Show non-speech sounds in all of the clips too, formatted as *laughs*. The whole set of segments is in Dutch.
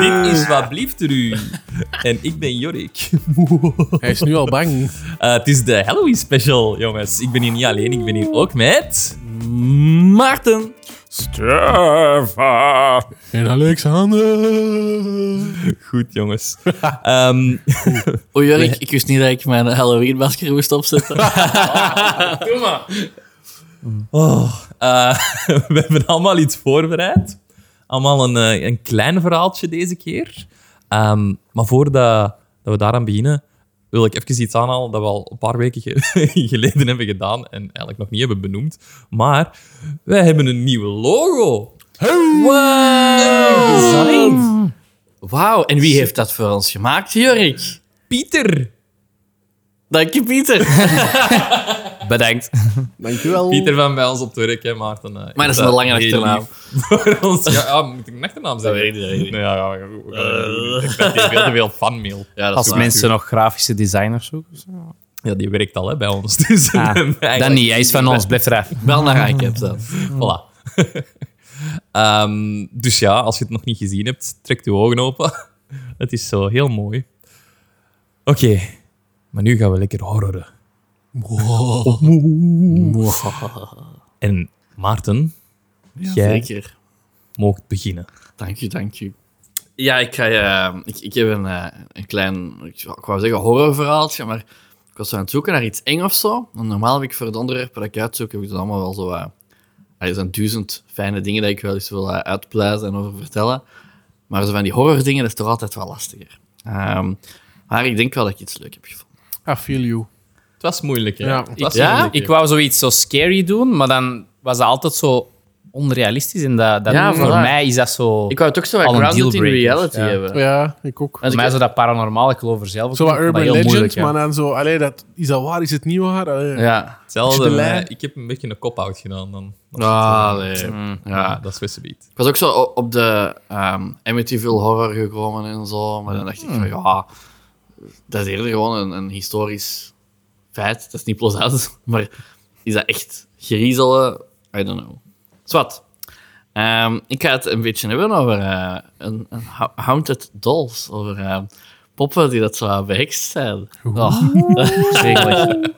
Dit is wat blieft er u. En ik ben Jorik. Hij is nu al bang. Eh, het is de Halloween special, jongens. Ik ben hier niet alleen, ik ben hier ook met... Maarten. Stefan. En Alexander. Goed, jongens. Ehm, Oei, Jorik, Oh, ik wist niet dat ik mijn Halloween-masker moest opzetten. Doe maar. Oh, eh, *laughs* we hebben allemaal iets voorbereid. Allemaal een, eh, een klein verhaaltje deze keer. Ehm, maar voordat dat we daaraan beginnen, wil ik even iets aanhalen dat we al een paar weken ge- *laughs* geleden hebben gedaan en eigenlijk nog niet hebben benoemd. Maar wij hebben een nieuwe logo. Design. *laughs* Wauw, en wie heeft dat voor ons gemaakt, Jorik? Pieter. Dank je, Pieter. *laughs* Bedankt. Dankjewel. Pieter van bij ons op het werk, hè, Maarten. eh, Oh. Maar dat is een lange heel achternaam. lief *laughs* Voor ons. Ja, ja, moet ik een achternaam zeggen? weet ik niet, dat dus weet ik niet. Nee, ja, ja, ja, goed. ik ben tegen veel te veel fanmail. Ja, dat Als is waar. mensen nog grafische designers Oh. Dus zoeken. *laughs* Ja, die werkt al hè, bij ons. *laughs* Dus Ah, eigenlijk- Dan niet, hij is van ons, blijf eraf. Wel naar iCap dan. Voilà. *laughs* Ehm, dus ja, als je het nog niet gezien hebt, trek je ogen open. *laughs* Het is zo heel mooi. Oké, maar nu gaan we lekker horroren. En Maarten, jij Zeker. mocht beginnen. Dank je, dank je. Ja, ik, ga, je- ik, ik heb een, eh, een klein, ik wou ik wou zeggen horrorverhaaltje, maar ik was aan het zoeken naar iets eng of zo. En normaal heb ik voor het onderwerp dat ik uitzoek, heb ik dan allemaal wel zo... eh, er zijn duizend fijne dingen dat ik wel eens wil eh, uitpluizen en over vertellen. Maar zo van die horror dingen, dat is toch altijd wel lastiger. Ehm, maar ik denk wel dat ik iets leuk heb gevonden. I feel you. Het was moeilijk, hè? Ja. Het was Ja? moeilijk, hè? Ik wou zoiets zo scary doen, maar dan was dat altijd zo onrealistisch. En dat, dat Ja, voor voilà. mij is dat zo... Ik wou het ook zo wat Al een grounded in dealbreaker, reality ja. hebben. Ja, ik ook. voor mij zo dat paranormaal, ik geloof er zelf ook Zo wat in, maar urban heel legends, moeilijk, ja. *laughs* maar dan zo... Allee, dat, is dat waar? Is het niet waar? Allee. Ja. Hetzelfde, de met- lijn. ik heb een beetje een cop-out gedaan dan. Ah, nee. Mm. Ja, Ja. dat is Wissebeat. Ik was ook zo o- op de ehm Amityville horror gekomen en zo. Maar dan dacht ik van ja, dat is eerder gewoon een, een historisch feit. Dat is niet plezant. *laughs* Maar is dat echt griezelen? I don't know. Zwat. Ehm, ik ga het een beetje hebben over eh, een, een hou- haunted dolls. Over eh, poppen die dat zo behekst zijn. Oh, Verschrikkelijk.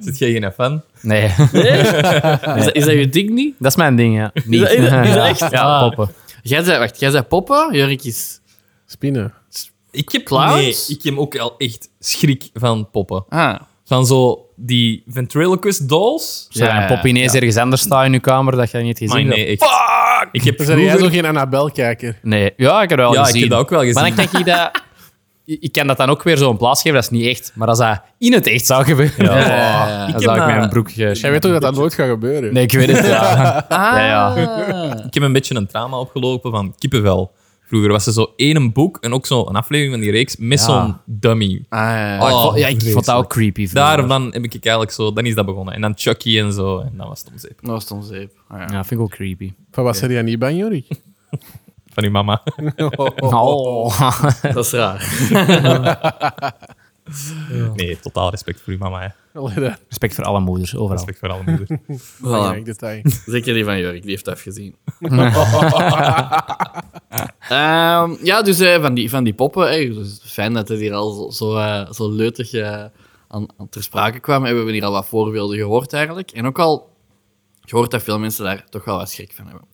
Zit jij geen fan? Nee, *laughs* Is, dat, is dat je ding niet? dat is mijn ding, ja. Niet. is dat- is dat echt? *laughs* Ah. Ja, poppen. Jij zei, wacht, jij zei poppen, Jurk is... Spinnen. Ik heb, nee, Clowns? ik heb ook al echt schrik van poppen. Ah, Van zo die ventriloquist dolls. Zou Ja, een pop ineens ergens anders staan in je kamer dat je niet gezien Maar hebt? nee, echt. Fuck! Ik heb Dan zijn jij vroeger- zo geen Annabelle-kijker. Nee, ja, ik heb dat wel Ja, ik gezien. heb dat ook wel gezien. Maar dan denk ik dat... *laughs* Ik ik kan dat dan ook weer zo'n plaats geven, dat is niet echt. Maar als dat in het echt zou gebeuren, Ja. ja. Ik *laughs* dan heb zou ik dat- mijn broek... eh, Ah. Jij weet toch dat dat nooit gaat gebeuren? *laughs* Nee, ik weet het, *laughs* ja. ja, ja. Ik heb een beetje een trauma opgelopen van kippenvel. Vroeger was er zo één boek en ook zo een aflevering van die reeks met Ja. zo'n dummy. ah, ja. Oh, ik vond- ja, ik vond dat vreselijk. ook creepy. vroeger. Daarvan heb ik eigenlijk zo, dan is dat begonnen. En dan Chucky en zo, en dan was het omzeep. Dat was dan zeep. Ah, ja. Ja, vind ik ook creepy. Van was er jij niet *laughs* bang, Jorik? Van uw mama. Oh. *laughs* Dat is raar. Nee, totaal respect voor uw mama. Hè. Allee, dat Respect voor alle moeders, overal. Respect voor alle moeder. belangrijk detail. Zeker die van Jurk, die heeft dat gezien. Ehm, ja, dus eh, van, die, van die poppen. eh, dus fijn dat het hier al zo, zo, eh, zo leutig eh, aan, aan ter sprake kwam. Eh, We hebben hier al wat voorbeelden gehoord eigenlijk. En ook al gehoord dat veel mensen daar toch wel wat schrik van hebben.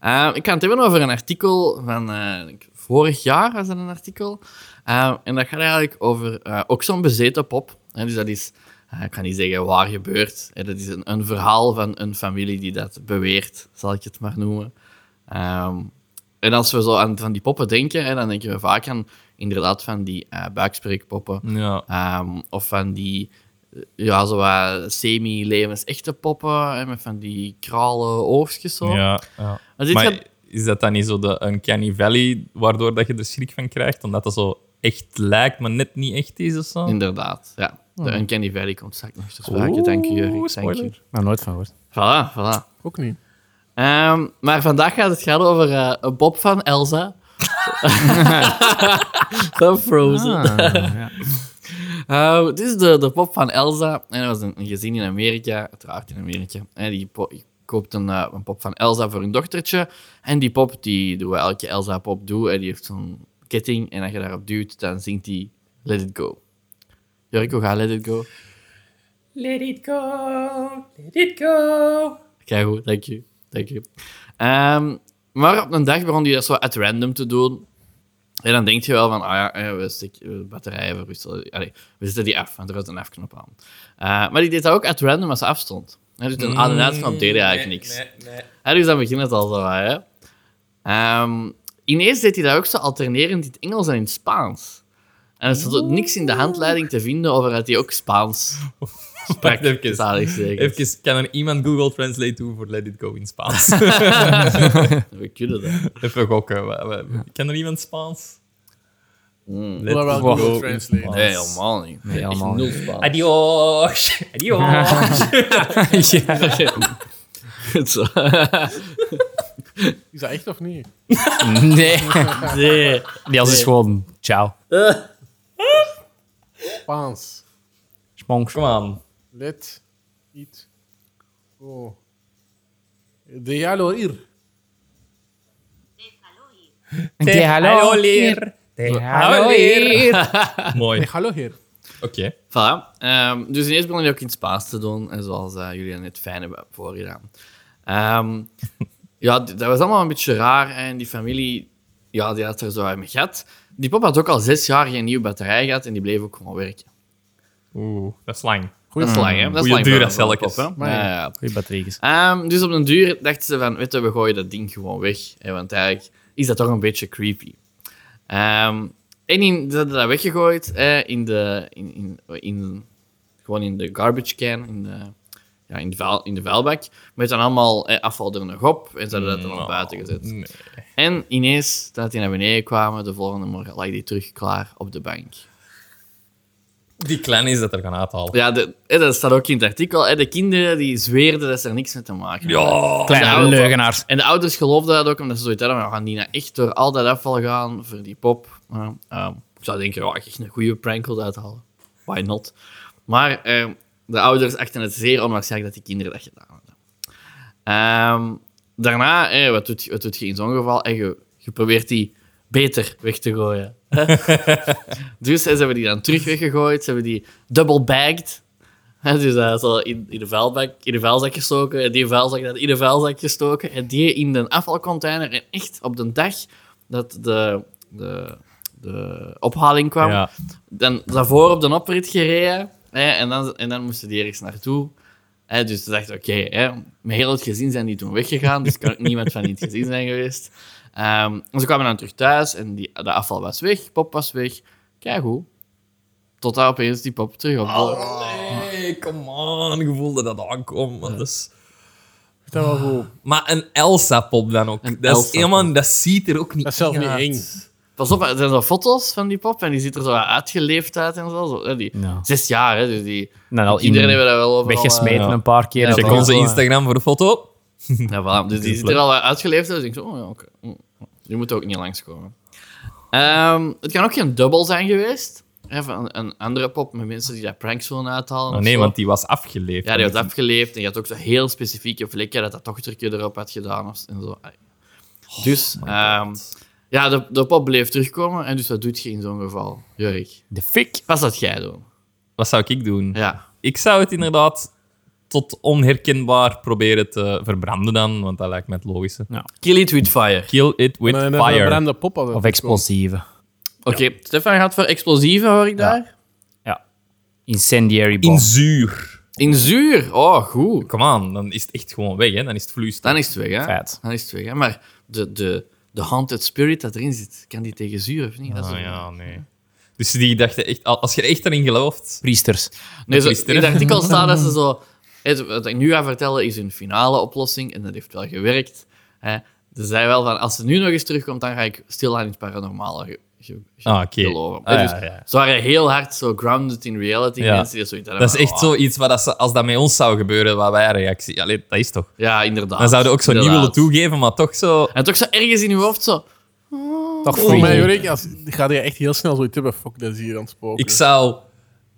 Ehm, ik kan het hebben over een artikel van eh, ik denk vorig jaar, was dat een artikel. Ehm, en dat gaat eigenlijk over eh, ook zo'n bezeten pop. Hè, dus dat is, eh, ik ga niet zeggen waar gebeurt. Hè, dat is een, een verhaal van een familie die dat beweert, zal ik het maar noemen. Ehm, en als we zo aan van die poppen denken, hè, dan denken we vaak aan inderdaad van die eh buikspreekpoppen. *laughs* Ja. Ehm, of van die eh, ja, zo wat semi-levensechte poppen, hè, met van die kralen oogstjes zo. ja, ja. Maar dit maar gaat- is dat dan niet zo de Uncanny Valley, waardoor dat je er schrik van krijgt? Omdat dat zo echt lijkt, maar net niet echt is of Oh. zo? Inderdaad, ja. De Uncanny Valley komt straks nog te sprake. Dank je, Jurk. Dank je. spoiler. Maar nooit van gehoord. Voilà, voilà. Ook niet. Ehm, maar vandaag gaat het gaan over eh, een Bob van *laughs* Elsa. van Frozen. Ah, ja. Eh, dit is de, de pop van Elsa. En dat was een, een gezin in Amerika, uiteraard in Amerika. En die po- koopt een, eh, een pop van Elsa voor hun dochtertje. En die pop, die doen we elke Elsa-pop doet. En die heeft zo'n ketting. En als je daarop duwt, dan zingt die Let It Go. Jurko, ga Let It Go. Let it go, let it go. Kijk goed, dank je. Dank je. Ehm, maar op een dag begon hij dat zo at random te doen. En dan denk je wel van, ah ja, eh, we stikken batterijen verwisselen. Allee, we zetten die af, want er was een afknop aan. Eh, maar die deed dat ook at random als ze afstond. dus Hij doet een aan- en uitknop, deed hij eigenlijk niks. Hè, dus dan begint het al zo wat, hè. Ehm, ineens deed hij dat ook zo alternerend in het Engels en in het Spaans. En er stond ook niks in de handleiding te vinden over dat hij ook Spaans *laughs* sprak. Wacht even. Zalig zeker. Even, kan er iemand Google Translate doen voor Let It Go in Spaans? *laughs* We kunnen dat. Even gokken. wa- wa- Kan er iemand Spaans? Let Maar wel It Google Go in Translate. Spaans. Nee, helemaal niet. Nee, helemaal Echt nul niet. Spaans. Adios. Adios. ja. Zo. Is dat echt of niet? Nee. Nee. Die als is gewoon ciao. Spaans. Sponks. Kom aan. Let. It. Oh. De jalo hier. De hallo leer. De hallo leer. *laughs* Mooi. Nee, hallo hier. Oké. Voilà. Ehm, dus ineens begon hij ook in het Spaans te doen, en zoals eh, jullie net fijn hebben voorgedaan. Ehm, *laughs* ja, d- dat was allemaal een beetje raar. hè, En die familie, ja, die had er zo uit mee gehad. Die papa had ook al zes jaar geen nieuwe batterij gehad en die bleef ook gewoon werken. Oeh, dat is lang. Dat is lang, hè? Dat is Goeie lang duur voor als een elke. pop, hè? Maar Ja, ja. ja, ja. Goeie batterijtjes. Ehm, dus op den duur dachten ze van, weet je, we gooien dat ding gewoon weg. hè, want eigenlijk is dat toch een beetje creepy. Ehm, en in, ze hadden dat weggegooid eh, in de, in, in, in, gewoon in de garbage can, in de, ja, in de, vuil, in de vuilbak. Met dan allemaal eh, afval er nog op en ze hadden dat dan op buiten gezet. Mm, oh, Nee. En ineens, toen die naar beneden kwamen, de volgende morgen lag die terug klaar op de bank. Die kleine is dat er gaan uithalen. Ja, de, eh, dat staat ook in het artikel. hè, De kinderen die zweerden dat ze er niks mee te maken hadden. Ja. Kleine Ja, leugenaars. En de ouders geloofden dat ook, omdat ze zoiets hadden van, we gaan die nou echt door al dat afval gaan voor die pop. Ja, ehm, ik zou denken, ja, echt een goede prank wil uithalen. Why not? Maar ehm, de ouders achten het zeer onwaarschijnlijk dat die kinderen dat gedaan hadden. Ehm, daarna, eh, wat, doet, je- wat doet je in zo'n geval? Eh, je, je probeert die beter weg te gooien. dus eh, ze hebben die dan terug weggegooid. Ze hebben die double bagged. Hè, Dus dat is al in, in, de vuilbak, in de vuilzak gestoken. En die vuilzak dat in de vuilzak gestoken. En die in de afvalcontainer. En echt op de dag dat de, de, de ophaling kwam, Ja. dan daarvoor op de oprit gereden. Hè, en, dan, en dan moesten die ergens naartoe. Hè, dus ze dachten, oké, hè, met heel het gezin zijn die toen weggegaan. Dus kan ook *laughs* niemand van in het gezin zijn geweest. Ehm, en ze kwamen dan terug thuis en die, de afval was weg, pop was weg. Kijk hoe. Tot daar opeens die pop terug op. Oh. Nee, come on. Je voelde dat aankomen. want Dat is... Is dat wel goed? Maar een Elsa-pop dan ook. Een dat, is Elsa-pop. helemaal, dat ziet er ook niet Dat is zelf niet uit. eng. Pas op, er zijn zo foto's van die pop en die ziet er zo wat uitgeleefd uit en zo. zo hè, die, Ja. Zes jaar, hè, dus die Nou, al kinderen in, hebben dat wel overal... eh, weggesmeten ja. een paar keer. Ja, Dat Check was onze wel- Instagram voor de foto. eh, ja, voilà. dus die ziet er al wat uitgeleefd uit. Dus ik denk zo, oh ja, oké. Die moet ook niet langskomen. Ehm het kan ook geen dubbel zijn geweest. Hè, van een, een andere pop met mensen die daar pranks willen uithalen. Oh, of nee, zo. want die was afgeleefd. Ja, die had afgeleefd en je had ook zo heel specifieke vlekken dat dat dochtertje erop had gedaan. Of, en zo. Dus, ehm, ja, de, de pop bleef terugkomen. En dus wat doet je in zo'n geval, Jurk? De fik. Pas dat jij doen. Wat zou ik doen? Ja. Ik zou het inderdaad tot onherkenbaar proberen te verbranden dan, want dat lijkt me het logische. Kill it with fire. Kill it with Maar een fire. verbrande pop hadden. Of explosieven. Oké, Stefan gaat voor explosieven, hoor ik daar. Incendiary bomb. In zuur. In zuur. Oh, goed. Come on, dan is het echt gewoon weg, hè? Dan is het vloeistof. Dan is het weg, hè? Feit. Dan is het weg, hè? Maar de, de, de haunted spirit dat erin zit, kan die tegen zuur of niet? Dat is Ah, een- ja, nee. Dus die dachten echt, al- als je er echt erin gelooft. Priesters. Nee, zo, priester, in het hè? artikel staat dat ze *laughs* zo... het- Wat ik nu ga vertellen is hun finale oplossing. En dat heeft wel gewerkt. Hè. Ze zei wel van, als ze nu nog eens terugkomt, dan ga ik stilaan in het paranormale ge- ge- ge- Ah, oké. geloven. Ah, Hè, ja, dus ja. Ze waren heel hard zo grounded in reality. Ja. Mensen die zoiets hadden Dat is van, echt "Oh, zoiets wat dat ze- als dat met ons zou gebeuren, wat wij reactie. Allee, dat is toch. oh, Ja, inderdaad. Dan zouden we ook zo niet willen inderdaad. toegeven, maar toch zo. En toch zo ergens in uw hoofd zo... Toch Voor mij, freaky. Oh, Jorik, als, ga je echt heel snel zoiets hebben. Fuck, dat is hier aan het spoken. Ik zou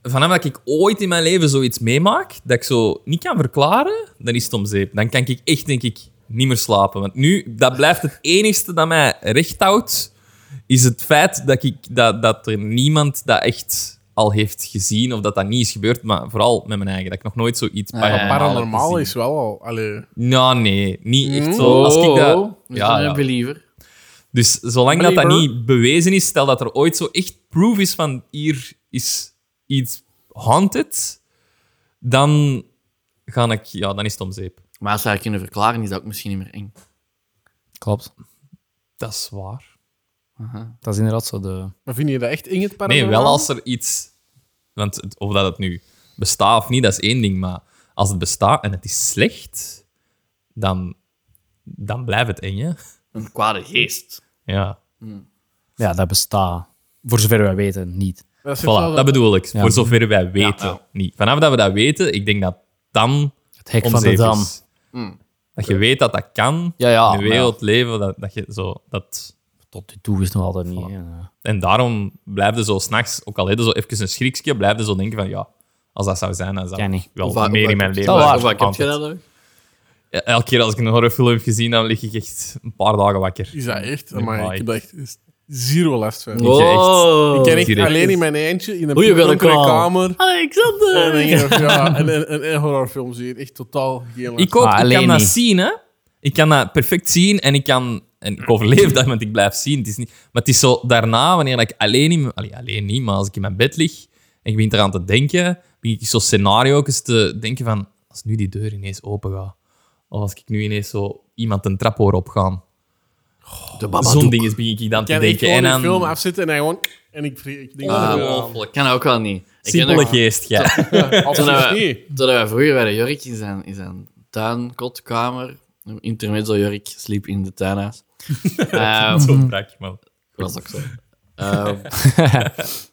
vanaf dat ik ooit in mijn leven zoiets meemaak, dat ik zo niet kan verklaren, dan is het om zeep. Dan kan ik echt, denk ik, niet meer slapen. Want nu, dat blijft het enigste dat mij recht houdt, is het feit dat, ik, dat, dat er niemand dat echt al heeft gezien of dat dat niet is gebeurd, maar vooral met mijn eigen, dat ik nog nooit zoiets Ah, paranormaal heb Paranormaal gezien. is wel al. Allee. Nou, nee, niet echt zo. Als ik dat... ja, Ja, ja. believer. Dus zolang dat, dat Believer. niet bewezen is, stel dat er ooit zo echt proof is van hier is iets haunted, dan, ga ik, ja, dan is het om zeep. Maar als ze haar kunnen verklaren, is dat ook misschien niet meer eng. Klopt. Dat is waar. Dat is inderdaad zo de... Maar vind je dat echt in het Nee, paranormaal? wel als er iets... Want het- of dat het nu bestaat of niet, dat is één ding. Maar als het bestaat en het is slecht, dan, dan blijft het eng, hè? Een kwade geest. Ja, Ja, dat bestaat, voor zover wij weten, niet. Dat, is voilà, dat bedoel ik. Voor zover wij weten. Niet. Vanaf dat we dat weten, ik denk dat dan Het hek om van de zeep dam. is. Hmm. Dat je weet dat dat kan. Ja, ja, in de maar wereld leven, dat, dat je zo... Dat... Tot die toe is het nog altijd niet. hè. En daarom blijf je zo s'nachts, ook al heb je zo even een schrikje, blijf je zo denken van, ja, als dat zou zijn, dan zou ik Kan niet. wel Of waar- meer of in mijn waar- of leven... waar- hebben Of wat heb je geantwoord. dat ook? Ja, Elke keer als ik een horrorfilm heb gezien, dan lig ik echt een paar dagen Oh. wakker. Is dat echt? Nee, Maar maar ik heb ik- dat echt zero last van. Wow. Oh, Ik ken echt Direct. alleen in mijn eentje, in een Goeie donkere welkom. kamer. En, Alexander! dan denk ik, ja, en, en, en, en horrorfilm zie je echt totaal geen last. Ik ook, Ah, ik alleen kan dat niet. zien, hè. Ik kan dat perfect zien en ik kan... En ik overleef dat, want ik blijf zien. Het is niet, maar het is zo daarna, wanneer ik alleen in... mijn- Allee, alleen niet, maar als ik in mijn bed lig en ik begin eraan te denken, begin ik zo scenario's te denken van... Als nu die deur ineens open gaat. Of als ik nu ineens zo iemand een trap hoor opgaan. De Zo'n Babadook. ding is begin ik dan Ik te kan echt denken. En gewoon een film dan... afzetten en hij gewoon... En ik, vrie- ik denk... Ah, dat Ongelooflijk. Ik kan dat ook wel niet. Ik ken Simpele ook- geest, ja. ja, absoluut Toen we- niet. Toen wij vroeger bij de Jurk in zijn, in zijn tuin, kotkamer, intermezzo Jurk, sliep in de *laughs* tuinhuis. Ehm, Zo'n brak, man. dat was ook zo. *laughs* Ehm,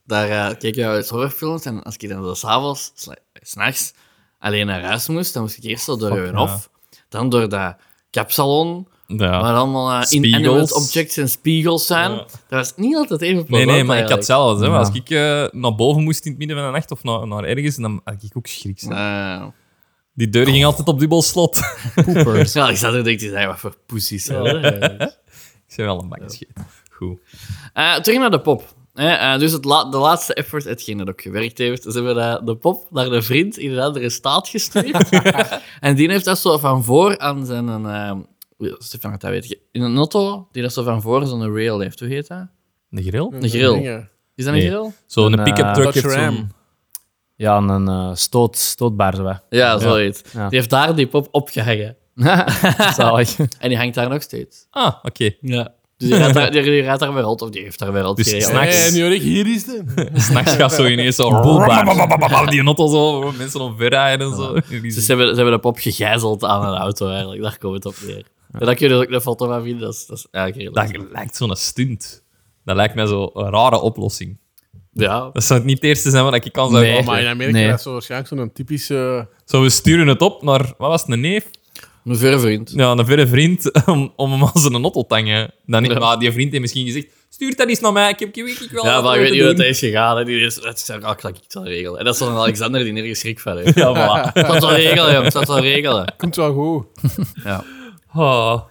daar eh, keek je wel eens horrorfilms en als ik dan zo s'avonds, sla- s'nachts, alleen naar huis moest, dan moest ik eerst zo door een hof, dan door dat kapsalon, waar Ja. allemaal eh, Spiegels. inanimate objects en spiegels zijn. Dat was niet altijd even Nee, nee, maar ik had zelf. zelfs. Hè, maar Ja. Als ik eh, naar boven moest in het midden van de nacht of naar, naar ergens, dan had ik ook schrik. hè. *laughs* Die deur Oh. ging altijd op dubbel slot. *laughs* Poepers. ja, ik zat er denk ik, "Hey, wat voor poesies. hè." ik zei wel een bakje scheet. Goed. Eh, terug naar de pop. Eh, eh, dus het la- de laatste effort, hetgeen dat ook gewerkt heeft, ze hebben eh, de pop naar een vriend in een andere staat *laughs* gestuurd. en die heeft dat zo van voor aan zijn... eh, oei, Stefan gaat dat weten. In een auto, die dat zo van voor zo'n rail heeft. Hoe heet dat? De grill? Een grill. Dingen. Is dat een Nee. grill? Zo'n Een, pick-up eh, truck Dodge heeft zo'n... Ram. Ja, en een eh, stoot, *laughs* stootbaar zo. hè. Ja, zoiets. Ja. Die heeft daar die pop opgehangen. *laughs* Zalig. En die hangt daar nog steeds. Ah, oké. Ja. Dus die rijdt daar, die, die rijdt daar weer rond, of die heeft daar weer rond. Dus gereden. snack- Max. Hey, en Jorik, hier is de... *laughs* S'nachts gaat zo ineens zo... *laughs* *laughs* Die auto zo, mensen omverrijden en zo. Ze hebben, ze hebben de pop gegijzeld aan een auto eigenlijk. Daar komt het op neer. En daar kun je dus ook een foto van vinden. Dat is, dat is eigenlijk heel leuk. Dat lijkt zo'n stunt. Dat lijkt mij zo'n rare oplossing. Ja. Dat zou niet het eerste zijn wat ik kan zou Nee. Oh, zeggen. maar in Amerika Nee. dat is zo waarschijnlijk zo'n typische... Zo, we sturen het op naar... Wat was het, een neef? Een verre vriend. Ja, een verre vriend *laughs* om, om hem als een nottel te hangen. Dan, Maar die vriend heeft misschien gezegd... Stuur dat eens naar mij, ik heb ik weet wel Ja, wat maar ik we weet niet hoe moeten dat is gegaan. hè. Die is, dat is ah, ik zal het wel regelen. En dat is dan een Alexander die nergens schrik van heeft. doen. Ja, *laughs* voilà. Ik zal het wel regelen, jong. Ik zal het wel regelen. Komt wel goed. Oh.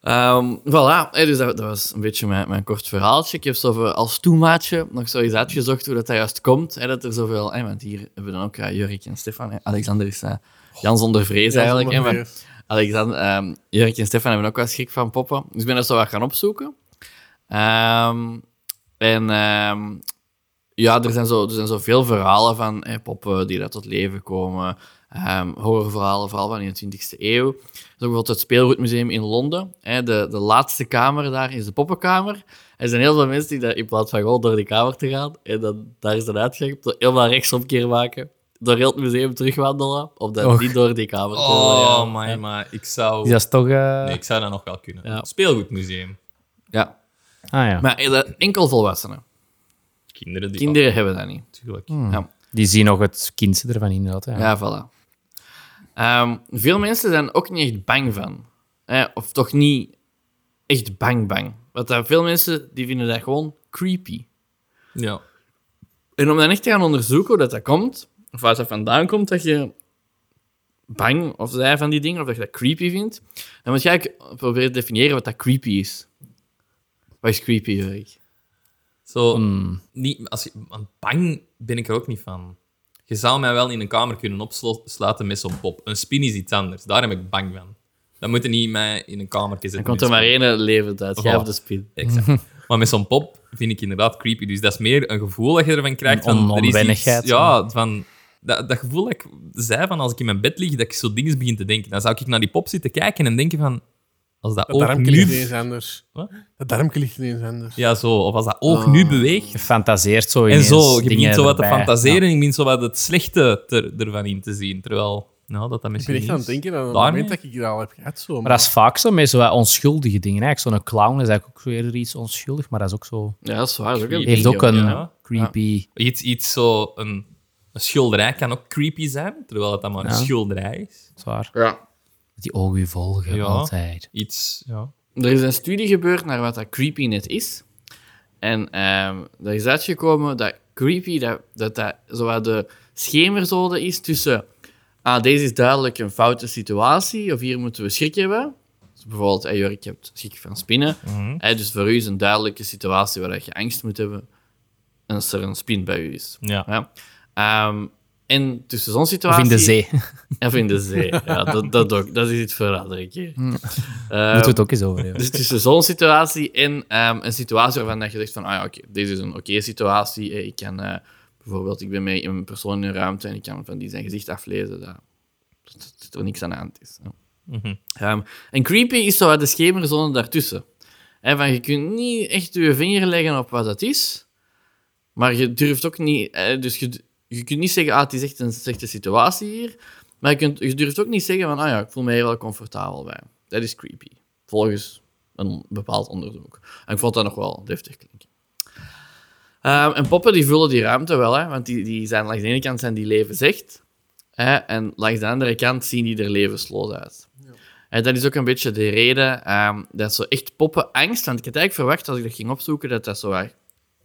Ehm, voilà. Hey, dus dat, dat was een beetje mijn, mijn kort verhaaltje. Ik heb zo voor- als toemaatje nog zoiets uitgezocht hoe dat, dat juist komt. Hè, dat er zoveel... Hey, want hier hebben we dan ook eh, Jurk en Stefan. hè. Alexander is eh, Jan zonder vrees eigenlijk. hè, maar- Alexander, ehm Jurk en Stefan hebben ook wel schrik van poppen. Dus ik ben dat zo wat gaan opzoeken. Ehm, en ehm, ja, er zijn, zo, er zijn zo veel verhalen van eh, poppen die daar tot leven komen. Ehm horrorverhalen, vooral van in de 20e eeuw. Er is ook bijvoorbeeld het Speelgoedmuseum in Londen. hè, de, de laatste kamer daar is de poppenkamer. Er zijn heel veel mensen die daar, in plaats van gewoon door die kamer te gaan, en dan, daar is een uitgang, door helemaal rechtsomkeer maken, door heel het museum terugwandelen, of dan Och. niet door die kamer te gaan. Oh, my, maar ik zou... Is dat toch... eh, Nee, ik zou dat nog wel kunnen. Ja. Speelgoedmuseum. Ja, Ah ja. maar eh, enkel volwassenen. Kinderen die... Kinderen hebben dat niet. natuurlijk. Die zien nog het kindse ervan inderdaad. Ja. Ja, voilà. Ehm, veel mensen zijn ook niet echt bang van. Hè? Of toch niet echt bang bang. Want daar, veel mensen die vinden dat gewoon creepy. Ja. En om dan echt te gaan onderzoeken hoe dat, dat komt, of waar dat vandaan komt, dat je bang of zij van die dingen, of dat je dat creepy vindt, dan moet jij proberen te definiëren wat dat creepy is. Wat is creepy, Erik? Zo, Hmm. niet, als je, want bang ben ik er ook niet van. Je zou mij wel in een kamer kunnen opsluiten met zo'n pop. Een spin is iets anders. Daar heb ik bang van. Dan moet je niet mij in een kamer zetten. Dan komt er maar één leven uit, jij Voilà. of de spin. Mhm. Exact. Maar met zo'n pop vind ik inderdaad creepy. Dus dat is meer een gevoel dat je ervan krijgt. Een Van, er is iets- onwennigheid. ja, van... Dat, dat gevoel dat ik zei van als ik in mijn bed lig, dat ik zo dingen begin te denken. Dan zou ik naar die pop zitten kijken en denken van... Als dat, Dat oog darmje ligt nu... ineens anders. Wat? Dat darmje ligt ineens anders. Ja, zo. Of als dat Oh. oog nu beweegt. Je fantaseert zo En ineens zo, je dingen begint zo wat te erbij. fantaseren en je begint zo wat het slechte ter- ervan in te zien. Terwijl, nou, dat dat Ik ben misschien echt aan het niet is. denken aan het Daarmee? moment dat ik dat al heb gehad. Zo. Maar dat is vaak zo met zo wat onschuldige dingen. Eigenlijk zo'n clown is eigenlijk ook zo eerder iets onschuldig, maar dat is ook zo... Ja, dat is waar. Dat is ook een Creepy, Heeft ding, ook joh. een ja. creepy... Iets, iets zo... Een, een schilderij kan ook creepy zijn, terwijl het dan maar Ja. een schilderij is. Zwaar. Ja. Die ogen je volgen, Ja. altijd. Iets... Ja. Er is een studie gebeurd naar wat dat creepy net is. En ehm er is uitgekomen dat creepy, dat dat, dat zowat de schemerzone is tussen... Ah, deze is duidelijk een foute situatie, of hier moeten we schrik hebben. Dus bijvoorbeeld, hey, Jurk, je hebt schrik van spinnen. Mhm. Hey, dus voor u is een duidelijke situatie waar dat je angst moet hebben als er een spin bij u is. Ja. Ja. Ehm, en tussen zo'n Of situatie... in de zee. *laughs* Of in de zee, ja. Dat, dat, ook, dat is iets voor een andere keer. Ehm, Moeten we het Eh, ook eens over hebben. dus tussen zo'n situatie en ehm, een situatie waarvan dat je zegt van, ah ja, oké, dit is een oké situatie. Eh, Ik kan eh, bijvoorbeeld, ik ben met een persoon in een ruimte en ik kan van die zijn gezicht aflezen dat, dat, dat er niks aan de hand is. Ja. Ehm, en creepy is zo uit de schemerzone daartussen. Hè, van, je kunt niet echt je vinger leggen op wat dat is, maar je durft ook niet... eh, dus je, je kunt niet zeggen, ah, het is echt een slechte situatie hier, maar je, kunt, je durft ook niet zeggen van, ah ja, ik voel me hier wel comfortabel bij. Dat is creepy. Volgens een bepaald onderzoek. En ik vond dat nog wel deftig klinken. Ehm, en poppen die vullen die ruimte wel, hè, want die, die zijn langs de ene kant zijn die leven zicht, hè, en langs de andere kant zien die er levensloos uit. En dat is ook een beetje de reden ehm, dat zo echt poppenangst, want ik had eigenlijk verwacht als ik dat ging opzoeken dat dat zo waar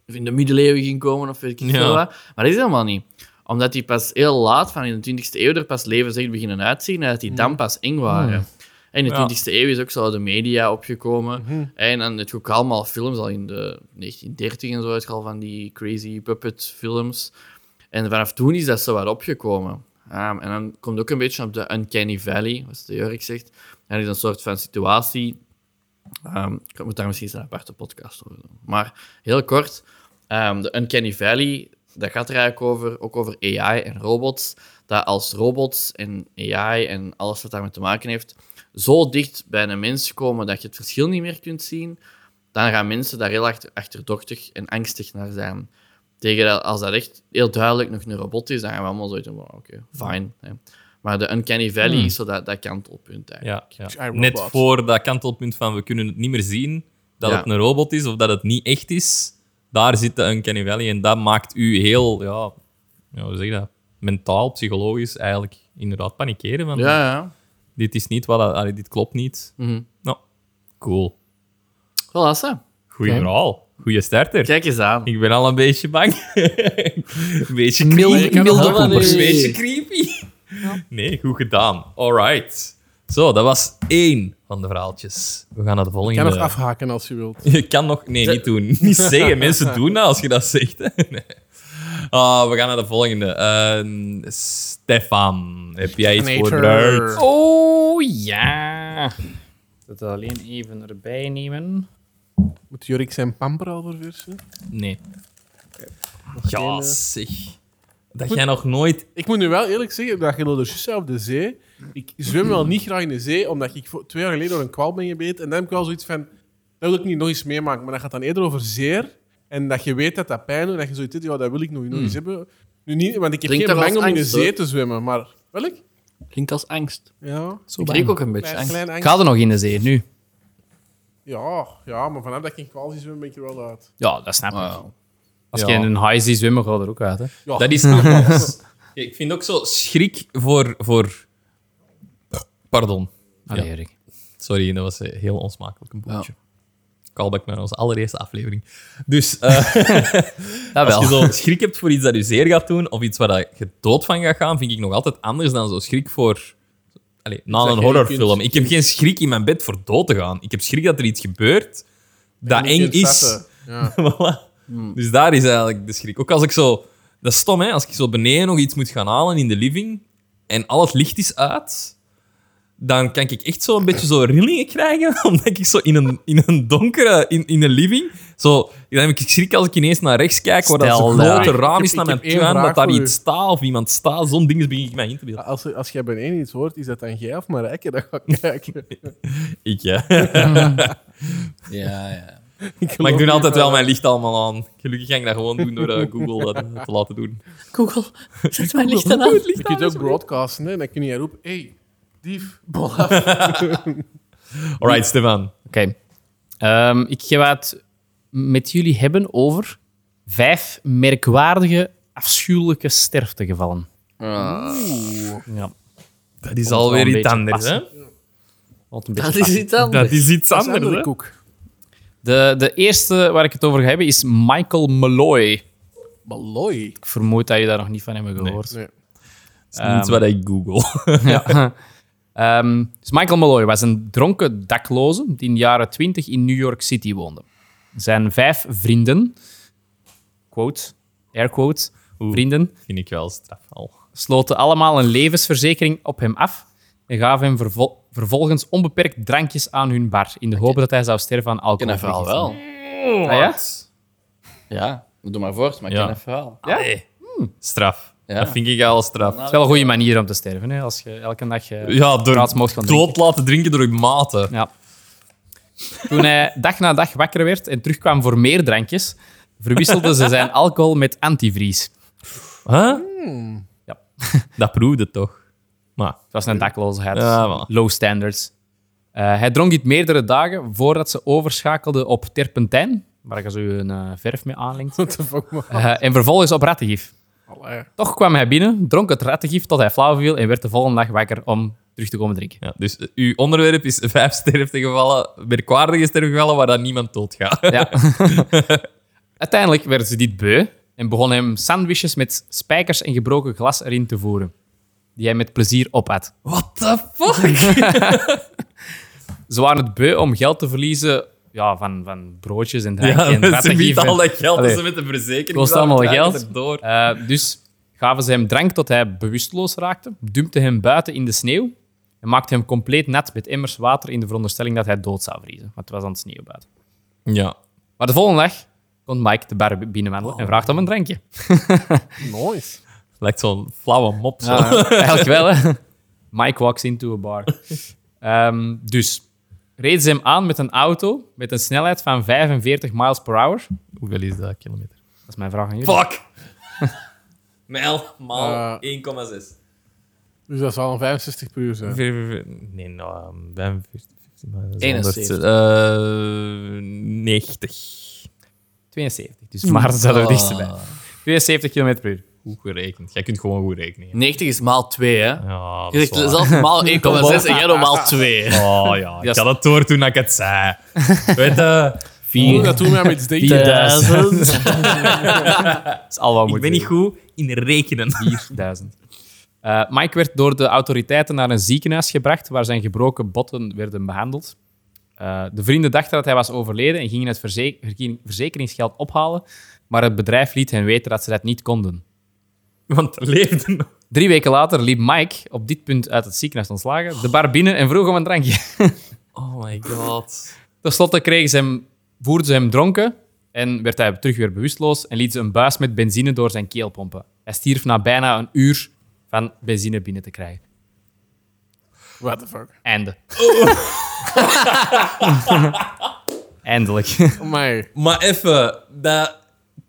in de middeleeuwen ging komen of weet ik Ja. veel wat, maar dat is helemaal niet omdat die pas heel laat, van in de 20e eeuw, er pas levenszicht beginnen uitzien en dat die dan pas eng waren. En in de Ja. 20e eeuw is ook zo de media opgekomen. En dan heb je ook allemaal films, al in de 1930 en zo, had je al van die crazy puppet films. En vanaf toen is dat zo wat opgekomen. Ehm, en dan komt ook een beetje op de Uncanny Valley, wat de Jurk zegt. Dat is een soort van situatie. Ehm, ik moet daar misschien eens een aparte podcast over doen. Maar heel kort, ehm, de Uncanny Valley, dat gaat er eigenlijk over, ook over AI en robots. Dat als robots en AI en alles wat daarmee te maken heeft, zo dicht bij een mens komen dat je het verschil niet meer kunt zien, dan gaan mensen daar heel achter- achterdochtig en angstig naar zijn. Tegen dat, als dat echt heel duidelijk nog een robot is, dan gaan we allemaal zoiets van, "Wow, oké, fine. hè. Maar de Uncanny Valley is zo dat, dat kantelpunt eigenlijk. Ja, ja. I, Robot. Net voor dat kantelpunt van we kunnen het niet meer zien dat Ja. het een robot is of dat het niet echt is. Daar zit de Uncanny Valley en dat maakt u heel, ja, ja hoe zeg je dat? Mentaal, psychologisch eigenlijk inderdaad panikeren. Van, Ja, Mhm. ja. Dit is niet wat, allee, dit klopt niet. Nou, cool. Voilà, zo. Goeie verhaal. Goeie starter. Kijk eens aan. Ik ben al een beetje bang. *laughs* een beetje Milde- creepy. milde Een poepers. beetje creepy. Nee, goed gedaan. Alright. Zo, dat was één van de verhaaltjes. We gaan naar de Je volgende. kan nog afhaken als je wilt. *laughs* Je kan nog... Nee, niet doen. *laughs* Niet zeggen. Mensen doen dat als je dat zegt. hè. *laughs* Nee. Ah, we gaan naar de volgende. Ehm, Stefan, heb jij iets Terminator. voorbereid? Oh, ja. Dat alleen even erbij nemen. Moet Jorik zijn pamper al verversen? Nee. geen, Ja, eh, zeg. Dat jij nog nooit... Ik moet nu wel eerlijk zeggen, dat geloof dus juist op de zee. Ik zwem wel niet graag in de zee, omdat ik voor- twee jaar geleden door een kwaal ben gebeten. En dan heb ik wel zoiets van, dat wil ik niet nog eens meemaken. Maar dat gaat dan eerder over zeer. En dat je weet dat dat pijn doet. En dat je zoiets hebt, ja, dat wil ik nog Hmm. nooit eens hebben. Nu niet, want ik heb Klinkt geen toch bang als om in de angst, zee hoor. te zwemmen. Maar, wel ik? Klinkt als angst. Ja. Zo Ik kreeg ook een beetje angst. Klein- klein Ik angst. ga er nog in de zee, nu. Ja, ja, maar vanaf dat ik in kwaal zie zwemmen, ben ik er wel uit. Ja, dat snap ik. Wow. Als Ja. je in een high ziet zwemmen, gaat er ook uit, hè. Ja. Dat is anders. Ik vind ook zo schrik voor... voor... Pardon. Allee, Erik. Sorry, dat was eh, heel onsmakelijk een boeltje. Callback naar onze allereerste aflevering. Dus *laughs* eh, als Dat wel. je zo schrik hebt voor iets dat je zeer gaat doen, of iets waar dat je dood van gaat gaan, vind ik nog altijd anders dan zo schrik voor... Allee, na dat een je horrorfilm. kunt- Ik heb geen schrik in mijn bed voor dood te gaan. Ik heb schrik dat er iets gebeurt dat Je eng kunt is. vatten. Ja. *laughs* Hmm. Voilà. Dus daar is eigenlijk de schrik. Ook als ik zo... Dat is stom, hè? Als ik zo beneden nog iets moet gaan halen in de living en al het licht is uit, dan kan ik echt zo een beetje zo rillingen krijgen, *laughs* omdat ik zo in een, in een donkere... In, in een living... Zo, dan heb ik schrik als ik ineens naar rechts kijk, waar dat Stel, zo'n eh, grote ik- raam ik is heb- naar ik mijn heb één tuin, vraag dat daar voor u. iets staat of iemand staat. Zo'n ding begin ik mij in te beelden. Als, als jij beneden iets hoort, is dat dan jij of Marijke? Dan ga ik *laughs* kijken. Ik, ja. Ja, ja. Maar ik doe niet eh, altijd van- wel mijn licht allemaal aan. Gelukkig ga ik dat gewoon doen door eh, Google dat eh, te laten doen. Google, zet mijn licht aan. Je kunt ook broadcasten, hè? dan kun je roepen: hey, dief, bol af. Alright, Stefan. Oké. Ehm, ik ga het met jullie hebben over vijf merkwaardige, afschuwelijke sterftegevallen. Ja. Dat is wel alweer een iets beetje anders, hè? passen. Wat een Dat beetje is iets Dat anders. is iets Dat is anders, andere hè? koek. de, de eerste waar ik het over ga hebben is Michael Malloy. Malloy. Ik vermoed dat je daar nog niet van hebben gehoord. Nee. Dat is niet Ehm, wat ik google. *laughs* Ja. Ehm, dus Michael Malloy was een dronken dakloze die in de jaren 20 in New York City woonde. Zijn vijf vrienden, quote, air quotes, vrienden, Vind ik wel straf al. sloten allemaal een levensverzekering op hem af en gaven hem vervol- vervolgens onbeperkt drankjes aan hun bar in de hoop dat hij zou sterven aan Ik ken dat verhaal alcohol. wel. Ah, ja? Ja, doe maar voort, maar ik Ja. ken dat verhaal. Ja? Allee. Straf. Ja. Dat vind ik al straf. Dat is wel een goede manier om te sterven, hè, als je elke dag eh, Ja, door Praat mocht gaan dood laten drinken door je maten. Ja. Toen hij dag na dag wakker werd en terugkwam voor meer drankjes, verwisselde ze zijn alcohol met antivries. Huh? Ja. *laughs* Dat proefde toch? Maar, Het was een dakloosheid. Ja, voilà. Low standards. Eh, hij dronk dit meerdere dagen voordat ze overschakelde op terpentijn, waar je zo een eh, verf mee aanlengt, What the fuck, man? eh, en vervolgens op rattengif. Allee. Toch kwam hij binnen, dronk het rattengif tot hij flauw viel en werd de volgende dag wakker om terug te komen drinken. ja, dus eh, uw onderwerp is vijf sterftegevallen, merkwaardige sterftegevallen waar dan niemand doodgaat. Ja. *laughs* Uiteindelijk werden ze dit beu en begon hem sandwiches met spijkers en gebroken glas erin te voeren, die hij met plezier opat. What the fuck? *laughs* Ze waren het beu om geld te verliezen ja, van, van broodjes *laughs* en drank Ja, en ze bieden rattengif en- al dat geld dat Allee. ze met de verzekering Kost allemaal zouden krijgen geld. erdoor. Eh, dus gaven ze hem drank tot hij bewusteloos raakte, dumpte hem buiten in de sneeuw en maakte hem compleet nat met emmers water in de veronderstelling dat hij dood zou vriezen. Want het was aan het sneeuw buiten. Ja. Maar de volgende dag komt Mike de bar binnenwandelen en vraagt om een drankje. *laughs* Nice. Lijkt zo'n flauwe mop. Zo. Eigenlijk wel, hè. Mike walks into a bar. Ehm, dus reed ze hem aan met een auto met een snelheid van 45 miles per hour. Hoeveel is dat kilometer? Dat is mijn vraag aan jullie. Fuck! Mijl Oh. maal 1,6. Eh, Dus dat zal een 65 per uur zijn. Nee, nou, ehm, 45. 71. eh, 90. 72, dus maar ze zaten er dichterbij. 72 km per uur. Goed gerekend. Jij kunt gewoon goed rekenen. hè. 90 is maal 2, hè? Ja, dat Je is zegt waar. zelf *laughs* maal 1,6 en jij doet maal 2. Oh ja, Ja, ik had het door toen ik het zei. *laughs* Weet je, Oeh, dat doet mij met iets denken. Dat is al wat ik ben niet goed in rekenen. 4000. Eh, Mike werd door de autoriteiten naar een ziekenhuis gebracht waar zijn gebroken botten werden behandeld. Eh, de vrienden dachten dat hij was overleden en gingen het verze- verkie- verzekeringsgeld ophalen, maar het bedrijf liet hen weten dat ze dat niet konden. *laughs* Want er leefde nog. Drie weken later liep Mike, op dit punt uit het ziekenhuis ontslagen, de bar binnen en vroeg om een drankje. *laughs* Oh my god. Ten slotte kregen ze hem, voerden ze hem dronken en werd hij terug weer bewusteloos en liet ze een buis met benzine door zijn keel pompen. Hij stierf na bijna een uur van benzine binnen te krijgen. What the fuck. Einde. *laughs* Eindelijk. Amai. Maar even, dat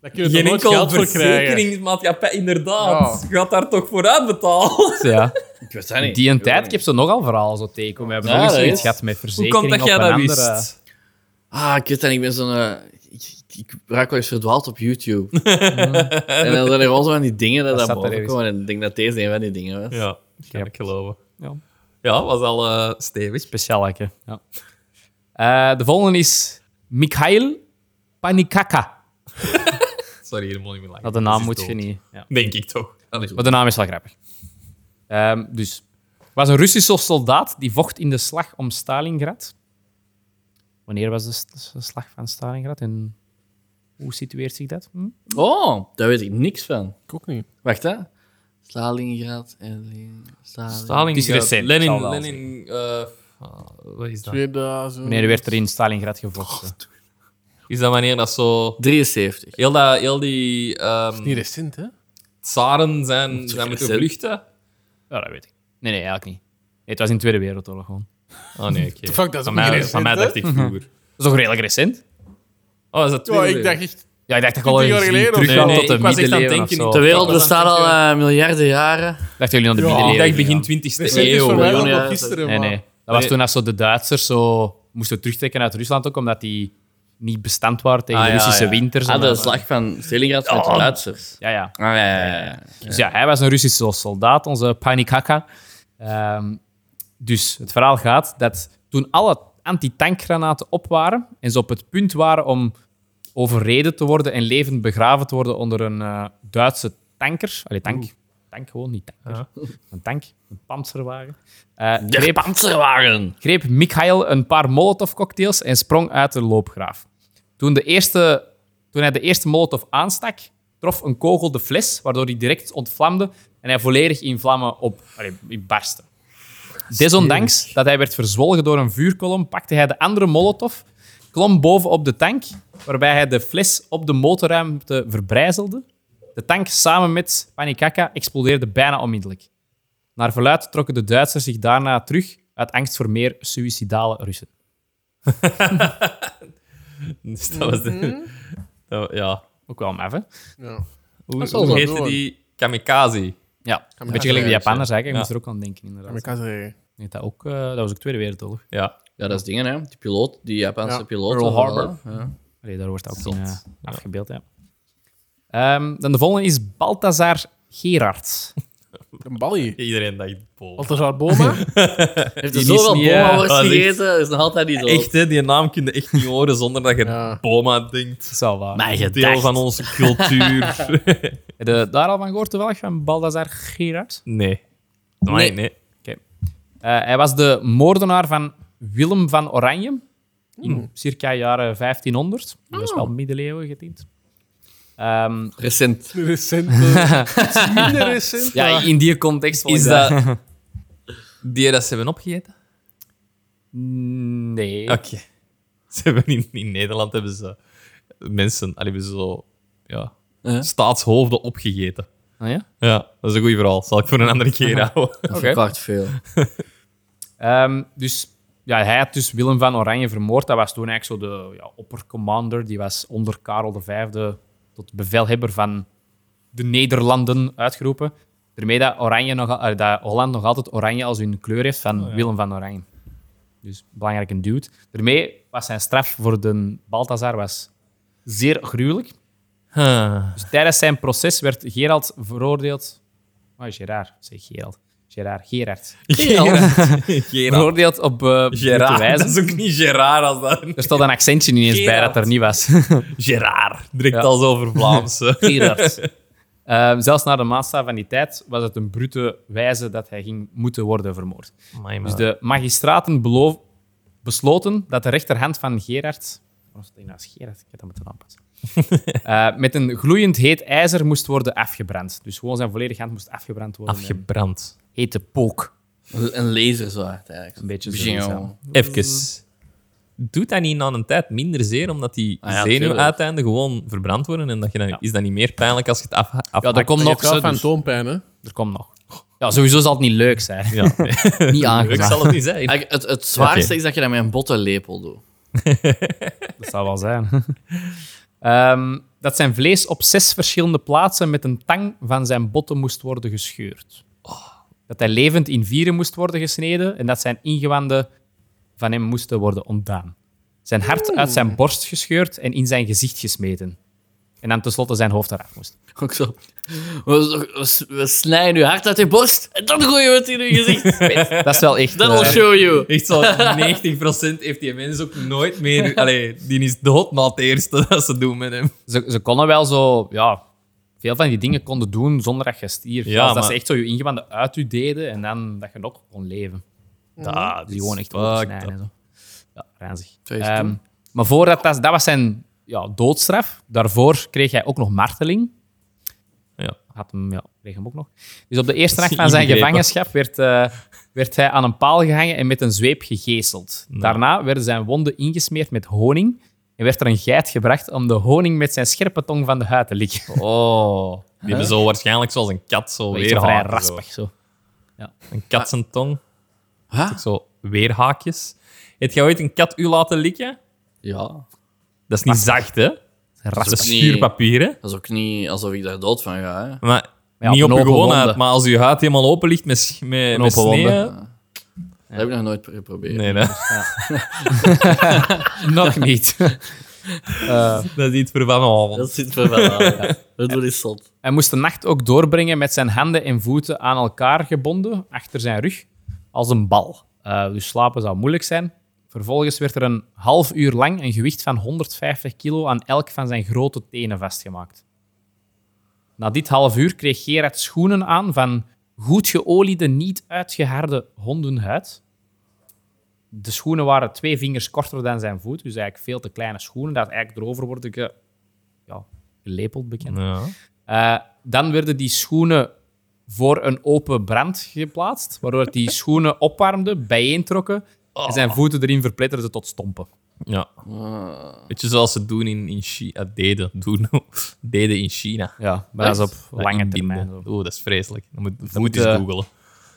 Oh Daar kun je geen toch nooit enkel geld voor krijgen. verzekeringsmaatschappij, inderdaad, Ja. gaat daar toch voor uitbetaald. Ja. *laughs* Ik weet dat niet. Die een tijd, ik heb ze nogal verhaal zo tegenkomen. We hebben Ja, nog eens dat zoiets is. gehad met Hoe verzekering komt dat jij op dat een wist? andere... Ah, ik weet dat niet. Ik ben zo'n... eh, ik, ik- ik raak wel eens verdwaald op YouTube. *laughs* en dan zijn er gewoon zo van die dingen dat, Dat daar zat er boven ergens. komen. En ik denk dat deze een van die dingen was. Ja, dat kan ik geloven. Ja. Ja, was al eh, stevig. Speciaal, hè. Ja. Eh, de volgende is Mikhail Panikaka. Sorry, hier moet ik niet meer lachen. Dat de Dat naam is moet dood. je niet... Ja. Denk ik toch. Allee. Maar de naam is wel grappig. Ehm, dus. was een Russische soldaat die vocht in de slag om Stalingrad. Wanneer was de, s- de slag van Stalingrad en hoe situeert zich dat? Hm? Oh, daar weet ik niks van. Ik ook niet. Wacht, hè. Stalingrad en Stalingrad. Stalingrad. Het is recent, zal Lenin, wel Lenin eh, ah, wat is dat? 2000. Wanneer werd er in Stalingrad gevochten? Is dat wanneer dat zo... 73. Heel, dat, heel die ehm, Niet recent, hè? tsaren zijn, zijn moeten recent. vluchten? Ja, dat weet ik. Nee, nee, eigenlijk niet. Nee, het was in de Tweede Wereldoorlog gewoon. Oh nee, oké. *laughs* Fuck, dat is Van, ook mij- niet van recent, mij hè? dacht ik vroeger. Dat is toch redelijk recent? Oh, is dat twee Ja, uur? ik dacht echt... Ja, ik dacht dat ik al 20 jaar eens geleden of teruggaan zo. Nee, tot de nee, ik was echt aan het middeleeuwen of denken, zo. niet De wereld Dat was bestaat al eh, miljarden jaren. Dachten jullie aan de Ja. Ik middeleeuwen? dacht begin 20e Recent is voor eeuw. mij hè. wel Ja, nog dat- gisteren, Nee, maar- nee. Dat was toen als zo de Duitsers zo moesten terugtrekken uit Rusland ook, omdat die niet bestand waren tegen Ah, de ja, Russische ja. winters. en Ah, de dat- slag van Stalingrad met de Duitsers. Ja, ja. Ah, ja, ja, ja, ja. Dus ja, hij was een Russische soldaat, onze Panikaka. Ehm, dus het verhaal gaat dat toen alle antitankranaten op waren en ze op het punt waren om overreden te worden en levend begraven te worden onder een eh, Duitse tanker. Allee, tank. Tank gewoon, niet tanker. *laughs* Een tank, een panzerwagen. Eh, De greep, panzerwagen. greep Mikhail een paar molotovcocktails en sprong uit de loopgraaf. Toen, de eerste, toen hij de eerste molotov aanstak, trof een kogel de fles, waardoor hij direct ontvlamde en hij volledig in vlammen op, allee, in barstte. Desondanks dat hij werd verzwolgen door een vuurkolom, pakte hij de andere molotov, klom boven op de tank, waarbij hij de fles op de motorruimte verbrijzelde. De tank samen met Panikaka explodeerde bijna onmiddellijk. Naar verluid trokken de Duitsers zich daarna terug uit angst voor meer suïcidale Russen. *laughs* Dus dat was de... Mhm. Dat- Ja. Ook wel maf, hè? Ja. Hoe, zal hoe wel heette doen. die? Kamikaze. Ja, een beetje gelijk de Japanners eigenlijk. Ik moest er ook aan denken, inderdaad. Maar ik kan zeggen... Nee, dat, ook, eh, dat was ook Tweede Wereldoorlog. Ja. Ja, dat is dingen, hè. Die piloot, die Japanse Ja. piloot. Pearl of wel, Harbor. hè. Ja. Allee, daar wordt dat ook Zot. in, eh, afgebeeld, ja. Ehm, dan de volgende is Balthazar *laughs* Gerards. Een balie. Iedereen dacht Paul. *laughs* Balthazar Boma? Heeft Die er is zoveel niet, eh, bommenworst dat is echt- gegeten, dat is nog altijd niet zo. Echt, hè, die naam kun je echt niet horen zonder dat je Ja. Boma denkt. Dat is wel waar. Mijn Deel gedacht. van onze cultuur. *laughs* Heb je daar al van gehoord, toevallig, van Balthazar Gerards? nee. Nee, nee. Eh, hij was de moordenaar van Willem van Oranje in circa jaren 1500. Dat is wel middeleeuwen getint. Ehm, Recent. Recent. eh, iets Minder recent. ja, in die context vond ik Is dat... Die dat ze hebben opgegeten? *laughs* Nee. Oké. *laughs* Ze hebben in, in Nederland hebben ze mensen, allee, hebben ze zo, ja, Ja. staatshoofden opgegeten. Ah, ja? Ja, dat is een goed verhaal. Zal ik voor een *laughs* andere keer houden. Dat Oké. verklaart veel. *laughs* Ehm, dus ja, hij had dus Willem van Oranje vermoord. Dat was toen eigenlijk zo de ja, oppercommander. Die was onder Karel V tot bevelhebber van de Nederlanden uitgeroepen. Daarmee dat, Oranje nog, al- eh, dat Holland nog altijd oranje als hun kleur heeft van Willem van Oranje. Dus belangrijk een dude. Daarmee was zijn straf voor de Balthazar was zeer gruwelijk. Ah. Dus tijdens zijn proces werd Gerald veroordeeld... Oh, Gerard. Zeg Gerald. Gerard. *laughs* Gerard. Gerard. Gerard. Veroordeeld op eh brute Gerard. wijze. Dat is ook niet Gerard als dat... Er stond een accentje ineens bij Gerard. dat er niet was. *laughs* Gerard. Direct Ja. als over *laughs* Vlaamse. Gerard. Ehm, zelfs na de maatstaf van die tijd was het een brute wijze dat hij ging moeten worden vermoord. Dus de magistraten beloof- besloten dat de rechterhand van Gerard... Waarom staat hij naast nou? Gerard? Ik heb dat moeten *laughs* aanpassen. Eh, met een gloeiend heet ijzer moest worden afgebrand. Dus gewoon zijn volledige hand moest afgebrand worden. Afgebrand. Hete pook. Een laserzwaard, eigenlijk. Een beetje zo. Bzjong. ja. Even. Doet dat niet na een tijd minder zeer, omdat die Ah ja, zenuwuiteinden gewoon verbrand worden? En dat je dan, Is dat niet meer pijnlijk als je het af, afhakt? Ja, er komt Je nog. hebt wel zo, dus- fantoompijn, hè? er komt nog. Ja, sowieso zal het niet leuk zijn. Ja. niet *laughs* Ik aangenaam. zal het niet zijn. Eigenlijk, Het, het zwaarste Oké. is dat je dat met een bottenlepel doet. *laughs* Dat zou wel zijn. *laughs* Ehm, dat zijn vlees op zes verschillende plaatsen met een tang van zijn botten moest worden gescheurd. Oh, Dat hij levend in vieren moest worden gesneden en dat zijn ingewanden van hem moesten worden ontdaan. Zijn hart uit zijn borst gescheurd en in zijn gezicht gesmeten. En dan tenslotte zijn hoofd eraf moest. Ook zo. We, we, we snijden je hart uit je borst en dan gooien we het in je *laughs* gezicht. Dat is wel echt... That'll *laughs* eh, show you. Echt zo, 90% heeft die mens ook nooit *laughs* meer... *laughs* Allee, die is dood, maar het eerste *laughs* dat ze doen met hem. ze, ze konden wel zo, ja, veel van die dingen konden doen zonder dat je stierf. Ja, Als dat maar- ze echt zo je ingewanden uit je deden en dan dat je nog kon leven. Ja, Mhm. Die gewoon echt fucked oversnijden up. en zo. Ja, ranzig. Vrees Ehm, toe. maar voordat dat, dat was zijn ja, doodstraf. Daarvoor kreeg hij ook nog marteling. Ja. Had hem, ja, kreeg hem ook nog. Dus op de *laughs* eerste nacht van zijn Ingrepen. gevangenschap werd, eh, werd hij aan een paal gehangen en met een zweep gegeeseld. Nou. Daarna werden zijn wonden ingesmeerd met honing en werd er een geit gebracht om de honing met zijn scherpe tong van de huid te likken. Oh, Die hebben zo waarschijnlijk zoals een kat zo weer weer vrij haken, raspig zo. zo. Een kat zijn tong. Dat is ook Zo weerhaakjes. Heb jij ooit een kat u laten likken? Ja, Dat is niet zacht, hè? Dat is Raspig. niet- schuurpapier, hè? dat is ook niet alsof ik daar dood van ga. Hè. Maar Ja, niet op een je open gewoon wonde. uit, maar als je huid helemaal open ligt met, sch- met, met open wonde. sneeuw... Dat heb ik nog nooit geprobeerd. Nee, *laughs* hè? Nog niet. dat is iets voor van... oh, Dat zit me wel aan. *laughs* ja. Dat doet is zot. Hij moest de nacht ook doorbrengen met zijn handen en voeten aan elkaar gebonden, achter zijn rug, als een bal. Eh, dus slapen zou moeilijk zijn. Vervolgens werd er een half uur lang een gewicht van 150 kilo aan elk van zijn grote tenen vastgemaakt. Na dit half uur kreeg Gerard schoenen aan van goed geoliede, niet uitgeharde hondenhuid. De schoenen waren twee vingers korter dan zijn voet, dus eigenlijk veel te kleine schoenen. Dat eigenlijk erover worden ge, ja, gelepeld, bekend. Ja. Eh, dan werden die schoenen voor een open brand geplaatst, waardoor die schoenen opwarmden, bijeentrokken en zijn voeten erin verpletterden tot stompen. ja. Ah. Weet je, zoals ze doen in, in China... Deden, doen. *laughs* deden in China. Ja, maar dat is op Dat lange inbinden. termijn. zo. Oeh, dat is vreselijk. Dan moet voet moet, eens eh, googelen.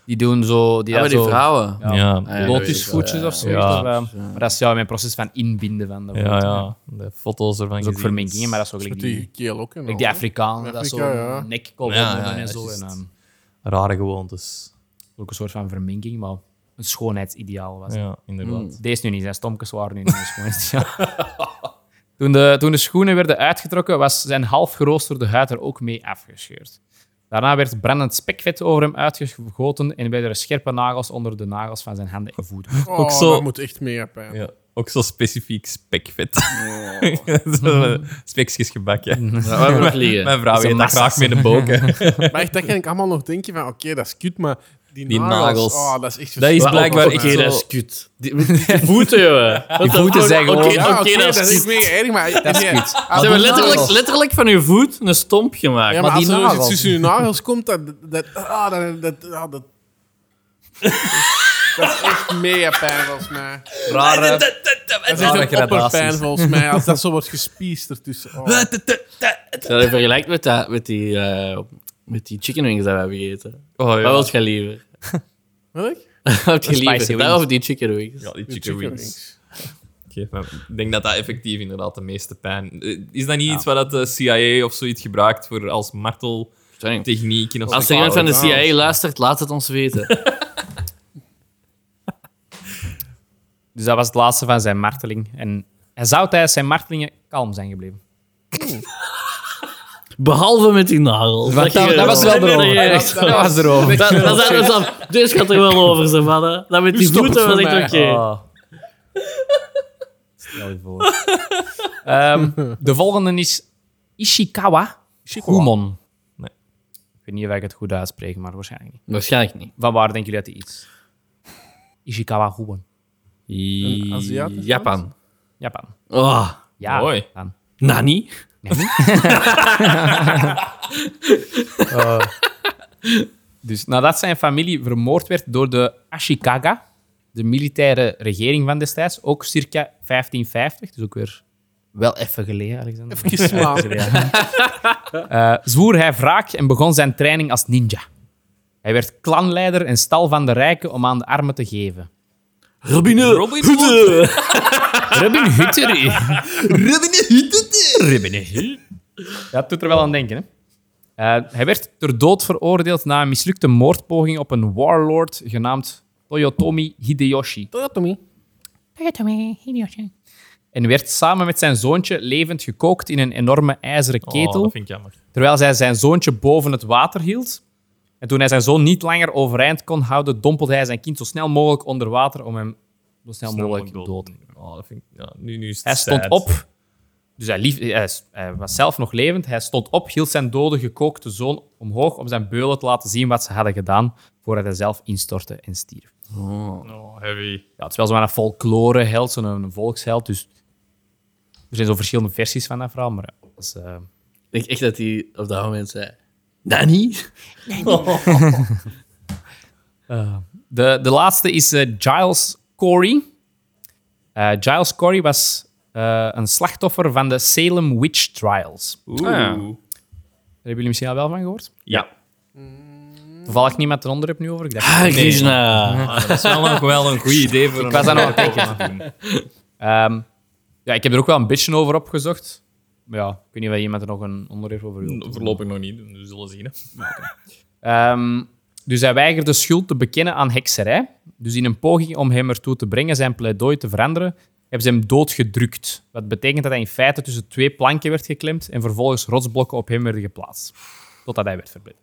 Die doen zo... Die Ja, maar dat die zo- vrouwen. Ja. Ja, Ah, ja, dat weet ik wel, lotusvoetjes ja. of zo. Ja. Maar, eh, maar dat is ja, mijn proces van inbinden van de voeten. Ja, ja. De foto's ervan Dat is ook gezien. verminkingen, maar dat is ook gelijk Met die, die keel ook. en gelijk al, die hè. Afrikanen, dat is Afrika, zo ja. nekkolom Ja, ja, en ja, zo. juist. En, ehm, Rare gewoontes. ook een soort van verminking, maar een schoonheidsideaal was. Ja, inderdaad. Deze nu niet, zijn stomkes waren nu niet meer *laughs* schoon. Ja. toen, de, toen de schoenen werden uitgetrokken, was zijn half geroosterde huid er ook mee afgescheurd. Daarna werd brandend spekvet over hem uitgegoten en werden er scherpe nagels onder de nagels van zijn handen en voeten. Oh, Ook zo- dat moet echt mega pijn. Ja. Ook zo specifiek spekvet. *laughs* Zo, eh, Spekjes *laughs* gebakken. Ja, waar hebben we nog *laughs* liggen? Mijn vrouw Zo'n eet dat massa's. graag met een *laughs* boken. Maar echt, dat kan ik allemaal nog denken van, oké, dat is cute, maar die, Die nagels, nagels. Oh, dat is echt Dat is Maar blijkbaar ook- echt Oké, zo- dat is kut. Die, die voeten, jongen. Wat de voeten fuck? zijn Oké, gewoon- Ja, Oké, Ah, oké, dat is kut. echt mega erg, maar... Dat is kut. Ze hebben letterlijk, letterlijk van uw voet een stomp gemaakt. Ja, maar maar, als die er nagels. iets tussen je nagels komt, dat... dat, ah, dat, dat, ah, dat, dat is echt mega pijn, volgens mij. *laughs* Rare... Dat is echt een gradaties. opperpijn, volgens mij, als dat zo wordt gespiest ertussen. Oh. Dat vergelijkt met, dat, met, die, eh, met die chicken wings dat we hebben gegeten. Oh Wat ja. wilt je liever? Welk? Wat wilt je Een spicy liever? wings. Dat of die chicken wings? Ja, die De chicken wings. Oké, maar Ik denk dat dat effectief inderdaad de meeste pijn... Eh, Is dat niet iets wat eh, dat de CIA of zoiets gebruikt voor als marteltechniek? Ik weet niet. en of Als zo? er iemand van de Oh, wauw. CIA luistert, laat het ons *laughs* weten. Dus dat was het laatste van zijn marteling. En hij zou tijdens zijn martelingen kalm zijn gebleven. Behalve met die nagels. Want dat, dat was wel erover. Nee, nee, Echt, dat was erover. Dat, dat zijn we dan. Deze gaat Dus er wel over, ze mannen. Dat met die stopt het voeten was voor echt oké. mij. Ah. Stel je voor. Ehm, de volgende is Ishikawa Humon. Nee. Ik weet niet of ik het goed uitspreek, maar waarschijnlijk niet. Waarschijnlijk niet. Van waar denken jullie dat die is? Ishikawa Humon. Een Aziatisch Japan. Japan. Oh, Ja. Mooi. Japan. Nani? *laughs* Oh. Dus nadat zijn familie vermoord werd door de Ashikaga, de militaire regering van destijds, ook circa 1550, dus ook weer wel even geleden, Alexander. Geslaan. Eh, zwoer hij wraak en begon zijn training als ninja. Hij werd klanleider en stal van de rijken om aan de armen te geven. Robin Robin Hood. Rubbin Hutter. Rubbin Hutter. Dat doet er wel aan denken, hè? Eh, hij werd ter dood veroordeeld na een mislukte moordpoging op een warlord genaamd Toyotomi Hideyoshi. Toyotomi. Toyotomi Hideyoshi. en werd samen met zijn zoontje levend gekookt in een enorme ijzeren ketel, dat vind ik jammer. terwijl zij zijn zoontje boven het water hield. En toen hij zijn zoon niet langer overeind kon houden, dompelde hij zijn kind zo snel mogelijk onder water om hem zo snel, mogelijk dood, te nemen. Oh, dat vind ik, ja, nu, nu is het Hij stond sad. op, dus hij, lief, hij, is- hij was zelf nog levend. Hij stond op, hield zijn dode gekookte zoon omhoog om zijn beulen te laten zien wat ze hadden gedaan, voordat hij zelf instortte en stierf. Oh, heavy. Ja, het is wel zo'n folkloreheld, zo'n volksheld. Dus er zijn zo verschillende versies van dat verhaal, maar ja, dat is, eh, Ik denk echt dat hij op dat moment zei... Danny? de, de laatste is eh, Giles Corey. Eh, Giles Corey was eh, een slachtoffer van de Salem Witch Trials. Daar Oeh. Ah ja. hebben jullie misschien al wel van gehoord. Ja. Mm. Toevallig niemand eronder heb nu over. Ik dacht, Ah, nee. Krishna. Ah, dat is wel nog wel een goed idee voor Ik was aan *laughs* het denken. Ehm, ja, ik heb er ook wel een beetje over opgezocht. Maar ja, ik weet niet of iemand er nog een onderwerp over wil. Voorlopig nog niet, dus we zullen zien. hè. Ehm, dus hij weigerde schuld te bekennen aan hekserij. Dus in een poging om hem ertoe te brengen zijn pleidooi te veranderen, hebben ze hem doodgedrukt. Wat betekent dat hij in feite tussen twee planken werd geklemd en vervolgens rotsblokken op hem werden geplaatst. Totdat hij werd verblind.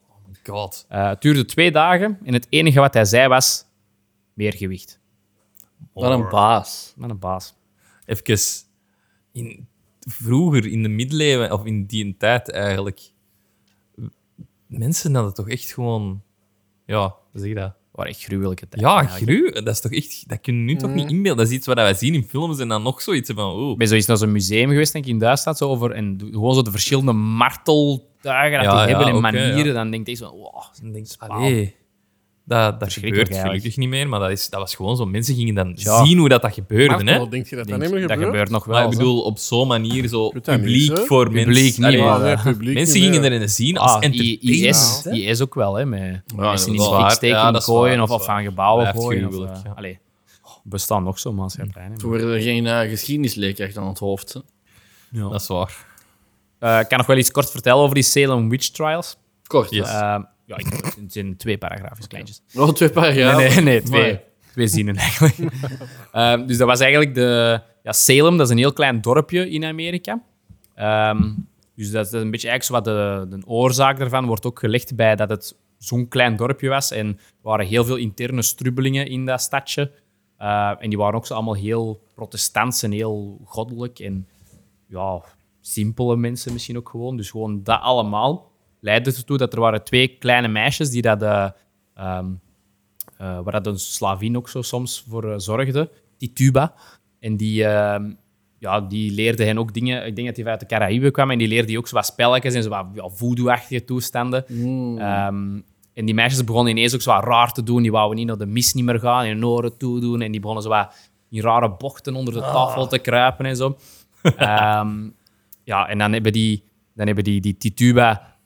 God. Eh, het duurde twee dagen en het enige wat hij zei was meer gewicht. Wat een baas. Met een baas. Even, in, vroeger in de middeleeuwen, of in die tijd eigenlijk, mensen hadden toch echt gewoon... Ja, hoe zeg je dat? Waar echt gruwelijke tijd. Ja, gru, dat is toch echt... Dat kunnen we nu toch Mm. niet inbeelden? Dat is iets wat wij zien in films en dan nog zoiets van... Oh, Ik ben zoiets naar zo'n museum geweest, denk ik, in Duitsland. Zo over, en gewoon zo de verschillende marteltuigen dat Ja, ja, die hebben en oké, manieren. ja. Dan denk ik zo, wow. dan denk je, allee, dat, dat Verschrikkelijk gebeurt eigenlijk. gelukkig niet meer, maar dat, is, dat was gewoon zo. Mensen gingen dan Ja. zien hoe dat, dat gebeurde, hè? Wel, denk je dat dat Denk, niet meer dat gebeurt? gebeurt nog wel. Maar ik zo. bedoel, op zo'n manier, zo weet dat niet, publiek hè? voor mensen. Allee, Ja, maar- nee, publiek eh, mensen niet gingen meer. erin zien als Ah, I- entertainment. IS, E hè? IS ook wel, hè? Met mensen in dat is schrik waar. steken, Ja, in dat is kooien waar, of, dat is of waar. aan gebouwen Blijft gooien. Of, gruwelijk, eh, ja. allee, bestaan nog zo'n maatschappijen. Toen werden er geen eh, geschiedenisleerkracht aan het hoofd. hè. Dat is waar. Eh, ik kan nog wel iets kort vertellen over die Salem Witch Trials. Kort. Yes. Eh, ja, ik- het zijn twee paragraafjes, kleintjes. Nog twee paragrafen. Nee, nee, nee, twee, Maar- twee zinnen eigenlijk. Ehm, dus dat was eigenlijk de... Ja, Salem, dat is een heel klein dorpje in Amerika. Ehm, dus dat is dat is een beetje eigenlijk zo wat de, de oorzaak daarvan wordt ook gelegd bij dat het zo'n klein dorpje was. En er waren heel veel interne strubbelingen in dat stadje. Eh, en die waren ook zo allemaal heel protestants en heel goddelijk. En ja, simpele mensen misschien ook gewoon. Dus gewoon dat allemaal leidde ertoe dat er waren twee kleine meisjes die dat... eh, ehm, eh, waar dat een slavin ook zo soms voor eh, zorgde, die tuba. En die, ehm, ja, die leerde hen ook dingen. Ik denk dat die uit de Caraïbe kwam en die leerde die ook zo wat spelletjes en zo wat ja, voodoo-achtige toestanden. Ehm, en die meisjes begonnen ineens ook zo wat raar te doen. Die wouden niet naar de mis niet meer gaan en hun oren toedoen. En die begonnen zo wat in rare bochten onder de tafel te kruipen en zo. Ehm, ja, en dan hebben die, dan hebben die, die Tituba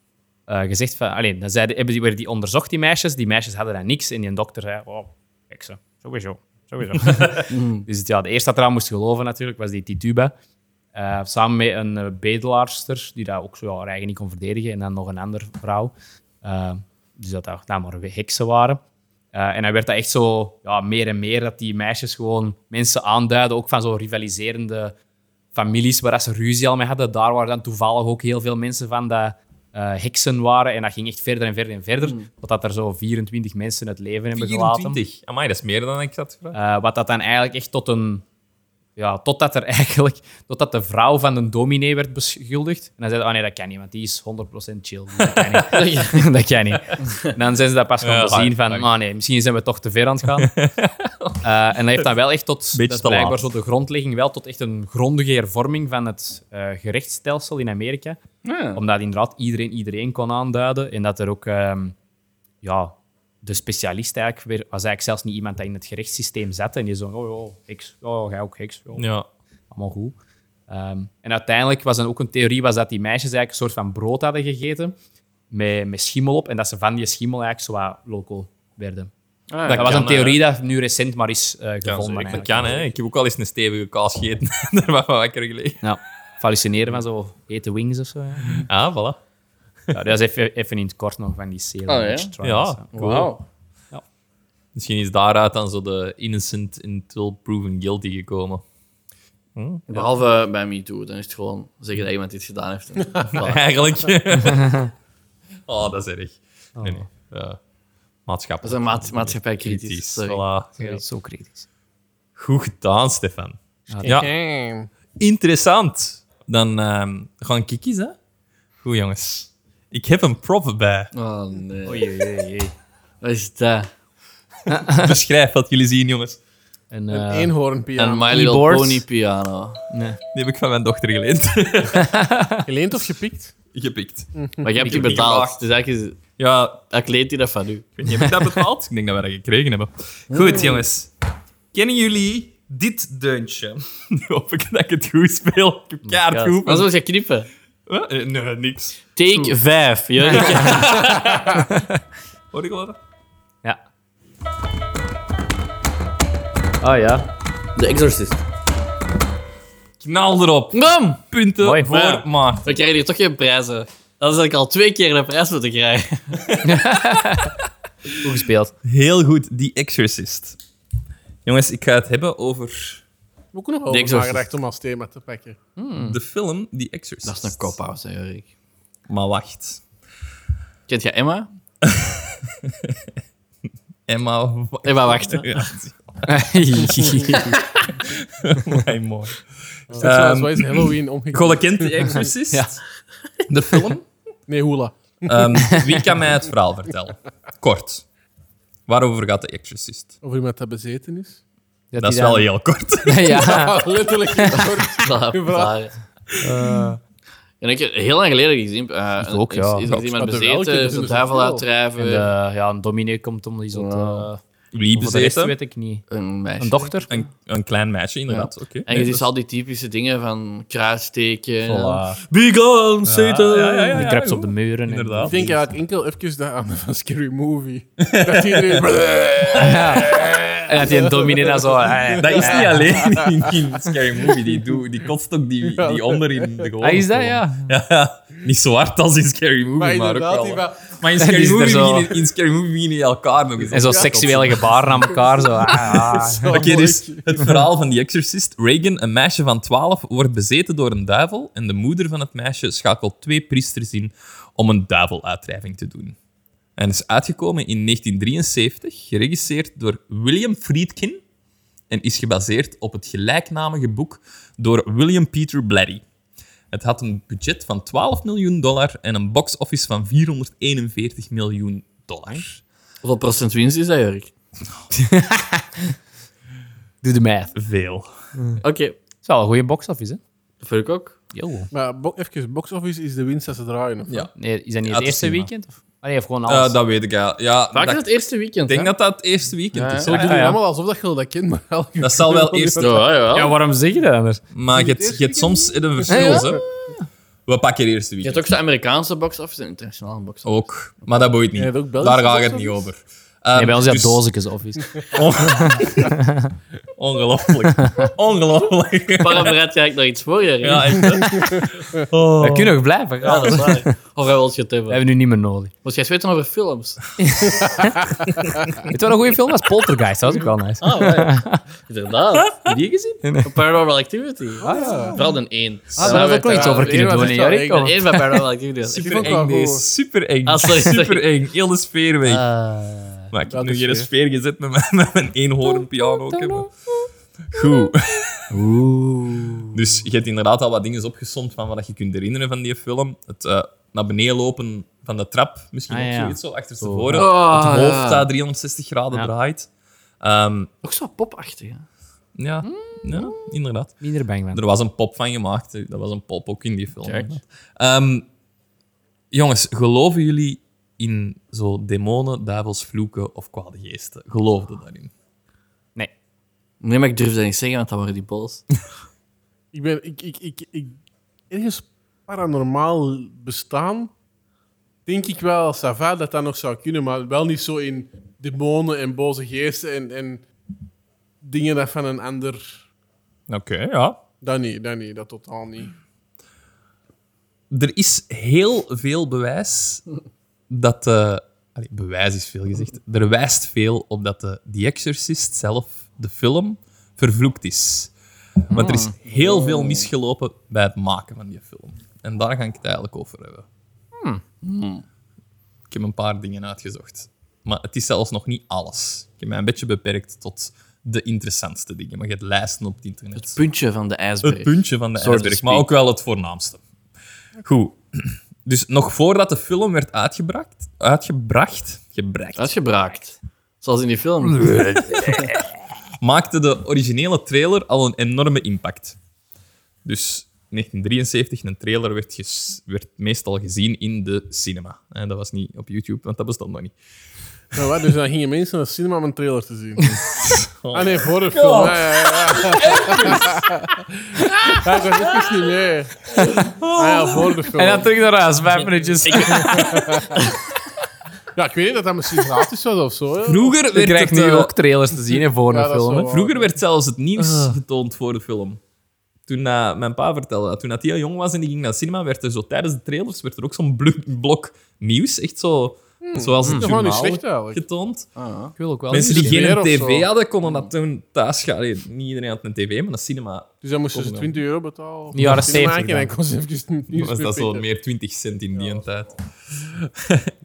eh, gezegd van... Alleen, dan zeiden, hebben die, werden die onderzocht, die meisjes. Die meisjes hadden dan niks. En die dokter zei, oh, kijk ze, sowieso, sowieso. dus het- ja, de eerste dat eraan moest geloven natuurlijk, was die Tituba. Eh, samen met een eh, bedelaarster, die daar ook zo ja, haar eigen niet kon verdedigen. En dan nog een andere vrouw. Eh, dus dat dat nou, maar heksen waren. Eh, en dan werd dat echt zo ja, meer en meer dat die meisjes gewoon mensen aanduiden. Ook van zo rivaliserende families waar dat ze ruzie al mee hadden. Daar waren dan toevallig ook heel veel mensen van dat eh, heksen waren. En dat ging echt verder en verder en verder. Totdat er zo 24 mensen het leven hebben gelaten. 24. Amai, dat is meer dan ik had gevraagd. Eh, wat dat dan eigenlijk echt tot een. Ja, totdat er *laughs* eigenlijk. Totdat de vrouw van de dominee werd beschuldigd. En dan zei ze: Oh nee, dat kan niet, want die is 100% chill. Dat kan niet. *laughs* dat kan niet. En dan zijn ze dat pas gaan Ja, bezien: van, dank. Oh nee, misschien zijn we toch te ver aan het *laughs* gaan. Eh, en dat heeft dan wel echt tot. Beetje dat is te laat. blijkbaar zo de grondlegging wel tot echt een grondige hervorming van het eh, gerechtsstelsel in Amerika. Ja. Omdat inderdaad iedereen iedereen kon aanduiden. En dat er ook, ehm, ja, de specialist eigenlijk weer, was eigenlijk zelfs niet iemand dat in het gerechtssysteem zat. En die zo, oh, oh heks, oh, jij ook heks, oh, Ja. allemaal goed. Ehm, en uiteindelijk was dan ook een theorie was dat die meisjes eigenlijk een soort van brood hadden gegeten met, met schimmel op. En dat ze van die schimmel eigenlijk zo wat loco werden. Ah, dat was kan, een theorie dat nu recent maar is eh, Kan, gevonden. dat eigenlijk. kan, hè. Ik heb ook al eens een stevige kaas gegeten. *laughs* Daar was van wakker gelegen. Ja, hallucineren van zo hete wings of zo. Ja. Ah, voilà. Ja, dat is even, even in het kort nog van die Salem Oh, ja? Witch Trials. Ah, Ja, cool. Wauw. Misschien is daaruit dan zo de innocent until proven guilty gekomen. Behalve bij MeToo, dan is het gewoon zeggen dat iemand iets gedaan heeft. En- *laughs* Voilà. Eigenlijk. oh, dat is erg. Nee, nee. Ja. Dat Maatschappelijk. is een maat, maatschappij kritisch. Kritisch. sorry. Voilà. Zo kritisch. Goed gedaan, Stefan. Ja, interessant. Dan ehm gaan ik kiezen. Goed, jongens. Ik heb een prop bij. Oh nee. Wat is dat? Beschrijf wat jullie zien, jongens. En, Een eh, Een eenhoornpiano. My Little keyboard. Pony piano. Die heb ik van mijn dochter geleend. Geleend of gepikt? Gepikt. Maar je hebt die heb die betaald. gevraagd. Dus eigenlijk, is- Ja, dat kleedt hij dat van u. Ik weet niet, heb ik dat betaald? ik denk dat we dat gekregen hebben. Goed, jongens. Kennen jullie dit deuntje? *laughs* Nu hoop ik dat ik het goed speel. Ik heb kaart Ja. goed. Maar zo ga je knippen. Huh? Eh, Nee, niks. Take 5. Ja. *laughs* Hoor ik wel dat? ja. Ah ja. The Exorcist. Knal erop. Bam! Punten Mooi. voor Ja. Maarten. We krijgen hier toch geen prijzen. Dat is dat ik al twee keer een prijs moeten krijgen. Goed *laughs* gespeeld. Heel goed, The Exorcist. Jongens, ik ga het hebben over We hebben ook nog The over Exorcist. nagedacht om als thema te pakken. de film The Exorcist. Hmm. Dat is een cop-out, hè, Erik. Maar wacht. Kent jij Emma? Emma... Emma, wacht. *laughs* Ja, ja. mooi, mooi. Is dat zoals Ehm, wij zijn Halloween omgekomen? Golle kent The *laughs* Exorcist? De film? Nee, hoela. Ehm, wie kan mij het verhaal vertellen? Kort. Waarover gaat de Exorcist? Over iemand dat bezeten is. Dat is eh, wel heel kort. *laughs* ja. Ah, letterlijk. Klaar, Uw vraag. klaar. En ik heb heel lang geleden gezien. eh, Ik ook, is- ja. Is, er Klopt. iemand Maar terwijl ik bezeten? het Is de dus duivel wel. En, uitdrijven? eh, ja, een dominee komt om die zo te... Wow. Wie Voor de rest bezeten? weet ik niet. Een meisje. Een dochter? Een, een klein meisje, inderdaad. Oké. dus- En je ziet al die typische dingen van kruisteken. Voilà. Be gone, Satan! Ja, ja, ja, Die ja, kruipt ja, op de muren. en- Inderdaad. Ik denk eigenlijk enkel even daar aan van Scary Movie. *laughs* Dat iedereen... En dat die een dominee dan zo... eh, *laughs* Dat is *laughs* niet alleen in, in Scary Movie. Die, doe, die kotst ook die, die onder in de gewone Ah, is dat, film. ja? Ja, Niet zo hard als in Scary Movie, Maar maar, ook inderdaad, wel. die va- Maar in Die Scary, is er movie zo- beginnen, in Scary Movie beginnen die elkaar nog eens En zo op te seksuele gebaren aan elkaar. Zo. ah, ah. *laughs* Oké, dus het verhaal van The Exorcist. Reagan, een meisje van 12, wordt bezeten door een duivel. En de moeder van het meisje schakelt twee priesters in om een duiveluitdrijving te doen. En is uitgekomen in 1973, geregisseerd door William Friedkin. En is gebaseerd op het gelijknamige boek door William Peter Blatty. Het had een budget van 12 miljoen dollar en een box-office van 441 miljoen dollar. Hoeveel procent winst is dat, Jurk? *laughs* Doe de math. Het Veel. Oké, is wel een goede box-office, hè? dat vind ik ook. Yo. Maar bo even, box office is de winst dat ze draaien. Of? Ja. Nee, is dat niet Ja, het te eerste zien, maar. weekend? Of? Ah, nee, of gewoon Eh, alles. dat weet ik ja. ja Vaak is dat- het eerste weekend. Ik denk hè? dat dat het eerste weekend is. Zo doen ja, jullie ja. allemaal alsof dat je dat kent, maar elke Dat zal wel eerst... Ja, jawel. Ja, waarom zeg je dat anders? Maar je hebt- je hebt soms de verschil, hè. We pakken het eerste Je weekend. hebt ook de Amerikaanse box-office en de internationale *laughs* box-office. Ook. Maar dat boeit niet. Je hebt ook Daar Belgische gaat het box niet over. Ehm, Nee, bij ons is dat dus- doosjes office. Ongelooflijk. *laughs* Ongelooflijk. Waarom bereid jij eigenlijk nog iets voor, Jurk? Ja, echt, hè. We kunnen nog blijven gaan. Ja, dat is waar. Of hij wil het We hebben. hebben nu niet meer nodig. Moet jij eens weten over films? Weet je wel een goede film was? Poltergeist, dat was ook wel nice. Ah, ja. *laughs* Inderdaad. Heb je die gezien? Ah, Paranormal Activity. Vooral de één. daar Zo hadden we ook nog werd iets daar- over kunnen Eén was doen in echt jouw wel record. De één van Paranormal Activity. was echt- Super ook wel eng, nee. goed. Super eng. Ah, sorry, sorry. Super eng. Heel de sfeer weg. Ah. maar ik heb dat nu is geen weer. sfeer gezet met mijn, met mijn eenhoorn piano. Ook, hè, maar- Goed. Dus je hebt inderdaad al wat dingen opgesomd van wat je kunt herinneren van die film. Het eh, naar beneden lopen van de trap, misschien Ah, ook ja. zoiets zo, achterstevoren. Oh, het hoofd ja. dat 360 graden Ja. draait. Ehm, Ook zo popachtig. hè? ja. ja, inderdaad. Minder bang van. Er was een pop van gemaakt. Dat was een pop ook in die film. Kijk. Ehm, jongens, geloven jullie in zo demonen, duivels, vloeken of kwade geesten? Geloofde daarin? Nee. Nee, maar ik durf dat niet zeggen, want dan worden die boos. Ik ben... Ik, ik, ik, ik, ergens paranormaal bestaan, denk ik wel, Sava, dat dat nog zou kunnen, maar wel niet zo in demonen en boze geesten en, en dingen dat van een ander... Oké, ja. Dat niet, dat niet, dat totaal niet. Er is heel veel bewijs dat... eh, allee, bewijs is veel gezegd. Er wijst veel op dat de The Exorcist zelf, de film, vervloekt is. Want er is heel veel misgelopen bij het maken van die film. En daar ga ik het eigenlijk over hebben. Ik heb een paar dingen uitgezocht. Maar het is zelfs nog niet alles. Ik heb mij een beetje beperkt tot de interessantste dingen. Maar je hebt lijsten op het internet. Het puntje van de ijsberg. Het puntje van de Zo te ijsberg, maar speak. ook wel het voornaamste. Goed. *clears throat* Dus nog voordat de film werd uitgebracht... Uitgebracht? Gebracht. Uitgebraakt. Zoals in die film. *laughs* maakte de originele trailer al een enorme impact. Dus in 1973, een trailer werd, ges- werd meestal gezien in de cinema. En dat was niet op YouTube, want dat bestond nog niet. Nou, wat, dus dan gingen mensen naar de cinema om een trailer te zien. Ah nee, voor de film. Ja, ja, ja. *laughs* Ja, ik was echt niet mee. Ah ja, voor de film. En dan terug naar huis, vijf minuutjes. Ja, ik weet niet dat dat *laughs* misschien gratis was of zo. hè. Vroeger Je werd, krijgt het, nu eh, ook trailers te zien hè, voor Ja, een dat is film. wel hè. waar. vroeger werd zelfs het nieuws Ah. getoond voor de film. Toen eh, mijn pa vertelde dat toen dat hij heel jong was en die ging naar het cinema, werd er zo tijdens de trailers werd er ook zo'n blo- blok nieuws, echt zo, zoals het Dat is gewoon journaal, niet slecht eigenlijk. Ah, getoond. Ik wil ook wel. Mensen eens die meer geen of tv zo. hadden, konden dat toen thuis gaan. Allee, Niet iedereen had een tv, maar een cinema Dus dan moesten ze Kom dan. 20 euro betalen. om Ja, een dat cinema is 70 En dan kon ze even niet was dat zo meer 20 cent in die tijd.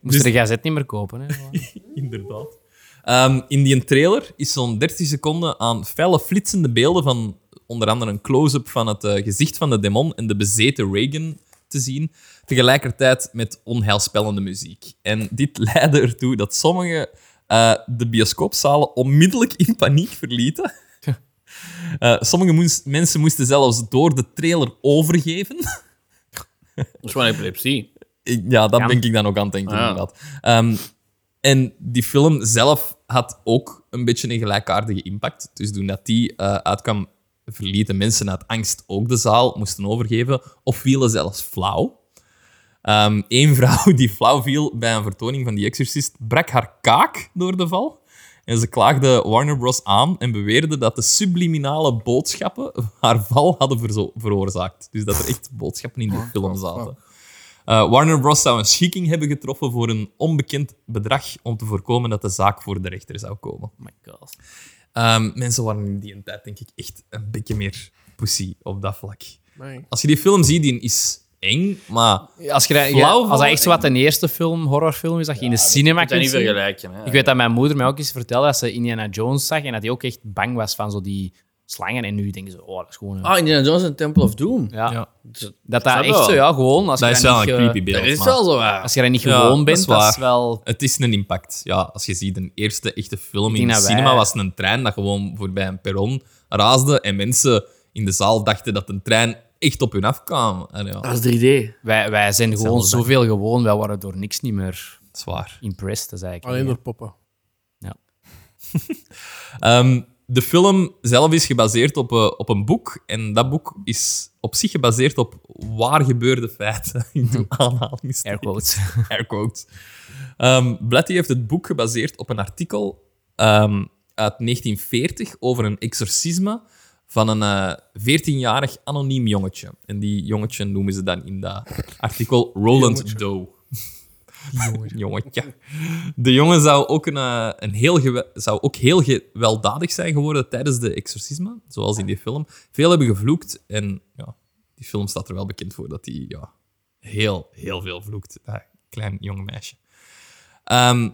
Moest de gazet niet meer *laughs* kopen. Hè. *laughs* Inderdaad. Ehm, in die trailer is zo'n 30 seconden aan felle flitsende beelden van onder andere een close-up van het eh, gezicht van de demon en de bezeten Reagan te zien, tegelijkertijd met onheilspellende muziek. En dit *laughs* leidde ertoe dat sommigen eh, de bioscoopzalen onmiddellijk in paniek verlieten. Eh, sommige moes- mensen moesten zelfs door de trailer overgeven. Dat is gewoon epilepsie. Ik- Ja, dat denk ik dan ook aan het denken, Ah. inderdaad. Ehm, en die film zelf had ook een beetje een gelijkaardige impact. Dus toen dat die eh, uitkwam, verlieten mensen uit angst ook de zaal, moesten overgeven of vielen zelfs flauw. Eén vrouw *laughs* die flauw viel bij een vertoning van The Exorcist brak haar kaak door de val. En ze klaagde Warner Bros. aan en beweerde dat de subliminale boodschappen *laughs* haar val hadden verzo- veroorzaakt. Dus dat er echt boodschappen in de film zaten. Eh, Warner Bros. zou een schikking hebben getroffen voor een onbekend bedrag om te voorkomen dat de zaak voor de rechter zou komen. Oh my god. Ehm, mensen waren in die tijd, denk ik, echt een beetje meer pussy op dat vlak. Als je die film ziet, die is eng, maar Als, je, dat- Flauw als dat echt vallen, zo wat een eerste film, horrorfilm is, dat je in de cinema Ik kan kunt niet zien. vergelijken. Hè. Ik weet dat mijn moeder mij ook eens vertelde dat ze Indiana Jones zag en dat hij ook echt bang was van zo die slangen. En nu denken ze, oh, dat is gewoon... een- Ah, Indiana Jones en Temple of Doom. ja. ja. Dat dat dat echt wel? zo, ja, gewoon... Als dat je is wel een niet, eh, creepy beeld. Dat is maar wel zo waar. Als je daar niet Ja, gewoon dat bent, is dat is waar. wel... Het is een impact. Ja, als je ziet, een eerste echte film in denk de dat wij- cinema was een trein dat gewoon voorbij een perron raasde en mensen in de zaal dachten dat een trein echt op hun afkwam. En ja, Dat is 3D. Wij, wij zijn gewoon Hetzelfde. zoveel gewoon, wij waren door niks niet meer zwaar. impressed, dat is eigenlijk... Alleen door poppen. Ehm, de film zelf is gebaseerd op, eh, op een boek. En dat boek is op zich gebaseerd op waar gebeurde feiten. *laughs* Ik *laughs* doe Air aanhalingstekens. quotes. *laughs* Air quotes. Ehm Blatty heeft het boek gebaseerd op een artikel ehm, uit 1940 over een exorcisme van een eh, 14-jarig anoniem jongetje. En die jongetje noemen ze dan in dat artikel Roland Doe. *laughs* Jongetje. De jongen zou ook, een, eh, een heel gewe- zou ook heel gewelddadig zijn geworden tijdens de exorcisme, zoals in die film. Veel hebben gevloekt en ja, die film staat er wel bekend voor dat hij ja, heel, heel veel vloekt. Dat klein jong meisje. Ehm,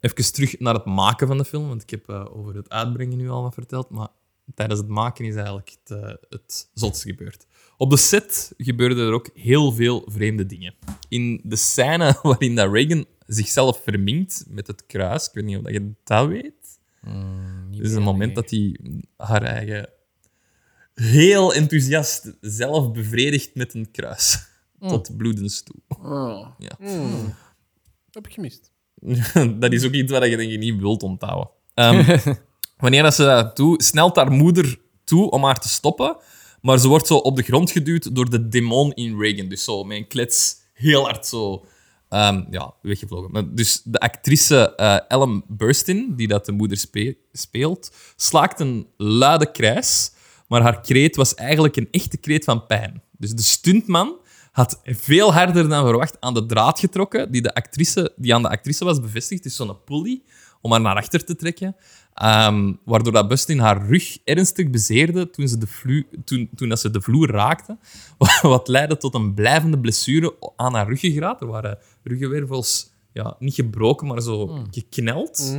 even terug naar het maken van de film, want ik heb eh, over het uitbrengen nu al wat verteld, maar tijdens het maken is eigenlijk het, eh, het zotste gebeurd. Op de set gebeurden er ook heel veel vreemde dingen. In de scène *laughs* waarin dat Reagan zichzelf verminkt met het kruis, ik weet niet of dat je dat weet. Er is een moment dat hij haar eigen heel enthousiast zelf bevredigt met een kruis. Tot bloedens toe. Oh. Heb ik gemist. *laughs* dat is ook iets wat je denk ik niet wilt onthouden. Ehm, wanneer dat ze dat doet, snelt haar moeder toe om haar te stoppen. Maar ze wordt zo op de grond geduwd door de demon in Reagan. Dus zo met een klets heel hard zo ehm, ja, weggevlogen. Maar Dus de actrice eh, Ellen Burstyn, die dat de moeder spe- speelt, slaakt een luide krijs. Maar haar kreet was eigenlijk een echte kreet van pijn. Dus de stuntman had veel harder dan verwacht aan de draad getrokken die, de actrice, die aan de actrice was bevestigd. Dus zo'n pulley om haar naar achter te trekken. Ehm, waardoor dat Bustin haar rug ernstig bezeerde toen ze de, vlu- toen, toen dat ze de vloer raakte. *laughs* Wat leidde tot een blijvende blessure aan haar ruggengraat. Er waren ruggenwervels ja, niet gebroken, maar zo gekneld.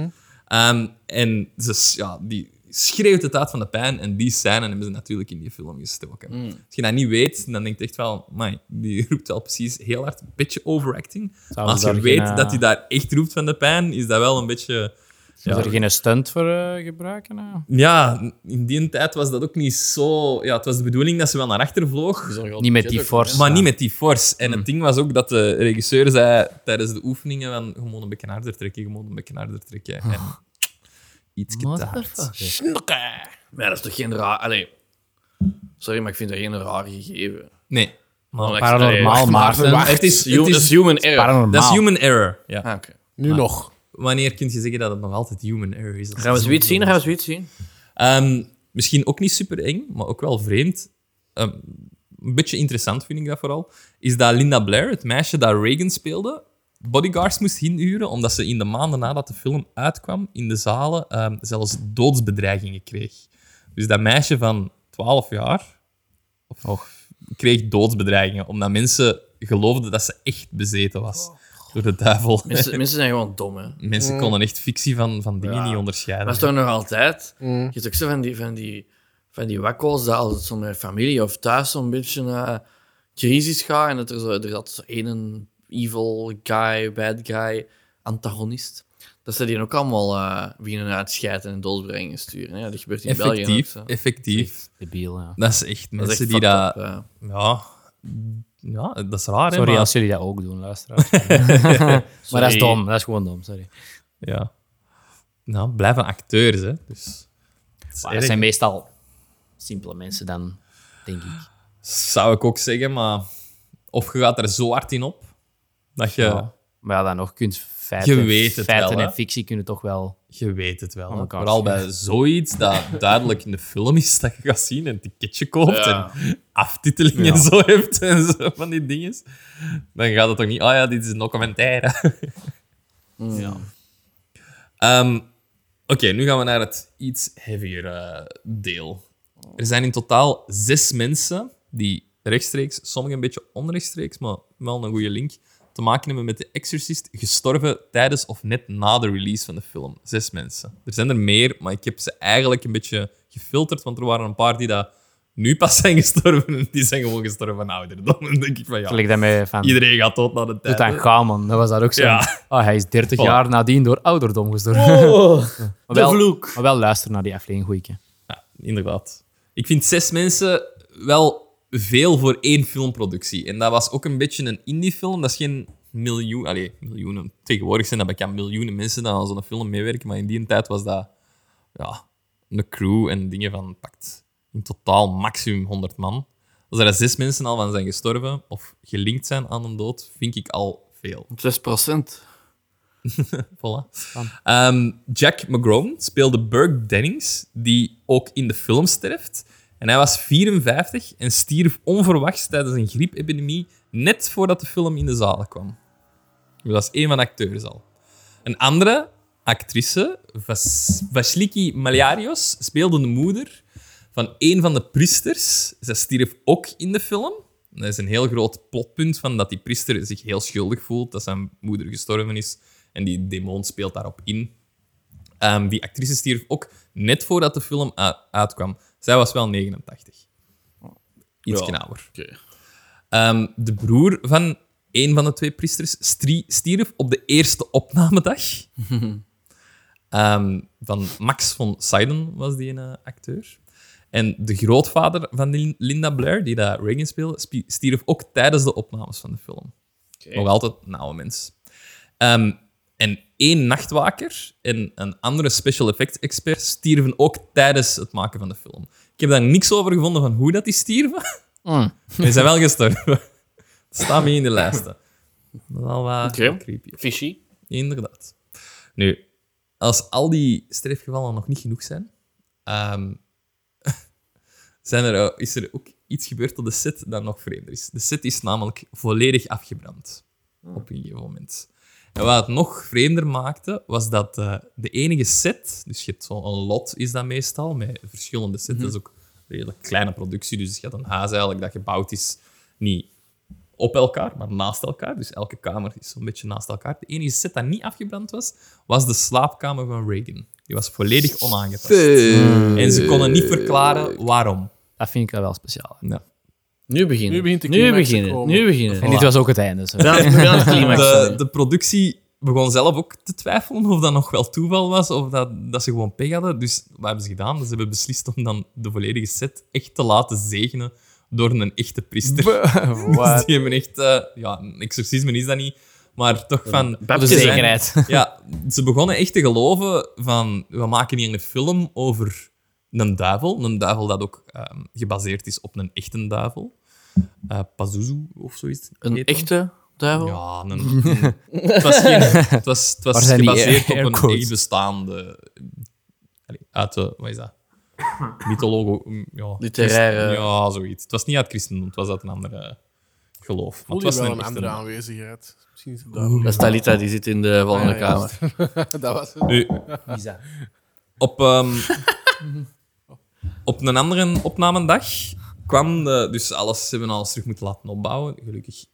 Ehm, en ze, s- ja, die schreeuwt het uit van de pijn. En die scène hebben ze natuurlijk in die film gestoken. Mm. Als je dat niet weet, dan denk je echt wel... "Amai, die roept wel precies heel hard. Een beetje overacting. Maar als je daar weet geen, eh, dat hij daar echt roept van de pijn, is dat wel een beetje... Is er geen stunt voor eh, gebruiken? nou? Ja, in die tijd was dat ook niet zo... Ja, het was de bedoeling dat ze wel naar achter vloog. Niet met die force. Maar niet met die force. En Mm. het ding was ook dat de regisseur zei tijdens de oefeningen van gewoon een beetje harder trekken, gewoon een beetje harder trekken. En iets te hard. Maar ja, dat is toch geen raar... Allee. Sorry, maar ik vind dat geen raar gegeven. Nee. Maar Paranormaal, Maarten. Het is, Het het is is, human error. Paranormaal. dat is human error. Ja. Ah, oké. Nu nog. Wanneer kun je zeggen dat het nog altijd human error is? Dat Gaan we is zoiets zien? zo- Gaan we zoiets zien? Ehm, misschien ook niet super eng, maar ook wel vreemd. Ehm, een beetje interessant vind ik dat vooral. Is dat Linda Blair, het meisje dat Reagan speelde, bodyguards moest inhuren omdat ze in de maanden nadat de film uitkwam in de zalen ehm, zelfs doodsbedreigingen kreeg. Dus dat meisje van 12 jaar of, Oh. kreeg doodsbedreigingen omdat mensen geloofden dat ze echt bezeten was door de duivel. Mensen, mensen zijn gewoon dom, hè. Mensen konden echt fictie van, van dingen niet onderscheiden. Maar is toch nog altijd... Je hebt ook zo van die, van die, van die wakkels dat als het zo met familie of thuis zo'n beetje eh crisis gaat en dat er zo... Er zat zo één evil guy, bad guy, antagonist. Dat ze die ook allemaal eh beginnen uitschijten en doodbrengen sturen. Ja, dat gebeurt in België ook effectief, zo. effectief. Debiel, ja. Dat is echt Dat mensen is echt die dat... fucked up, eh. ja. Ja, ja, dat is raar, hè, Sorry maar- als jullie dat ook doen, luisteraars. *laughs* maar dat is dom. Dat is gewoon dom, sorry. Ja. Nou, blijven acteurs, hè. Dus... dat is Maar erg. dat zijn meestal simpele mensen dan, denk ik. Zou ik ook zeggen, maar... Of je gaat er zo hard in op, dat je... Ja. Maar ja, dan nog kunt feiten, Je weet het feiten wel, hè? en fictie kunnen toch wel... Je weet het wel. hè. elkaar Vooral zien. bij zoiets dat duidelijk in de film is dat je gaat zien en een ticketje koopt Ja. en aftitelingen en *laughs* zo hebt en zo van die dingen. Dan gaat het toch niet, oh ja, dit is een documentaire. Ja. Ehm, Oké, nu gaan we naar het iets heavier eh, deel. Er zijn in totaal zes mensen die rechtstreeks, sommigen een beetje onrechtstreeks, maar wel een goede link, te maken hebben met de Exorcist, gestorven tijdens of net na de release van de film. Zes mensen. Er zijn er meer, maar ik heb ze eigenlijk een beetje gefilterd, want er waren een paar die dat nu pas zijn gestorven en die zijn gewoon gestorven van ouderdom. *laughs* Dan denk ik van ja, Gelijk dat met van... iedereen gaat dood na de Doet tijd. aan Gaman, dat was dat ook zo. Ja. Oh, hij is 30 Voilà. jaar nadien door ouderdom gestorven. *laughs* maar wel, Oh, vloek. Maar wel luister naar die aflevering, goeie keer. Ja, inderdaad. Ik vind zes mensen wel veel voor één filmproductie. En dat was ook een beetje een indie-film. Dat is geen miljoen... Allee, miljoenen. Tegenwoordig zijn dat bekend miljoenen mensen die aan zo'n film meewerken. Maar in die tijd was dat... Ja, een crew en dingen van... Pakt in totaal maximum 100 man. Als er zes mensen al van zijn gestorven of gelinkt zijn aan een dood, vind ik al veel. 6 procent. Voilà. Ehm, Jack McGrone speelde Burke Dennings, die ook in de film sterft. En hij was 54 en stierf onverwachts tijdens een griepepidemie, net voordat de film in de zalen kwam. Dus dat is één van de acteurs al. Een andere actrice, Vas Vasiliki Maliarios, speelde de moeder van een van de priesters. Zij stierf ook in de film. Dat is een heel groot plotpunt van dat die priester zich heel schuldig voelt dat zijn moeder gestorven is. En die demon speelt daarop in. Ehm, die actrice stierf ook net voordat de film u- uitkwam. Zij was wel 89. Iets knauwer. Ehm, de broer van een van de twee priesters strie- stierf op de eerste opnamedag. Ehm, van Max von Syden was die een eh, acteur. En de grootvader van Lin- Linda Blair, die daar Reagan speelde, spie- stierf ook tijdens de opnames van de film. Nog altijd een oude mens. Ehm, en één nachtwaker en een andere special effects expert stierven ook tijdens het maken van de film. Ik heb daar niks over gevonden van hoe dat die stierven. Maar die zijn wel gestorven. *laughs* Dat staat mee in de lijsten. Dat is al wat Oké. creepy. Fishy. Inderdaad. Nu, als al die *laughs* sterfgevallen nog niet genoeg zijn, ehm, zijn er, eh, is er ook iets gebeurt op de set dat nog vreemder is. De set is namelijk volledig afgebrand op een gegeven moment. En wat het nog vreemder maakte, was dat eh, de enige set, dus je hebt zo'n een lot is dat meestal, met verschillende sets, dat is ook een redelijk kleine productie, dus je hebt een huis eigenlijk dat gebouwd is, niet op elkaar, maar naast elkaar. Dus elke kamer is zo'n beetje naast elkaar. De enige set dat niet afgebrand was, was de slaapkamer van Reagan. Die was volledig onaangetast. En ze konden niet verklaren waarom. Dat vind ik wel speciaal. Ja. Nu beginnen. Nu begint de Nu climax te beginnen. komen. Nu beginnen. En dit was ook het *laughs* einde. Zo. Dat is wel het climax. De, de productie begon zelf ook te twijfelen of dat nog wel toeval was of dat, dat ze gewoon pech hadden. Dus wat hebben ze gedaan? Ze hebben beslist om dan de volledige set echt te laten zegenen door een echte priester. *laughs* Dus die hebben echt... eh, ja, een exorcisme is dat niet, maar toch van... Dus Baptism. ze zijn- Zekerheid. Ja, ze begonnen echt te geloven van... We maken hier een film over een duivel. Een duivel dat ook ehm, gebaseerd is op een echte duivel. Eh Pazuzu of zoiets. Een heet dat. echte duivel? Ja, een, een- *laughs* het was, geen, het was, het Waar was zijn die *laughs* gebaseerd air- op een airquotes? echt bestaande... Allee, uit de... Wat is dat? Mythologo... mm, Ja, Literaire- Ja, zoiets. Het was niet uit christendom, het was uit een andere geloof. Maar Voel het was je wel een een echte- andere aanwezigheid. Misschien is het daarom. Dat is Talita, die zit in de volgende Ja, ja, kamer. dat was het. Nu, op, ehm, op een andere opnamendag kwam de, dus alles, ze hebben alles terug moeten laten opbouwen. Gelukkig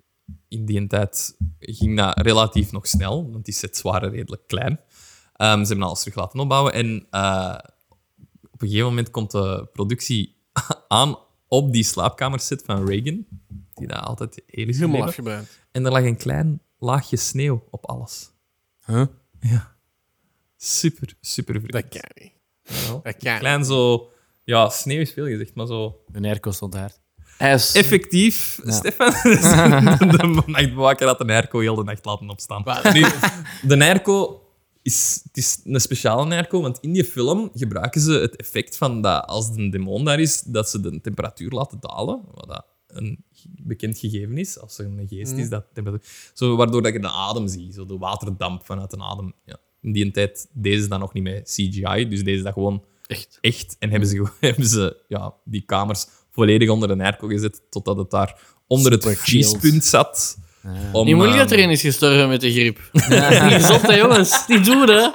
in die tijd ging dat relatief nog snel, want die sets waren redelijk klein. Ehm, ze hebben alles terug laten opbouwen en eh, op een gegeven moment komt de productie *laughs* aan op die slaapkamerset van Reagan, die daar altijd heel is gebleven. Helemaal afgebrand. En er lag een klein laagje sneeuw op alles. Huh? Ja. Super, super vreemd. Dat kan niet. Jawel. Dat kan niet. Klein zo... Ja, sneeuw is veel gezegd, maar zo... De airco stond daar. Hij is Effectief, Stefan. de nachtbewaker had een airco heel de nacht laten opstaan. Nu, de airco is, het is een speciale airco, want in die film gebruiken ze het effect van dat als de demon daar is, dat ze de temperatuur laten dalen. Wat dat een ge- bekend gegeven is, als er een geest is, dat temperatuur... Zo, waardoor dat je de adem ziet, zo de waterdamp vanuit een adem. Ja. In die tijd deden ze dat nog niet met CGI, dus deze dat gewoon echt. echt. En hebben ze, gewoon- *laughs* hebben ze ja, die kamers volledig onder een airco gezet, totdat het daar onder het Super vriespunt zat. Om, Niet moeilijk ehm, dat er een is gestorven met de griep. Niet gezond, hè, jongens. Niet doen, hè.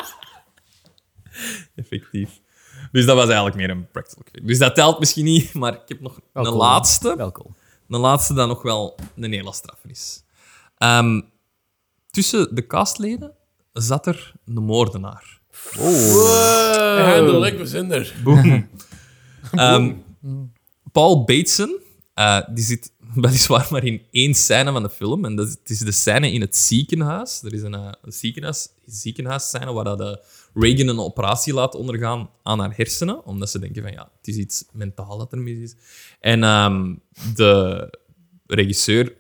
Effectief. Dus dat was eigenlijk meer een practical effect. Dus dat telt misschien niet, maar ik heb nog een cool. laatste. Welkom. Een laatste dat nog wel een hele straffe is. Ehm, tussen de castleden zat er een moordenaar. Eindelijk, we zijn er. Ehm, Paul Bateson, eh, die zit *laughs* weliswaar maar in één scène van de film. En dat is, het is de scène in het ziekenhuis. Er is een, eh, een ziekenhuis, ziekenhuisscène waar dat, eh, Reagan een operatie laat ondergaan aan haar hersenen. Omdat ze denken van ja, het is iets mentaal dat er mis is. En ehm, de regisseur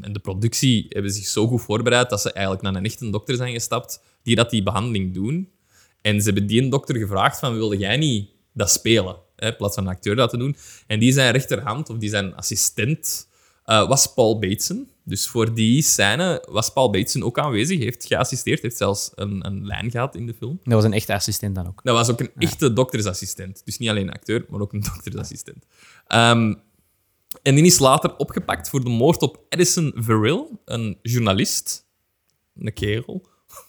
en de productie hebben zich zo goed voorbereid dat ze eigenlijk naar een echte dokter zijn gestapt die dat die behandeling doen. En ze hebben die dokter gevraagd van, wilde jij niet dat spelen? Hè, in plaats van een acteur dat te doen. En die zijn rechterhand, of die zijn assistent, eh, was Paul Bateson. Dus voor die scène was Paul Bateson ook aanwezig, heeft geassisteerd, heeft zelfs een, een lijn gehad in de film. Dat was een echte assistent dan ook. Dat was ook een echte doktersassistent. Dus niet alleen een acteur, maar ook een *laughs* doktersassistent. Ehm, en die is later opgepakt voor de moord op Edison Verrill, een journalist. Een kerel. *laughs*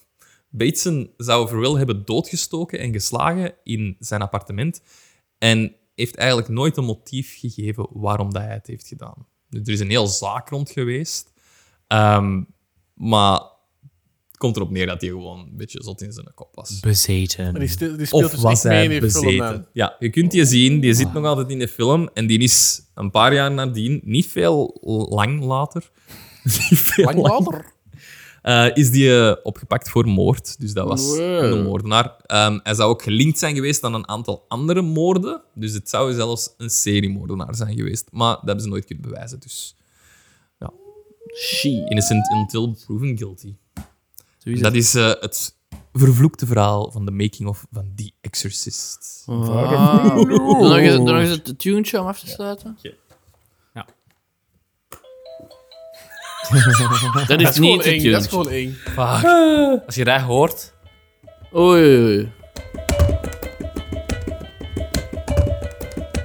Bateson zou Verrill hebben doodgestoken en geslagen in zijn appartement. En heeft eigenlijk nooit een motief gegeven waarom dat hij het heeft gedaan. Dus er is een heel zaak rond geweest. Ehm, maar het komt erop neer dat hij gewoon een beetje zot in zijn kop was. Bezeten. Maar die, spe- die speelt Of dus was echt mee in hij die film bezeten? dan. Ja, je kunt die zien. Die zit nog altijd in de film. En die is een paar jaar nadien, niet veel lang later... *laughs* Niet veel Lang later. eh, is die eh, opgepakt voor moord. Dus dat was Wow. de moordenaar. Ehm, hij zou ook gelinkt zijn geweest aan een aantal andere moorden. Dus het zou zelfs een seriemoordenaar zijn geweest. Maar dat hebben ze nooit kunnen bewijzen. Dus She. innocent until proven guilty. dat is eh, het vervloekte verhaal van de making-of van The Exorcist. Wow. Doe nog eens, doe nog eens het tuentje om af te sluiten. Ja. *laughs* Ja. Dat Dat is is gewoon niet eng. het Dat is tuentje. gewoon eng. Als je dat hoort, Oei, oei, oei. Maar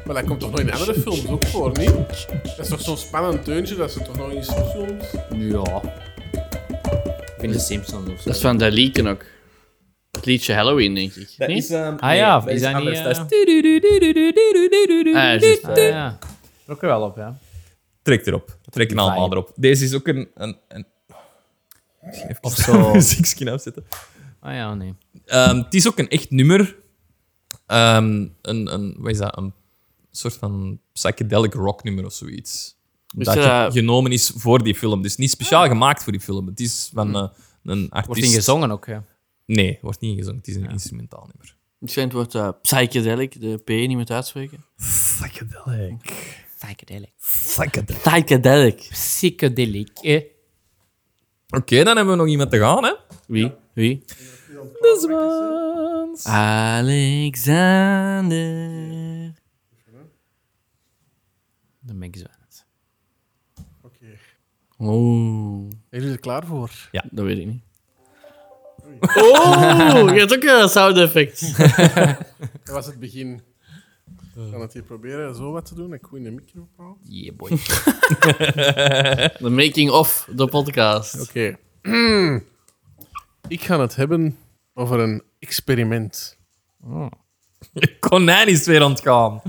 Maar dat komt toch nog in andere films ook voor, niet? Dat is toch zo'n spannend deuntje, dat ze toch nog in films... Ja. Ik vind de Simpsons of zo. Dat is van dat liedje ook. Het liedje Halloween, denk ik. Dat Nee? is... ehm, Ah ja, dat is dat niet, anders. eh, Dat is... Ah, ja, juist. Ah, ja. Ook er wel op, ja. Trek erop. Trek een allemaal Fijn. erop. Deze is ook een... een, een... Even *laughs* Of of zo. zo. muziekje afzetten. Ah ja, nee. Ehm, het is ook een echt nummer. Ehm, een, een, wat is dat? Een soort van psychedelic rock nummer of zoiets. Dus, dat ge- eh, genomen is voor die film. Dus niet speciaal gemaakt voor die film. Het is van eh, een artiest. Hmm. Wordt ingezongen ook, ja. Nee, wordt niet ingezongen. Het is een instrumentaal nummer. Misschien het woord eh, psychedelic, de P niet meer te uitspreken. Psychedelic. Psychedelic. Psychedelic. Psychedelic. Psychedelic. eh. Oké, dan hebben we nog iemand te gaan, hè? Wie? Wie? Zwans. Alexander. Dan ben ik zo aan het. Oké. Oeh, Zijn jullie er klaar voor? dat weet ik niet. Oeh, je hebt ook een sound effect. Dat was het begin. Ik kan het hier proberen zo wat te doen, dat ik goed in de micro praat. Yeah, boy. *laughs* The making of de podcast. Oké. *clears throat* ik ga het hebben over een experiment. Konijn is weer ontgaan.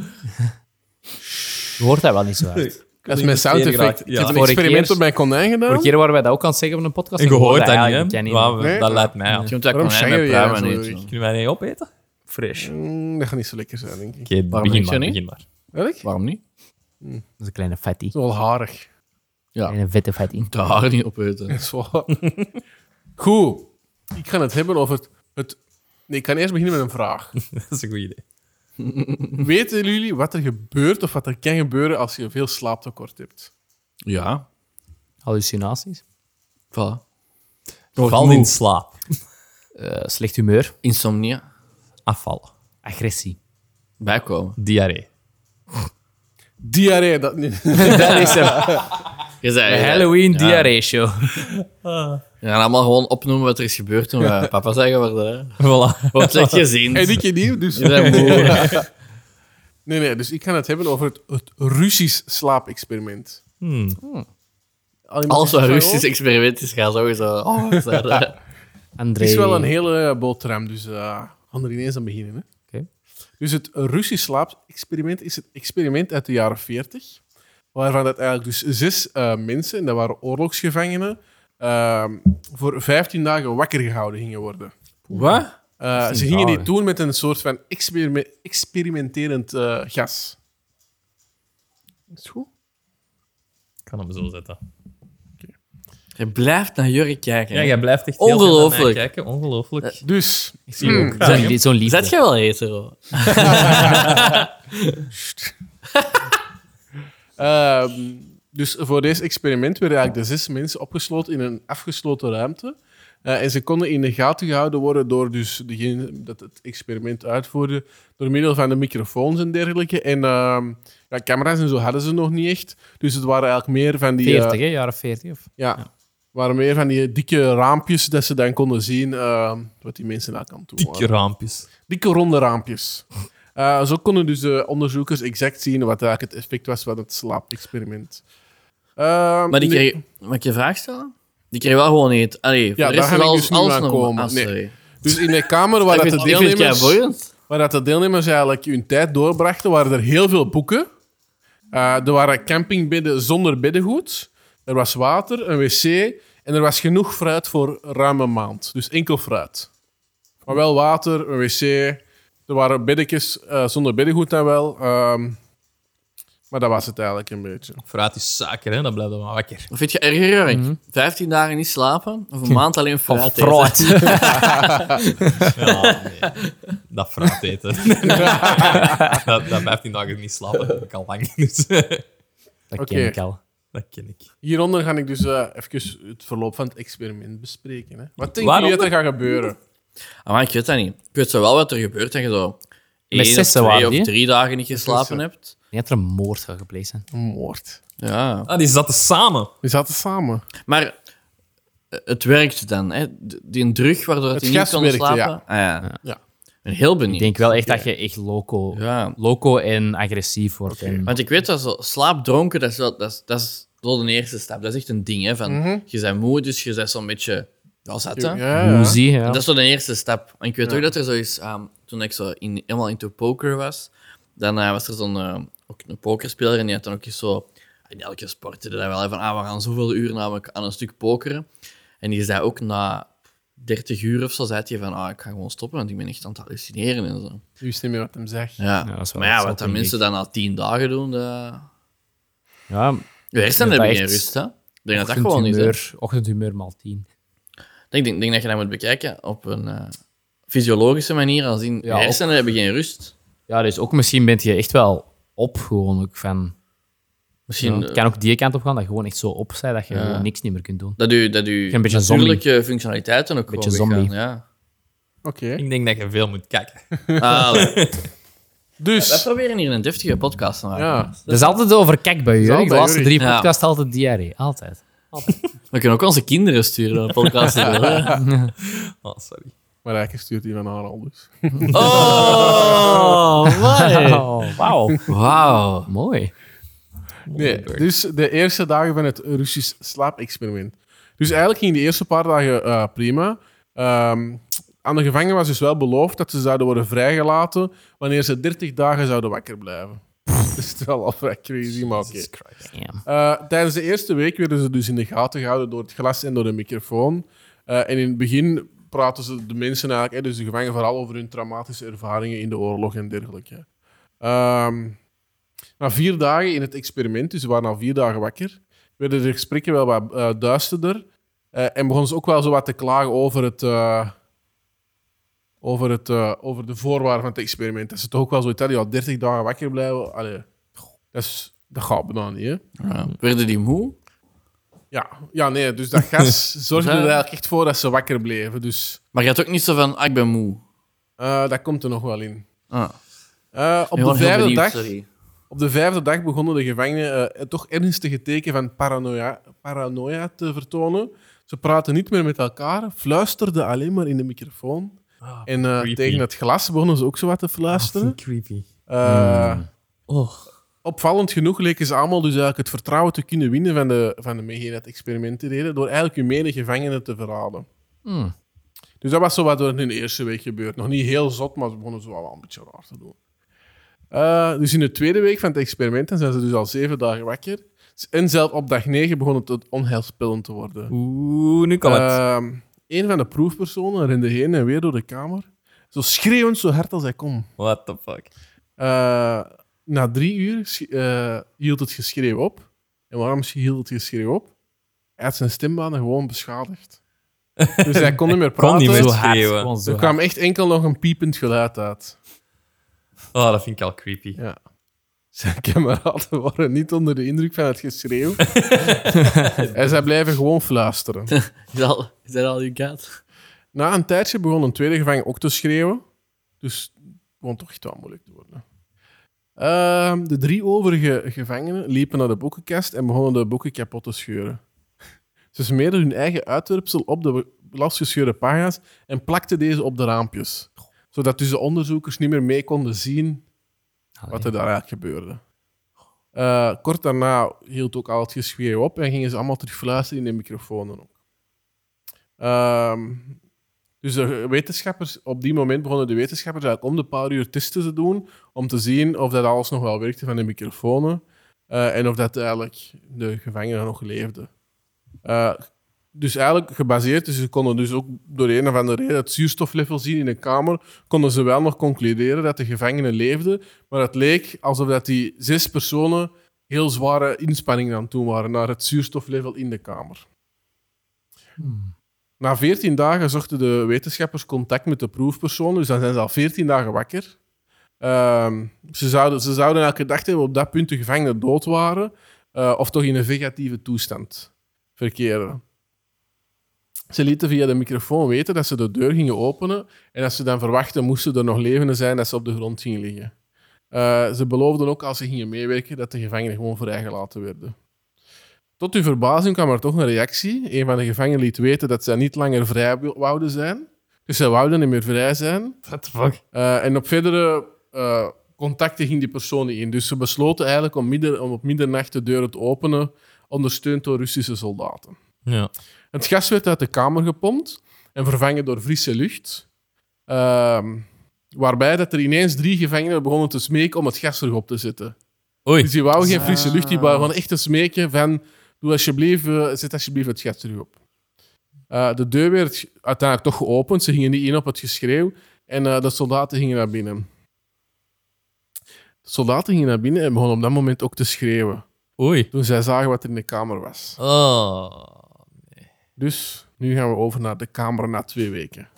Je hoort dat wel niet zo hard. Dat is mijn sound effect. geraakt, Ik ja. heb een Vorige experiment keer- op mijn konijn Vorige gedaan. keer waren wij dat ook aan het zeggen op een podcast. En en gehoord je dat hoorde niet, hè? eigenlijk Waar we- Nee. Dat lijkt mij *laughs* aan. Je moet dat Waarom konijn met zeggen jij pruimen zo, eten. Erik? Kunnen wij niet opeten? Fresh. Oké, Mm, dat gaat niet zo lekker zijn, denk ik. begin, niet, maar, Johnny? begin maar. *laughs* Eigenlijk? Waarom niet? Dat is een kleine fatty. Wel *laughs* harig. Ja. Een vette fatty. De haren niet opeten. Dat is wel- Goed. Ik ga het hebben over het, het... Nee, ik kan eerst beginnen met een *laughs* vraag. Dat is een goed idee. Weten jullie wat er gebeurt of wat er kan gebeuren als je veel slaaptekort hebt? Ja. Hallucinaties. Voilà. Val in slaap. Eh, slecht humeur. Insomnia. Afvallen. Agressie. Bijkomen. Diarree. *laughs* Diarree, dat *laughs* niet. dat is hem. Je zei, eh, Halloween diarree show. We gaan allemaal gewoon opnoemen wat er is gebeurd toen we papa zijn geworden. hè. Voilà. Wordt *laughs* slecht gezien. En ik niet, dus... Je bent *laughs* moe. Nee, nee, dus ik ga het hebben over het, het Russisch slaapexperiment. Hmm. Al iemand Alles zegt wat van, Russisch oh, experiment is, gaat sowieso... Oh, wat is dat? André. Het is wel een hele eh, boterham, dus eh, we gaan er ineens aan beginnen. Hè? Oké. Dus het Russisch slaapexperiment is het experiment uit de jaren 40, waarvan dat eigenlijk dus zes eh, mensen, en dat waren oorlogsgevangenen, eh, voor 15 dagen wakker gehouden gingen worden. Wat? Eh, niet ze gingen raar, dit hè? doen met een soort van experime- experimenterend eh, gas. Is het goed? Ik kan hem zo zetten. Je blijft naar Jurk kijken. Ja, hè. jij blijft echt heel veel naar mij Ongelooflijk. kijken. Ongelooflijk. Dus, ik zie je ook. Zo'n li- Zo'n liefde. Zet jij wel hetero? Ehm, dus voor deze experiment werden eigenlijk de zes mensen opgesloten in een afgesloten ruimte. Eh, en ze konden in de gaten gehouden worden door dus degene dat het experiment uitvoerde, door middel van de microfoons en dergelijke. En ehm, ja, camera's en zo hadden ze nog niet echt. Dus het waren eigenlijk meer van die... eh, 40, hè? Jaren 40. Of? ja, waren meer van die dikke raampjes dat ze dan konden zien ehm, wat die mensen daar aan toe waren. Dikke raampjes. Dikke ronde raampjes. *laughs* Eh, zo konden dus de onderzoekers exact zien wat eigenlijk het effect was van het slaapexperiment. Ehm, Maar die nu- kreeg... Mag ik je een vraag stellen? Die kreeg wel gewoon eten. Allee, voor Ja, de daar rest is ga ik alles, dus niet alles aan normaal. komen. Ah, Nee. sorry. Dus in de *laughs* kamer waar, Ik dat vind de, ik vind het deelnemers, boeiend. waar dat de deelnemers eigenlijk hun tijd doorbrachten, waren er heel veel boeken. Eh, er waren campingbedden zonder beddengoed. Er was water, een wc en er was genoeg fruit voor ruim een maand. Dus enkel fruit. Maar wel water, een wc. Er waren beddekjes eh, zonder beddengoed dan wel. ehm, maar dat was het eigenlijk een beetje. Fruit is suiker, hè? Dat blijft dan maar wakker. Wat vind je erger, Jurk? Mhm. 15 dagen niet slapen Hm. of een maand alleen fruit eten? Fruit. Ja, nee. Dat fruit *laughs* eten. *laughs* dat, dat 15 dagen niet slapen, dat heb ik al lang. Dus, Dat Oké. ken ik al. *laughs* dat ken ik. Hieronder ga ik dus eh, even het verloop van het experiment bespreken. Hè. Wat denken Waarom? jullie dat er gaat gebeuren? Ah, maar ik weet dat niet. Ik weet zo wel wat er gebeurt dat je zo één of zessen twee waren of die, hè? drie dagen niet geslapen zessen. hebt. Je had er een moord gaan gepleegd zijn. Een moord. Ja. Ah, die zaten samen. We zaten samen. Maar het werkte dan, hè? D- Die druk waardoor Het hij niet gas kon werkte, slapen. ja. Ah, ja. Ja. ben heel benieuwd. Ik denk wel echt dat je echt loco, Ja. loco en agressief wordt. En- Want ik weet dat zo, slaapdronken, dat is, wel, dat, is, dat is wel de eerste stap. Dat is echt een ding, hè. Van, Je bent moe, dus je bent zo'n beetje... Ja, zat, hè. Mhm. ja. Moezie, ja. Dat is zo de eerste stap. En ik weet ook dat er zoiets, ehm toen ik zo in, helemaal into poker was, dan eh, was er zo'n eh, ook een pokerspeler en die had dan ook eens zo, in elke sport deed dat wel, hè, van ah, we gaan zoveel uur namelijk aan een stuk pokeren. En die zei ook na 30 uur of zo, zei hij van ah, ik ga gewoon stoppen, want ik ben echt aan het hallucineren en zo. Je wist niet meer wat hem zegt. Ja. dat is wel- maar ja, dat is wat wel dat mensen dan al 10 dagen doen, dat... ja, Je hersenen Dat hebben echt geen rust, hè. Ik denk dat dat gewoon is, hè. ochtendhumeur, ochtendhumeur maal 10. Ik denk, denk dat je dat moet bekijken op een eh, fysiologische manier, als in je op- hersenen hebben geen rust. Ja, dus ook misschien bent je echt wel op gewoon ook van... Ja, Misschien het kan ook die kant op gaan, dat je gewoon echt zo op zij dat je gewoon niks niet meer kunt doen. Dat u, dat u Een beetje natuurlijke functionaliteiten ook Beetje gewoon zombie. weggaan, Ja. Oké. Ik denk dat je veel moet kijken. *laughs* Ah, we- wij Dus, proberen hier een deftige podcast te maken. ja. Dat is altijd over kijk bij Dat is jullie. altijd De laatste jullie. drie Ja. podcasts altijd diarree. Altijd. We kunnen ook onze kinderen sturen naar een podcast. te doen, hè. Oh, sorry. Maar eigenlijk stuurt hij van haar al dus. oh, man. Oh, wauw. Wauw. Mooi. Nee, dus de eerste dagen van het Russisch slaapexperiment. Dus eigenlijk gingen die eerste paar dagen eh, prima. Ehm, aan de gevangenen was dus wel beloofd dat ze zouden worden vrijgelaten wanneer ze 30 dagen zouden wakker blijven. *laughs* Dat is wel al vrij crazy, maar oké. Damn. Eh, tijdens de eerste week werden ze dus in de gaten gehouden door het glas en door de microfoon. Eh, en in het begin praten ze de mensen eigenlijk, hè, dus de gevangenen, vooral over hun traumatische ervaringen in de oorlog en dergelijke. Ehm, na vier dagen in het experiment, dus ze waren al vier dagen wakker, werden de gesprekken wel wat eh, duisterder. Eh, en begonnen ze ook wel zo wat te klagen over, het, eh, over, het, eh, over de voorwaarden van het experiment. Dat ze toch ook wel zoiets hadden, ja, 30 dagen wakker blijven. Allee, dat, is, dat gaat bijna niet, hè? Ja. Werden die moe? Ja, ja nee, dus dat gas zorgde er Ja. eigenlijk echt voor dat ze wakker bleven. Dus Maar je had ook niet zo van, ah, ik ben moe. eh, dat komt er nog wel in. Ah. Eh, op, Ik ben de heel vijfde benieuwd, dag, sorry. op de vijfde dag begonnen de gevangenen eh, toch ernstige teken van paranoia, paranoia te vertonen. Ze praten niet meer met elkaar, fluisterden alleen maar in de microfoon. Ah, en eh, tegen het glas begonnen ze ook zo wat te fluisteren. Creepy. Ah, hm. Eh, Hm? Oh. Opvallend genoeg leken ze allemaal dus eigenlijk het vertrouwen te kunnen winnen van de, van de mensen die het experiment deden, door eigenlijk hun medegevangenen te verraden. Hmm. Dus dat was zo wat er in de eerste week gebeurd. Nog niet heel zot, maar ze begonnen zo wel een beetje raar te doen. Eh, dus in de tweede week van het experiment dan zijn ze dus al zeven dagen wakker. En zelf op dag negen begon het onheilspellend te worden. Oeh, nu kan het. Ehm, een van de proefpersonen rende heen en weer door de kamer, zo schreeuwend zo hard als hij kon. What the fuck. Eh, na drie uur sch- eh, hield het geschreeuw op. En waarom sch- hield het geschreeuw op? Hij had zijn stembanen gewoon beschadigd. Dus hij kon niet meer praten. Kon niet meer Zo hard. schreeuwen. Gewoon zo er hard. kwam echt enkel nog een piepend geluid uit. Oh, dat vind ik al creepy. Ja. Zijn *laughs* kameraden waren niet onder de indruk van het geschreeuw. en zij blijven gewoon fluisteren. Is dat al- is dat al je kat? Na een tijdje begon een tweede gevangen ook te schreeuwen. Dus het begon toch echt wel moeilijk te worden. Ehm, de drie overige gevangenen liepen naar de boekenkast en begonnen de boeken kapot te scheuren. Ze smeerden hun eigen uitwerpsel op de losgescheurde pagina's en plakten deze op de raampjes. Zodat dus de onderzoekers niet meer mee konden zien wat er daar eigenlijk gebeurde. Eh, kort daarna hield ook al het geschreeuw op en gingen ze allemaal terug fluisteren in de microfoon ook. Ehm, dus de wetenschappers, op die moment begonnen de wetenschappers eigenlijk om de paar uur testen te doen, om te zien of dat alles nog wel werkte van de microfonen eh, en of dat eigenlijk de gevangenen nog leefden. Eh, dus eigenlijk gebaseerd, dus ze konden dus ook door een of andere reden het zuurstoflevel zien in de kamer, konden ze wel nog concluderen dat de gevangenen leefden, maar het leek alsof dat die zes personen heel zware inspanningen aan het doen waren naar het zuurstoflevel in de kamer. Na 14 dagen zochten de wetenschappers contact met de proefpersonen, dus dan zijn ze al 14 dagen wakker. Ehm, ze, zouden, ze zouden elke dag hebben op dat punt de gevangenen dood waren, eh, of toch in een vegetieve toestand verkeren. Ze lieten via de microfoon weten dat ze de deur gingen openen en dat ze dan verwachten moesten er nog levenden zijn dat ze op de grond gingen liggen. Eh, ze beloofden ook als ze gingen meewerken dat de gevangenen gewoon vrijgelaten werden. Tot uw verbazing kwam er toch een reactie. Een van de gevangenen liet weten dat zij niet langer vrij wil- wouden zijn, Dus zij wouden niet meer vrij zijn. What the fuck? Eh, en op verdere eh, contacten ging die persoon niet in. Dus ze besloten eigenlijk om, midden, om op middernacht de deuren te openen, ondersteund door Russische soldaten. Ja. Het gas werd uit de kamer gepompt en vervangen door frisse lucht. Ehm, waarbij dat er ineens drie gevangenen begonnen te smeken om het gas terug op te zetten. Oei. Dus die wou geen frisse lucht, die wou gewoon echt te smeken van doe alsjeblieft, eh, zet alsjeblieft het gas terug op. Eh, de deur werd uiteindelijk toch geopend, ze gingen niet in op het geschreeuw en eh, de soldaten gingen naar binnen. De soldaten gingen naar binnen en begonnen op dat moment ook te schreeuwen Oei. toen zij zagen wat er in de kamer was. Oh. Dus nu gaan we over naar de kamer na twee weken.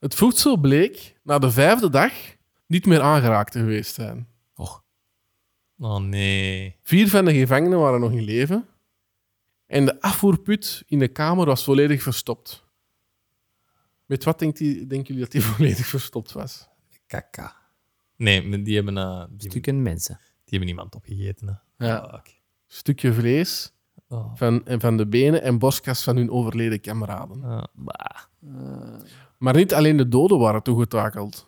Het voedsel bleek na de vijfde dag niet meer aangeraakt te geweest zijn. Oh nee. Vier van de gevangenen waren nog in leven en de afvoerput in de kamer was volledig verstopt. Met wat denkt die, denken jullie dat die *laughs* volledig verstopt was? Kaka. Nee, maar die hebben, eh, die, hebben, Stukken mensen. die hebben niemand opgegeten. Hè. Ja. Fuck. Stukje vlees Oh. van, en van de benen en borstkas van hun overleden kameraden. Ah, bah. Maar niet alleen de doden waren toegetakeld.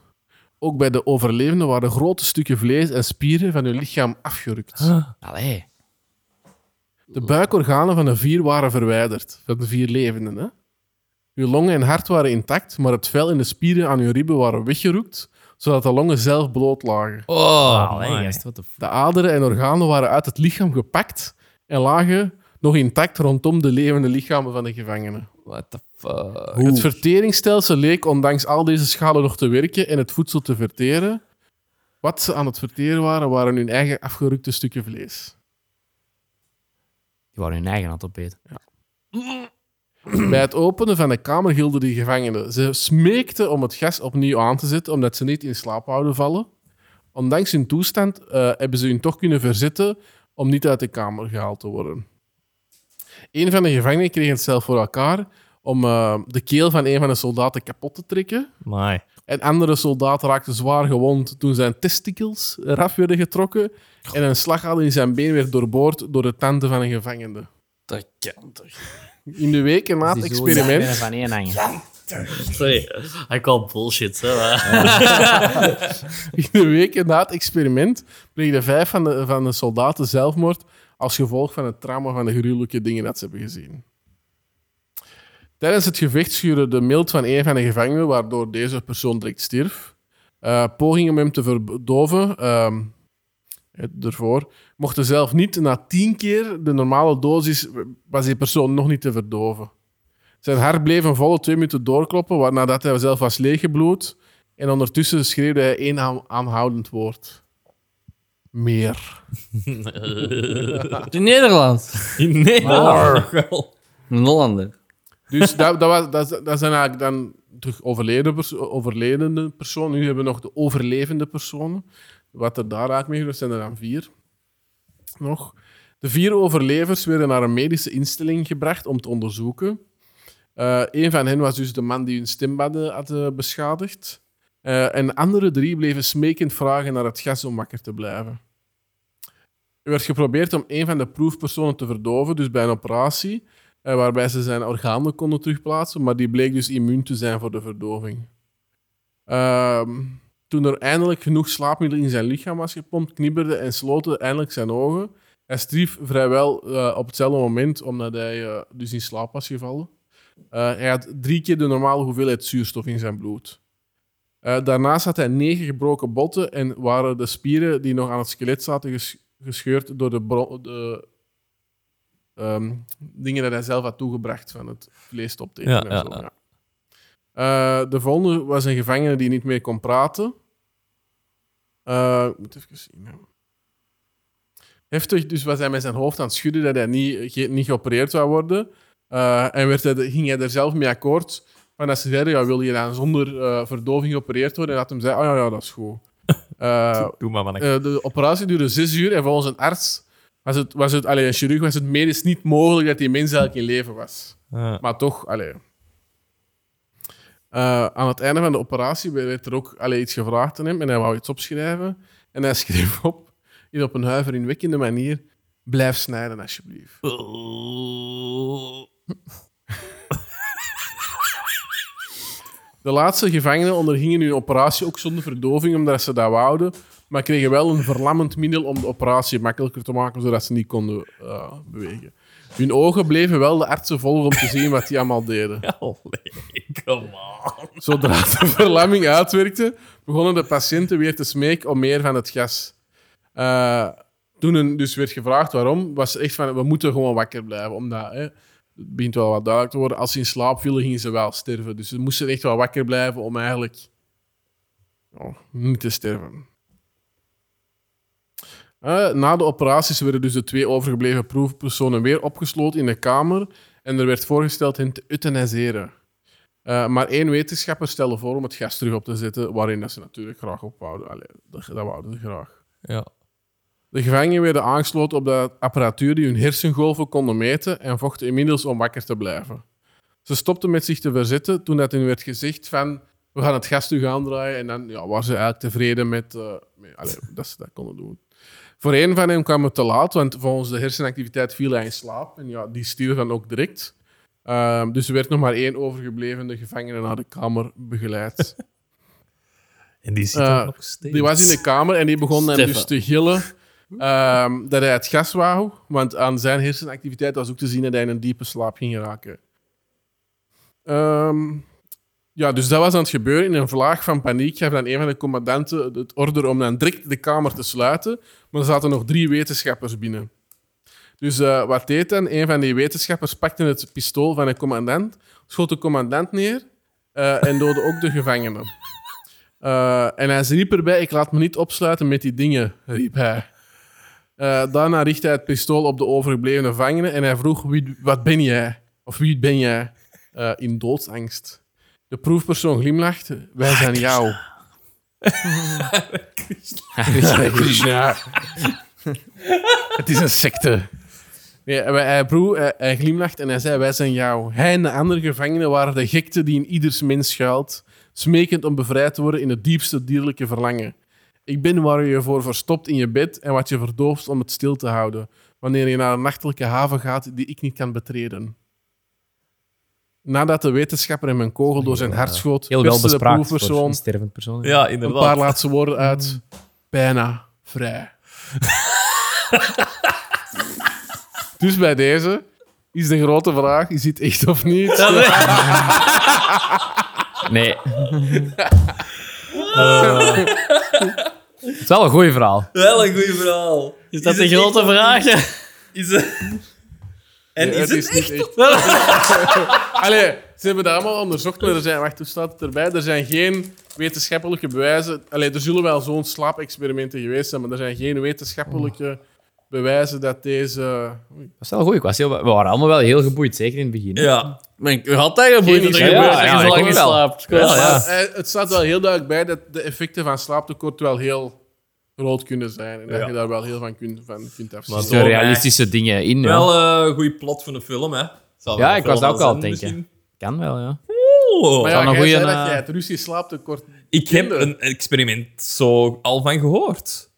Ook bij de overlevenden waren grote stukken vlees en spieren van hun lichaam afgerukt. Allee. De buikorganen van de vier waren verwijderd, van de vier levenden. Hè? Hun longen en hart waren intact, maar het vel en de spieren aan hun ribben waren weggerukt, zodat de longen zelf bloot lagen. Oh, Allee, man. gast, what the fuck? De aderen en organen waren uit het lichaam gepakt en lagen nog intact rondom de levende lichamen van de gevangenen. What the fuck? Het verteringsstelsel leek ondanks al deze schalen nog te werken en het voedsel te verteren. Wat ze aan het verteren waren, waren hun eigen afgerukte stukken vlees. Die waren hun eigen aan het opeten. *clears throat* Bij het openen van de kamer hielden die gevangenen. Ze smeekten om het gas opnieuw aan te zetten, omdat ze niet in slaap houden vallen. Ondanks hun toestand eh, hebben ze hun toch kunnen verzetten om niet uit de kamer gehaald te worden. Een van de gevangenen kreeg het zelf voor elkaar om eh, de keel van een van de soldaten kapot te trekken. Amai. Een andere soldaat raakte zwaar gewond toen zijn testikels eraf werden getrokken en een slagader in zijn been werd doorboord door de tanden van een gevangene. Dat kan toch? In de weken na het Die zo experiment... zijn Van één hangen. Sorry, ik call bullshit. Hè, maar- *laughs* In de weken na het experiment pleegden vijf van de, van de soldaten zelfmoord als gevolg van het trauma van de gruwelijke dingen dat ze hebben gezien. Tijdens het gevecht schuurde de mild van een van de gevangenen, waardoor deze persoon direct stierf. Eh pogingen om hem te verdoven, ehm, het ervoor, mochten zelf niet na tien keer de normale dosis, was die persoon nog niet te verdoven. Zijn hart bleef een volle twee minuten doorkloppen, wa- nadat hij zelf was leeggebloed. En ondertussen schreeuwde hij één aan- aanhoudend woord. Meer. In Nederland. *laughs* Nee, dat is toch wel. Een Hollander. Dus dat, dat, was, dat, dat zijn eigenlijk dan terug overleden perso- overledene personen. Nu hebben we nog de overlevende personen. Wat er daar eigenlijk mee gebeurt, zijn er dan vier. Nog. De vier overlevers werden naar een medische instelling gebracht om te onderzoeken. Eh een van hen was dus de man die hun stembaden had eh, beschadigd. Eh, en de andere drie bleven smekend vragen naar het gas om wakker te blijven. Er werd geprobeerd om een van de proefpersonen te verdoven, dus bij een operatie. Eh, waarbij ze zijn organen konden terugplaatsen, maar die bleek dus immuun te zijn voor de verdoving. Ehm, toen er eindelijk genoeg slaapmiddel in zijn lichaam was gepompt, knibberde en sloten eindelijk zijn ogen. Hij stierf vrijwel eh, op hetzelfde moment, omdat hij eh, dus in slaap was gevallen. Eh, hij had drie keer de normale hoeveelheid zuurstof in zijn bloed. Eh, daarnaast had hij negen gebroken botten en waren de spieren die nog aan het skelet zaten ges- gescheurd door de, bro- de ehm, dingen dat hij zelf had toegebracht van het vlees op te eten. Ja, en ja, zo, ja. ja. Eh, de volgende was een gevangene die niet meer kon praten. Eh, ik moet even zien. hè. Heftig, dus was hij met zijn hoofd aan het schudden dat hij niet, ge- niet geopereerd zou worden. Eh, en werd hij, de- ging hij er zelf mee akkoord. Van als ze zeiden, ja, wil je dan zonder eh, verdoving geopereerd worden? En dat hem zei, oh ja, ja dat is goed. Eh, *laughs* Doe maar, *laughs* man. eh, de operatie duurde zes uur en volgens een arts, was het, was het, allee, een chirurg, was het medisch niet mogelijk dat die mens eigenlijk in leven was. Ah. Maar toch, allee. Eh, aan het einde van de operatie werd er ook allee, iets gevraagd aan hem en hij wou iets opschrijven. En hij schreef op, in op een huiveringwekkende manier, blijf snijden alsjeblieft. De laatste gevangenen ondergingen nu een operatie ook zonder verdoving, omdat ze dat wouden. Maar kregen wel een verlammend middel om de operatie makkelijker te maken, zodat ze niet konden eh, bewegen. Hun ogen bleven wel de artsen volgen om te zien wat die allemaal deden. Allee, come on. Zodra de *laughs* verlamming uitwerkte, begonnen de patiënten weer te smeken om meer van het gas. Eh, toen hun dus werd gevraagd waarom, was er echt van, we moeten gewoon wakker blijven. Omdat, hè, het begint wel wat duidelijk te worden, als ze in slaap vielen, gingen ze wel sterven. Dus ze moesten echt wel wakker blijven om eigenlijk ja, niet te sterven. Eh, na de operaties werden dus de twee overgebleven proefpersonen weer opgesloten in de kamer en er werd voorgesteld hen te euthaniseren. Eh, maar één wetenschapper stelde voor om het gas terug op te zetten, waarin dat ze natuurlijk graag ophouden. Allee, dat, dat wouden ze graag. Ja. De gevangenen werden aangesloten op de apparatuur die hun hersengolven konden meten en vochten inmiddels om wakker te blijven. Ze stopten met zich te verzetten toen dat hun werd gezegd van we gaan het gas terug aandraaien en dan ja, waren ze eigenlijk tevreden met, eh, *laughs* met- allee, dat ze dat konden doen. Voor een van hen kwam het te laat, want volgens de hersenactiviteit viel hij in slaap en ja, die stierf dan ook direct. Ehm, dus er werd nog maar één overgebleven de gevangene naar de kamer *laughs* begeleid. En die zit Eh, er nog steeds. Die was in de kamer en die begon hem Stefan. dus te gillen ehm, dat hij het gas wou. Want aan zijn hersenactiviteit was ook te zien dat hij in een diepe slaap ging raken. Ehm, ja, dus dat was aan het gebeuren. In een vlaag van paniek gaf dan een van de commandanten het order om dan direct de kamer te sluiten. Maar er zaten nog drie wetenschappers binnen. Dus eh, wat deed dan? Een van die wetenschappers pakte het pistool van de commandant, schoot de commandant neer eh, en doodde ook de gevangenen. Eh, en hij riep erbij: Ik laat me niet opsluiten met die dingen, riep hij. Eh, daarna richtte hij het pistool op de overgebleven gevangenen en hij vroeg: wie, Wat ben jij? Of wie ben jij? Eh, in doodsangst. De proefpersoon glimlachte: Wij zijn jou. Hare Krishna. Het is een secte. Nee, hij, hij, broer, hij, hij glimlacht en hij zei: Wij zijn jou. Hij en de andere gevangenen waren de gekte die in ieders mens schuilt smekend om bevrijd te worden in het diepste dierlijke verlangen. Ik ben waar je je voor verstopt in je bed en wat je verdooft om het stil te houden, wanneer je naar een nachtelijke haven gaat die ik niet kan betreden. Nadat de wetenschapper hem een kogel door zijn hart schoot, Heel wel perste de bespraakt voor proefpersoon een stervend persoon. Ja, een inderdaad. paar laatste woorden uit. Bijna vrij. dus bij deze is de grote vraag, is dit echt of niet? Nee. Eh, het is wel een goeie verhaal. Wel een goed verhaal. Is dat het de grote echt- vraag? Is het... En Ja, is het, niet echt? *laughs* Allee, ze hebben dat allemaal onderzocht, maar er zijn, wacht, hoe staat het erbij? Er zijn geen wetenschappelijke bewijzen. Allee, er zullen wel zo'n slaapexperimenten geweest zijn, maar er zijn geen wetenschappelijke bewijzen dat deze. Oei. Dat is wel een goeie. Ik was heel- we waren allemaal wel heel geboeid, zeker in het begin. Ja. Maar ik- U had eigenlijk boeien dat er idee. gebeurt. Ja, Ja, ja, je ik zal ook wel. geslaapt. Ja, Ah, ja. Maar, eh, het staat wel heel duidelijk bij dat de effecten van slaaptekort wel heel groot kunnen zijn. En dat Ja. je daar wel heel van kunt, van Maar kunt Er afzien. zo- zitten realistische dingen in. ja. Wel eh, een goede plot van de film, hè? Zal wel Ja, een ik was film dat ook al zijn, aan het denken. Kan wel, ja. misschien. Oh. Van Maar ja, een jij zei goeie dat na- jij het Russisch slaaptekort... ik heb kinderen. een experiment zo al van gehoord.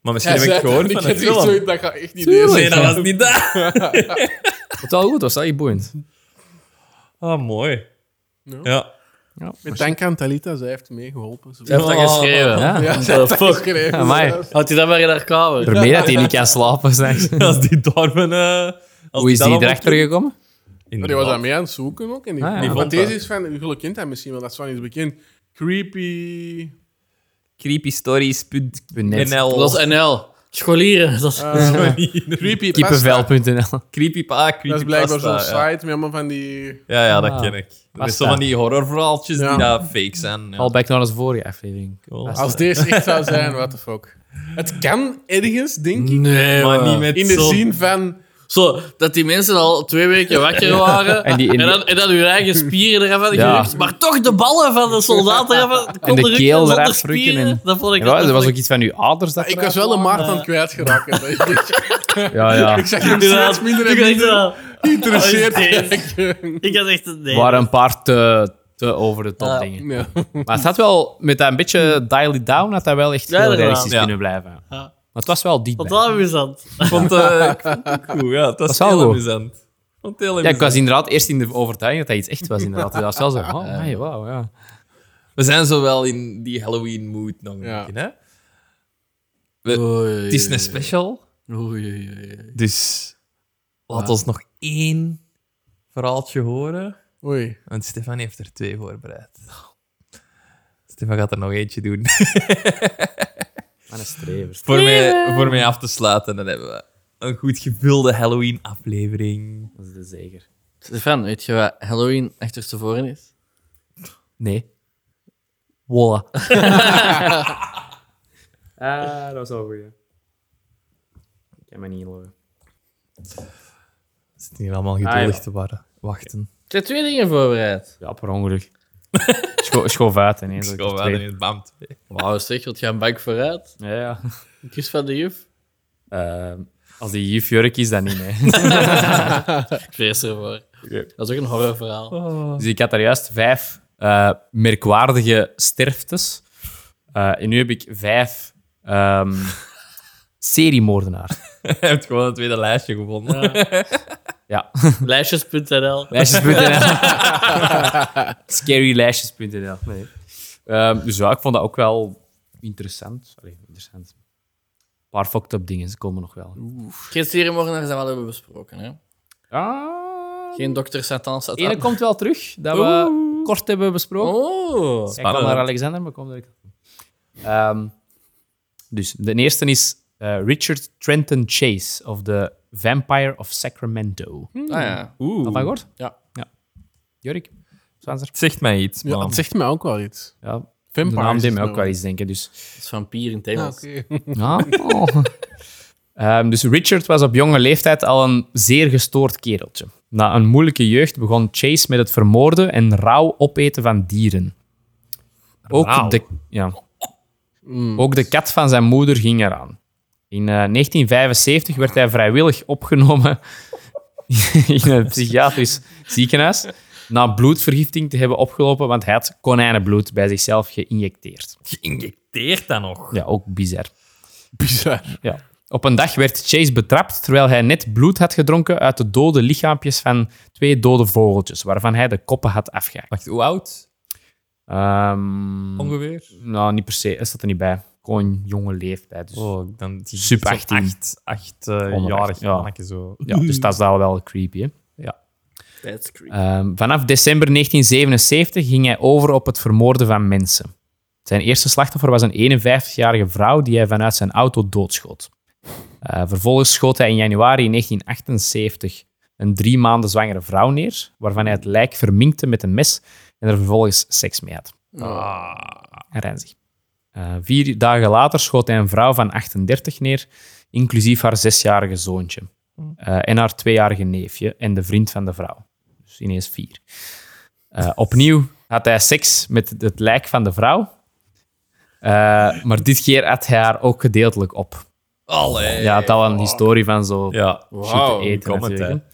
Maar misschien Jij heb ik zei het gehoord dat van ik een het echt film. zo- Dat gaat echt niet deze Nee, zijn. dat was niet dat. Het was wel goed, het was wel echt boeiend. Ah, mooi. Ja. Ja. Met dank aan Talita, zij heeft meegeholpen. Ze- Hij heeft dat Oh. geschreven. Ja. Ja, zij heeft dat geschreven. Amai. zelfs. Houdt hij dat maar in haar kamer? Voor mij dat hij niet kan slapen. s'nachts. Als die dorpen... Hoe is die erachter gekomen? Maar die was daar mee aan het zoeken ook. En die, Ah, ja. die Die want vond deze dat. is van, jullie kent dat misschien wel, dat is van iets bekend. Creepy. Net. Dat is NL. Scholieren. Dat is... eh, creepy pasta. Kippenvel.nl. Creepypa, ah, creepypasta. Dat is blijkbaar zo'n ja. site met allemaal van die. Ja, ja, dat Ah. ken ik. Dat is Pasta. zo van die horrorverhaaltjes Ja. die daar fake zijn. Ja. Al back naar onze vorige aflevering. Cool. Pasta. Als deze echt zou zijn, what the fuck. Het kan ergens, denk ik. Nee, Maar man. niet met In de zo'n- zin van. Zo, dat die mensen al twee weken wakker waren. En en, die- en die- dan, en dan hun eigen spieren eraf hadden Ja. gerukt. Maar toch de ballen van de soldaten eraf hadden- konden rukken keel zonder eraf rukken spieren. en- Dat vond ik Ja, dat er was vond ook iets van uw ouders dat Ik was wel een maart aan het kwijtgeraakt. *laughs* hè. Ja, ja. ik zag hem Inderdaad. steeds minder en Ik dacht minder wel, geïnteresseerd. Oh, is kijken. Ik had echt een nee. waren een paar te, te over de top Ja. dingen. Ja. Maar het had wel, met dat een beetje dial it down, had dat wel echt Ja, heel inderdaad. realistisch Ja. kunnen blijven. Ja. Maar het was wel diep. Wat bij. wel amusant. Ik vond eh, ik vond het goed, ja. Het was is wel heel goed. amusant. Want heel Ja, even- ik was inderdaad eerst in de overtuiging dat hij iets echt was. Inderdaad. Dat was wel zo, oh, amai, wauw, ja. We zijn zo wel in die Halloween-mood nog een Ja. beetje, hè? We- het is een special, Oei, oei, oei. dus laat ons nog één verhaaltje horen. Oei. Want Stefan heeft er twee voorbereid. Stefan gaat er nog eentje doen. *laughs* Wat een strever. voor, mij, voor mij af te sluiten, dan hebben we een goed gevulde Halloween-aflevering. Dat is de zeker. Stefan, weet je wat Halloween achterstevoren is? Nee. Wolla. Ah, dat was wel goed. Ik kan me niet lopen. We zitten hier allemaal geduldig Ah, ja. te warren- wachten. Ik heb twee dingen voorbereid. Ja, per ongeluk. *laughs* Scho schoof uit ineens. Ik ga wel in het BAM 2. Wauw, zeg, wat gaan bank vooruit? Ja, ja. Een kus van de juf? Eh, als die juf Jurk is, dan niet, *laughs* nee. Ik vrees ervoor. Dat is ook een horrorverhaal. Dus ik had daar juist vijf eh, merkwaardige sterftes. Eh, en nu heb ik vijf ehm *laughs* seriemoordenaar. Hij heeft gewoon het tweede lijstje gevonden. Ja. Lijstjes.nl. Lijstjes.nl. *laughs* Scarylijstjes.nl. Nee. Ehm, dus ja, ik vond dat ook wel interessant. Allee, interessant. Een paar fucked up dingen, ze komen nog wel. Geen seriemoordenaar zijn we al hebben besproken. Hè? Ah, Geen dokter Satan Satan. ene komt wel terug, dat we kort hebben besproken. Oh. Hij kwam Spannend. naar Alexander, maar komt direct. Ehm, dus de eerste is eh, Richard Trenton Chase of The Vampire of Sacramento. Al Ah, ja. Oeh. van gehoord? Ja. ja. Jorik? Zwanzer? Het zegt mij iets, Ja, man. het zegt mij ook wel iets. Ja, de Vampires naam is deed mij het ook nou. wel iets denken. Dus. Dat is vampier in het Engels. Ja. Oh. Ehm, dus Richard was op jonge leeftijd al een zeer gestoord kereltje. Na een moeilijke jeugd begon Chase met het vermoorden en rauw opeten van dieren. Rauw? Hmm. Ook de, ja. Ook de kat van zijn moeder ging eraan. In eh, 1975 werd hij vrijwillig opgenomen *laughs* in een psychiatrisch ziekenhuis na bloedvergifting te hebben opgelopen, want hij had konijnenbloed bij zichzelf geïnjecteerd. Geïnjecteerd dan nog. Ja, ook bizar. Bizar. Ja. Op een dag werd Chase betrapt terwijl hij net bloed had gedronken uit de dode lichaampjes van twee dode vogeltjes, waarvan hij de koppen had afgehaakt. Wacht, hoe oud Ehm, ongeveer? nou, niet per se. Dat staat er niet bij. Gewoon jonge leeftijd. Dus. Oh, dan zie ik Sub zo'n 18. Acht, acht eh, Onder jarig acht, ja. mannetje zo. Ja, dus dat is al wel creepy. Hè? That's creepy. Ehm, vanaf december 1977 ging hij over op het vermoorden van mensen. Zijn eerste slachtoffer was een 51-jarige vrouw die hij vanuit zijn auto doodschoot. Eh, vervolgens schoot hij in januari 1978 een drie maanden zwangere vrouw neer, waarvan hij het lijk verminkte met een mes en er vervolgens seks mee had. En Renzi. Eh, vier dagen later schoot hij een vrouw van 38 neer, inclusief haar zesjarige zoontje eh, en haar tweejarige neefje en de vriend van de vrouw. Dus ineens vier. Eh, opnieuw had hij seks met het lijk van de vrouw, Eh, maar dit keer had hij haar ook gedeeltelijk op. Allee. Hij had al een historie van zo Ja. shit te Wauw. eten comment, natuurlijk,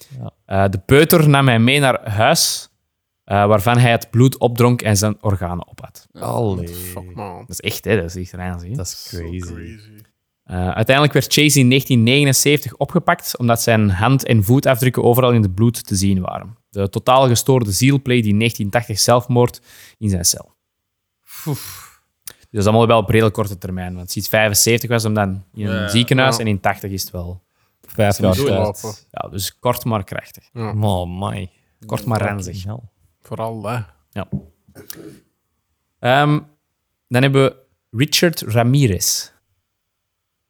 hè. Eh, de peuter nam hij mee naar huis, eh, waarvan hij het bloed opdronk en zijn organen opat. Allee. Fuck, man. Dat is echt, hè? Dat is echt raar, hè? Dat is So crazy. Eh, uiteindelijk werd Chase in 1979 opgepakt omdat zijn hand- en voetafdrukken overal in het bloed te zien waren. De totaal gestoorde ziel pleegde in 1980 zelfmoord in zijn cel. Dus dat is allemaal wel op redelijk korte termijn. Want sinds 75 was hem dan in een ziekenhuis ja. en in 80 is het wel. Vijf jaar Doe het tijd. lopen. Ja, dus kort maar krachtig. Oh, my. Kort maar ranzig. Vooral, hè. Ja. Ehm, dan hebben we Richard Ramirez.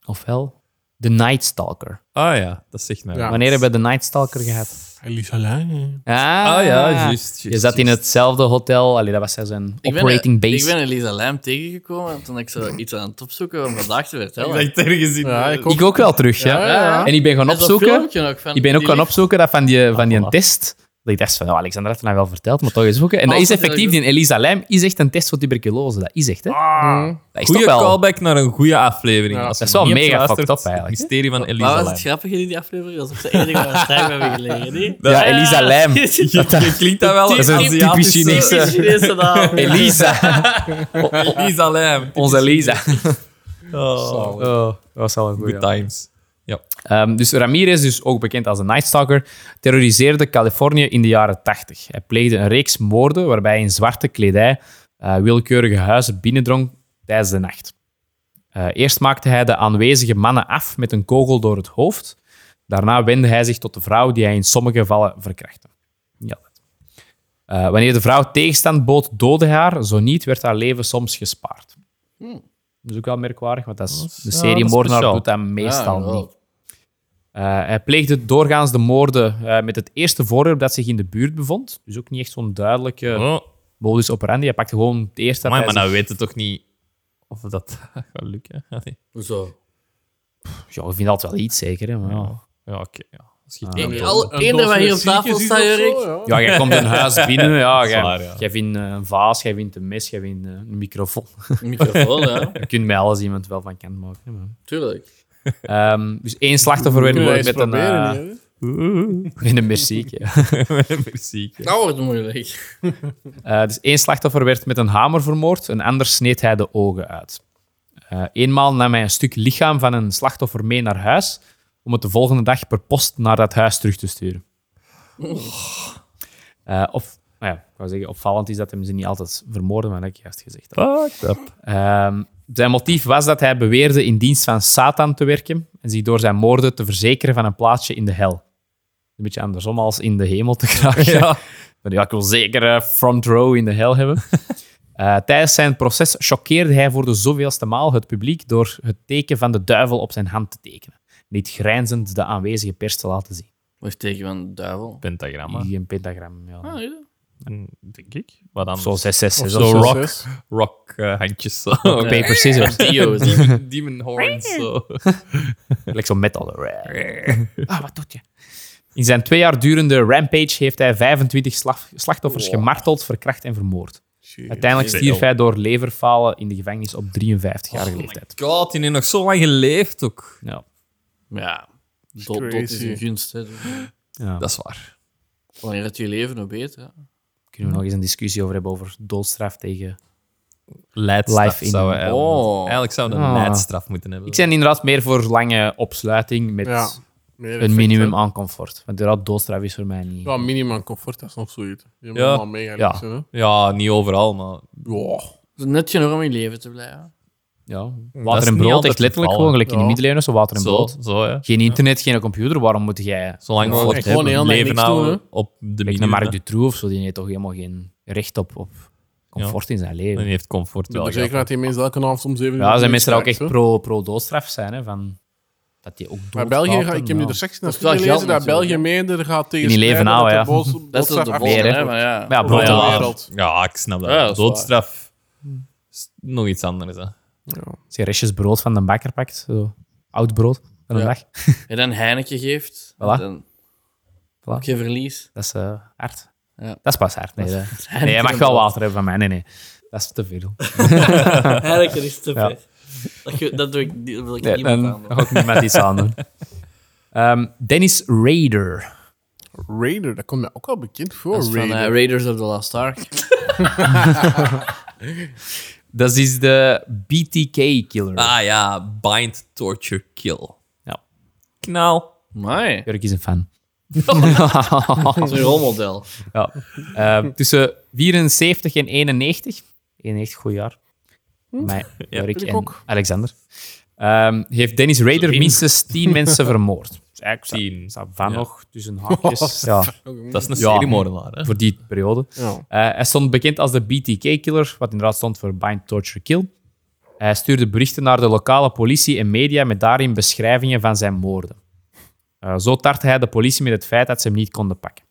Ofwel de Night Stalker. Ah ja, dat zegt mij. Ja. wel. Wanneer hebben we de Night Stalker gehad? Elisa Lange. Ah, Ah ja, juist. juist, Je zat in juist. hetzelfde hotel. Allee, dat was ja zijn Ik ben, eh, operating ik base. ben Elisa Lijm tegengekomen toen ik zo iets aan het opzoeken om vandaag te vertellen. Ik dacht ergens in. Ja, ik ook. ik ook wel terug, ja. Ja, ja, ja. En ik ben gaan En zo'n opzoeken. filmpje ook van Ik ben ook die gaan lief- opzoeken dat van die, van die Ah, voilà. test. Dat ik dacht van, oh, Alexander had het mij wel verteld, maar toch eens zoeken. En dat Als is het effectief, die eigenlijk- Elisa Lijm is echt een test voor tuberculose. Dat is echt, hè. Ah, Mm. dat is toch Goeie wel... callback naar een goede aflevering. Ja. Als je Dat is wel niet hebt mega geluisterd, fucked up eigenlijk, hè? Mysterie van Maar Elisa was het Lam. grappig in die aflevering? Dat is ook de enige waar we strijden hebben gelegen, niet? Ja, Elisa Lijm. Klinkt *laughs* dat wel Dat is een Aziatische- typisch Chinese. Die Chinese naam. Elisa. Elisa *laughs* Lam. Onze Elisa. Oh, Oh, dat was al een Good times. Ja. Ehm, dus Ramirez, dus ook bekend als de Night Stalker, terroriseerde Californië in de jaren 80. Hij pleegde een reeks moorden waarbij hij in zwarte kledij eh, willekeurige huizen binnendrong tijdens de nacht. Eh, eerst maakte hij de aanwezige mannen af met een kogel door het hoofd. Daarna wendde hij zich tot de vrouw die hij in sommige gevallen verkrachtte. Ja. Eh, wanneer de vrouw tegenstand bood, doodde hij haar. Zo niet, werd haar leven soms gespaard. Dat is ook wel merkwaardig, want dat is, de ja, serie Hmm. dat is moordenaar speciaal. doet dat meestal Ja, niet. Eh, hij pleegde doorgaans de moorden eh, met het eerste voorwerp dat zich in de buurt bevond. Dus ook niet echt zo'n duidelijke Oh, modus operandi. Hij pakte gewoon het eerste dat amai, hij maar nou zich- weten toch niet of dat *laughs* gaat lukken? Ah, Allee. Zo. Ja, we vinden altijd wel iets, zeker. Hè, maar ja. Ja, oké. ja. Dat schiet *laughs* Ja. niet op. Al Een eender doos wat met hier op tafel ziekjes is staat, of zo, Erik. ja. Ja, jij komt een *laughs* huis binnen. Ja, jij, waar, ja. jij vindt eh, een vaas, jij vindt een mes, jij vindt eh, een microfoon. *laughs* *laughs* Microfoon, ja. Je kunt met alles iemand wel van kant maken. hè, maar- Tuurlijk. Ehm, dus één slachtoffer werd Kunnen we vermoord eens met een, proberen, eh, niet, hè? *laughs* met een merciek. ja. Merci. Nou wordt het moeilijk. Eh, dus één slachtoffer werd met een hamer vermoord, een ander sneed hij de ogen uit. Eh, eenmaal nam hij een stuk lichaam van een slachtoffer mee naar huis, om het de volgende dag per post naar dat huis terug te sturen. Oh. Eh, of, nou ja, ik wou zeggen, opvallend is dat hem ze niet altijd vermoorden, maar dat heb ik juist gezegd. Fucked up. Ehm, zijn motief was dat hij beweerde in dienst van Satan te werken en zich door zijn moorden te verzekeren van een plaatsje in de hel. Een beetje andersom als in de hemel te *laughs* krijgen. Ja. Maar ja, ik wil zeker eh, front row in de hel hebben. Eh, tijdens zijn proces choqueerde hij voor de zoveelste maal het publiek door het teken van de duivel op zijn hand te tekenen. Niet grijnzend de aanwezige pers te laten zien. Wat is het teken van de duivel? Pentagramma. Hier een pentagram. Ja. Ah, ja. Mm, Denk ik. Wat dan? Zo 666 Of of zo zo. rock. zes. rock eh, *laughs* handjes. Zo. Paper scissors. Dio. Demon, demon horns. Zo. Gelijk zo'n metal. Ah, wat doet je? In zijn twee jaar durende rampage heeft hij 25 slag- slachtoffers gemarteld, verkracht en vermoord. Uiteindelijk stierf hij door leverfalen in de gevangenis op 53-jarige leeftijd. God, die heeft nog zo lang geleefd ook. Ja. Ja. Dood, dood is crazy. een gunst. Hè. Ja. Dat is waar. Wanneer het je leven, hoe beter. hè. Kunnen we nog eens een discussie over hebben over doodstraf tegen... Leidstraf Life in- zouden we eigenlijk- Oh. Eigenlijk zouden we een Ah. leidstraf moeten hebben. Ik ben inderdaad meer voor lange opsluiting met Ja, een minimum aan comfort. Want inderdaad, doodstraf is voor mij niet... Ja, minimum aan comfort, dat is nog zoiets. Je moet Ja. allemaal meegaan. Ja. hè. Ja. Ja, niet overal, maar... Het is Net genoeg om in leven te blijven. Ja. is Water en niet brood, altijd echt letterlijk gevallen. gewoon, gelijk in de Ja. middeleeuwen, zo water en Zo, brood. zo ja. Geen internet, geen computer, waarom moet jij... Zolang we Ja, het echt gewoon hebben, heel leven niks doen, hè. nou op de Kijk naar minuut, Marc hè. Dutroux of zo, die heeft toch helemaal geen recht op, op comfort in zijn leven. En die heeft comfort wel Maar gehad. zeker dat die mensen elke avond om zeven uur... Ja, er zijn opnieuw mensen die ook straks, echt hè. pro, pro doodstraf zijn, hè, van dat die ook Maar doodstraffen, België, ga- ik heb nu ja. de sectie Dat is wel naartoe gelezen, geld dat België natuurlijk, meerder gaat tegen... In die leven strijden nou, dat de ja. boos- Dat is boodschap de afgekeerd volgende, hè. hè. wordt. Maar ja. Maar ja, brood Ja, te Ja, laat. wereld. Ja, ik snap dat. Ja, dat is Doodstraf is nog iets anders. Hè. Als je restjes brood van de bakker pakt, zo, oud brood, van een Ja. dag, En dan Heineken geeft. Voilà. Dan Voilà. heb je verlies. dat is eh, hard. Ja. Dat is pas hard. Nee, dat- Heineken nee, je mag en wel brood. water hebben van mij. Nee, nee. Dat is te veel. Heineken is te Ja. ver. Dat, ge- dat doe ik, dat wil ik Nee, niemand dan aan. ga ik niemand *laughs* iets aan doen. Ehm, Dennis Raider. Raider, dat komt mij ook wel bekend voor. Dat is van eh, Raider. Raiders of the Lost Ark. Dat is de BTK-killer. Ah ja, bind, torture, kill. Ja. Knal. Mooi. Jurk is een fan. Dat is een rolmodel. Ja. Eh, tussen 74 en 91. 91, goed jaar. Mij, Jorik Hm? ik en ook. Alexander. Ehm, heeft Dennis Rader Lien. minstens 10 *laughs* mensen vermoord. Dus eigenlijk sta- Tien. staat van nog tussen haakjes. *laughs* ja, Dat is een Ja. seriemoordenaar. hè. voor die periode. Ja. Eh, hij stond bekend als de BTK-killer, wat inderdaad stond voor Bind, Torture, Kill. Hij stuurde berichten naar de lokale politie en media met daarin beschrijvingen van zijn moorden. Eh, zo tartte hij de politie met het feit dat ze hem niet konden pakken.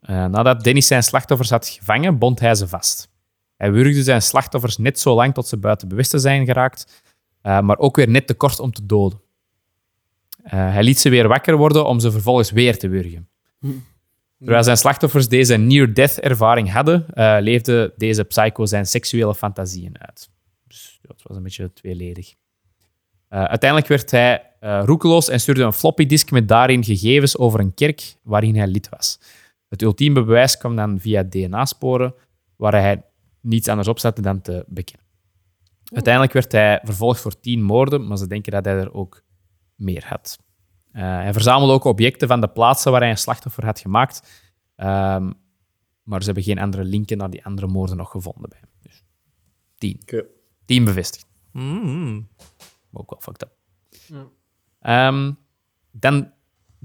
Eh, nadat Dennis zijn slachtoffers had gevangen, bond hij ze vast. Hij wurgde zijn slachtoffers net zo lang tot ze buiten bewustzijn zijn geraakt, eh, maar ook weer net te kort om te doden. Eh, hij liet ze weer wakker worden om ze vervolgens weer te wurgen. Terwijl zijn slachtoffers deze near-death ervaring hadden, eh, leefde deze psycho zijn seksuele fantasieën uit. Dus dat was een beetje tweeledig. Eh, uiteindelijk werd hij eh roekeloos en stuurde een floppy disk met daarin gegevens over een kerk waarin hij lid was. Het ultieme bewijs kwam dan via DNA-sporen, waar hij niets anders opzette dan te bekennen. Uiteindelijk werd hij vervolgd voor tien moorden, maar ze denken dat hij er ook meer had. Eh, Eh, hij verzamelde ook objecten van de plaatsen waar hij een slachtoffer had gemaakt. Ehm, maar ze hebben geen andere linken naar die andere moorden nog gevonden bij hem. Dus tien. Oké. Tien bevestigd. Mm. Maar ook wel fucked up. Ehm, dan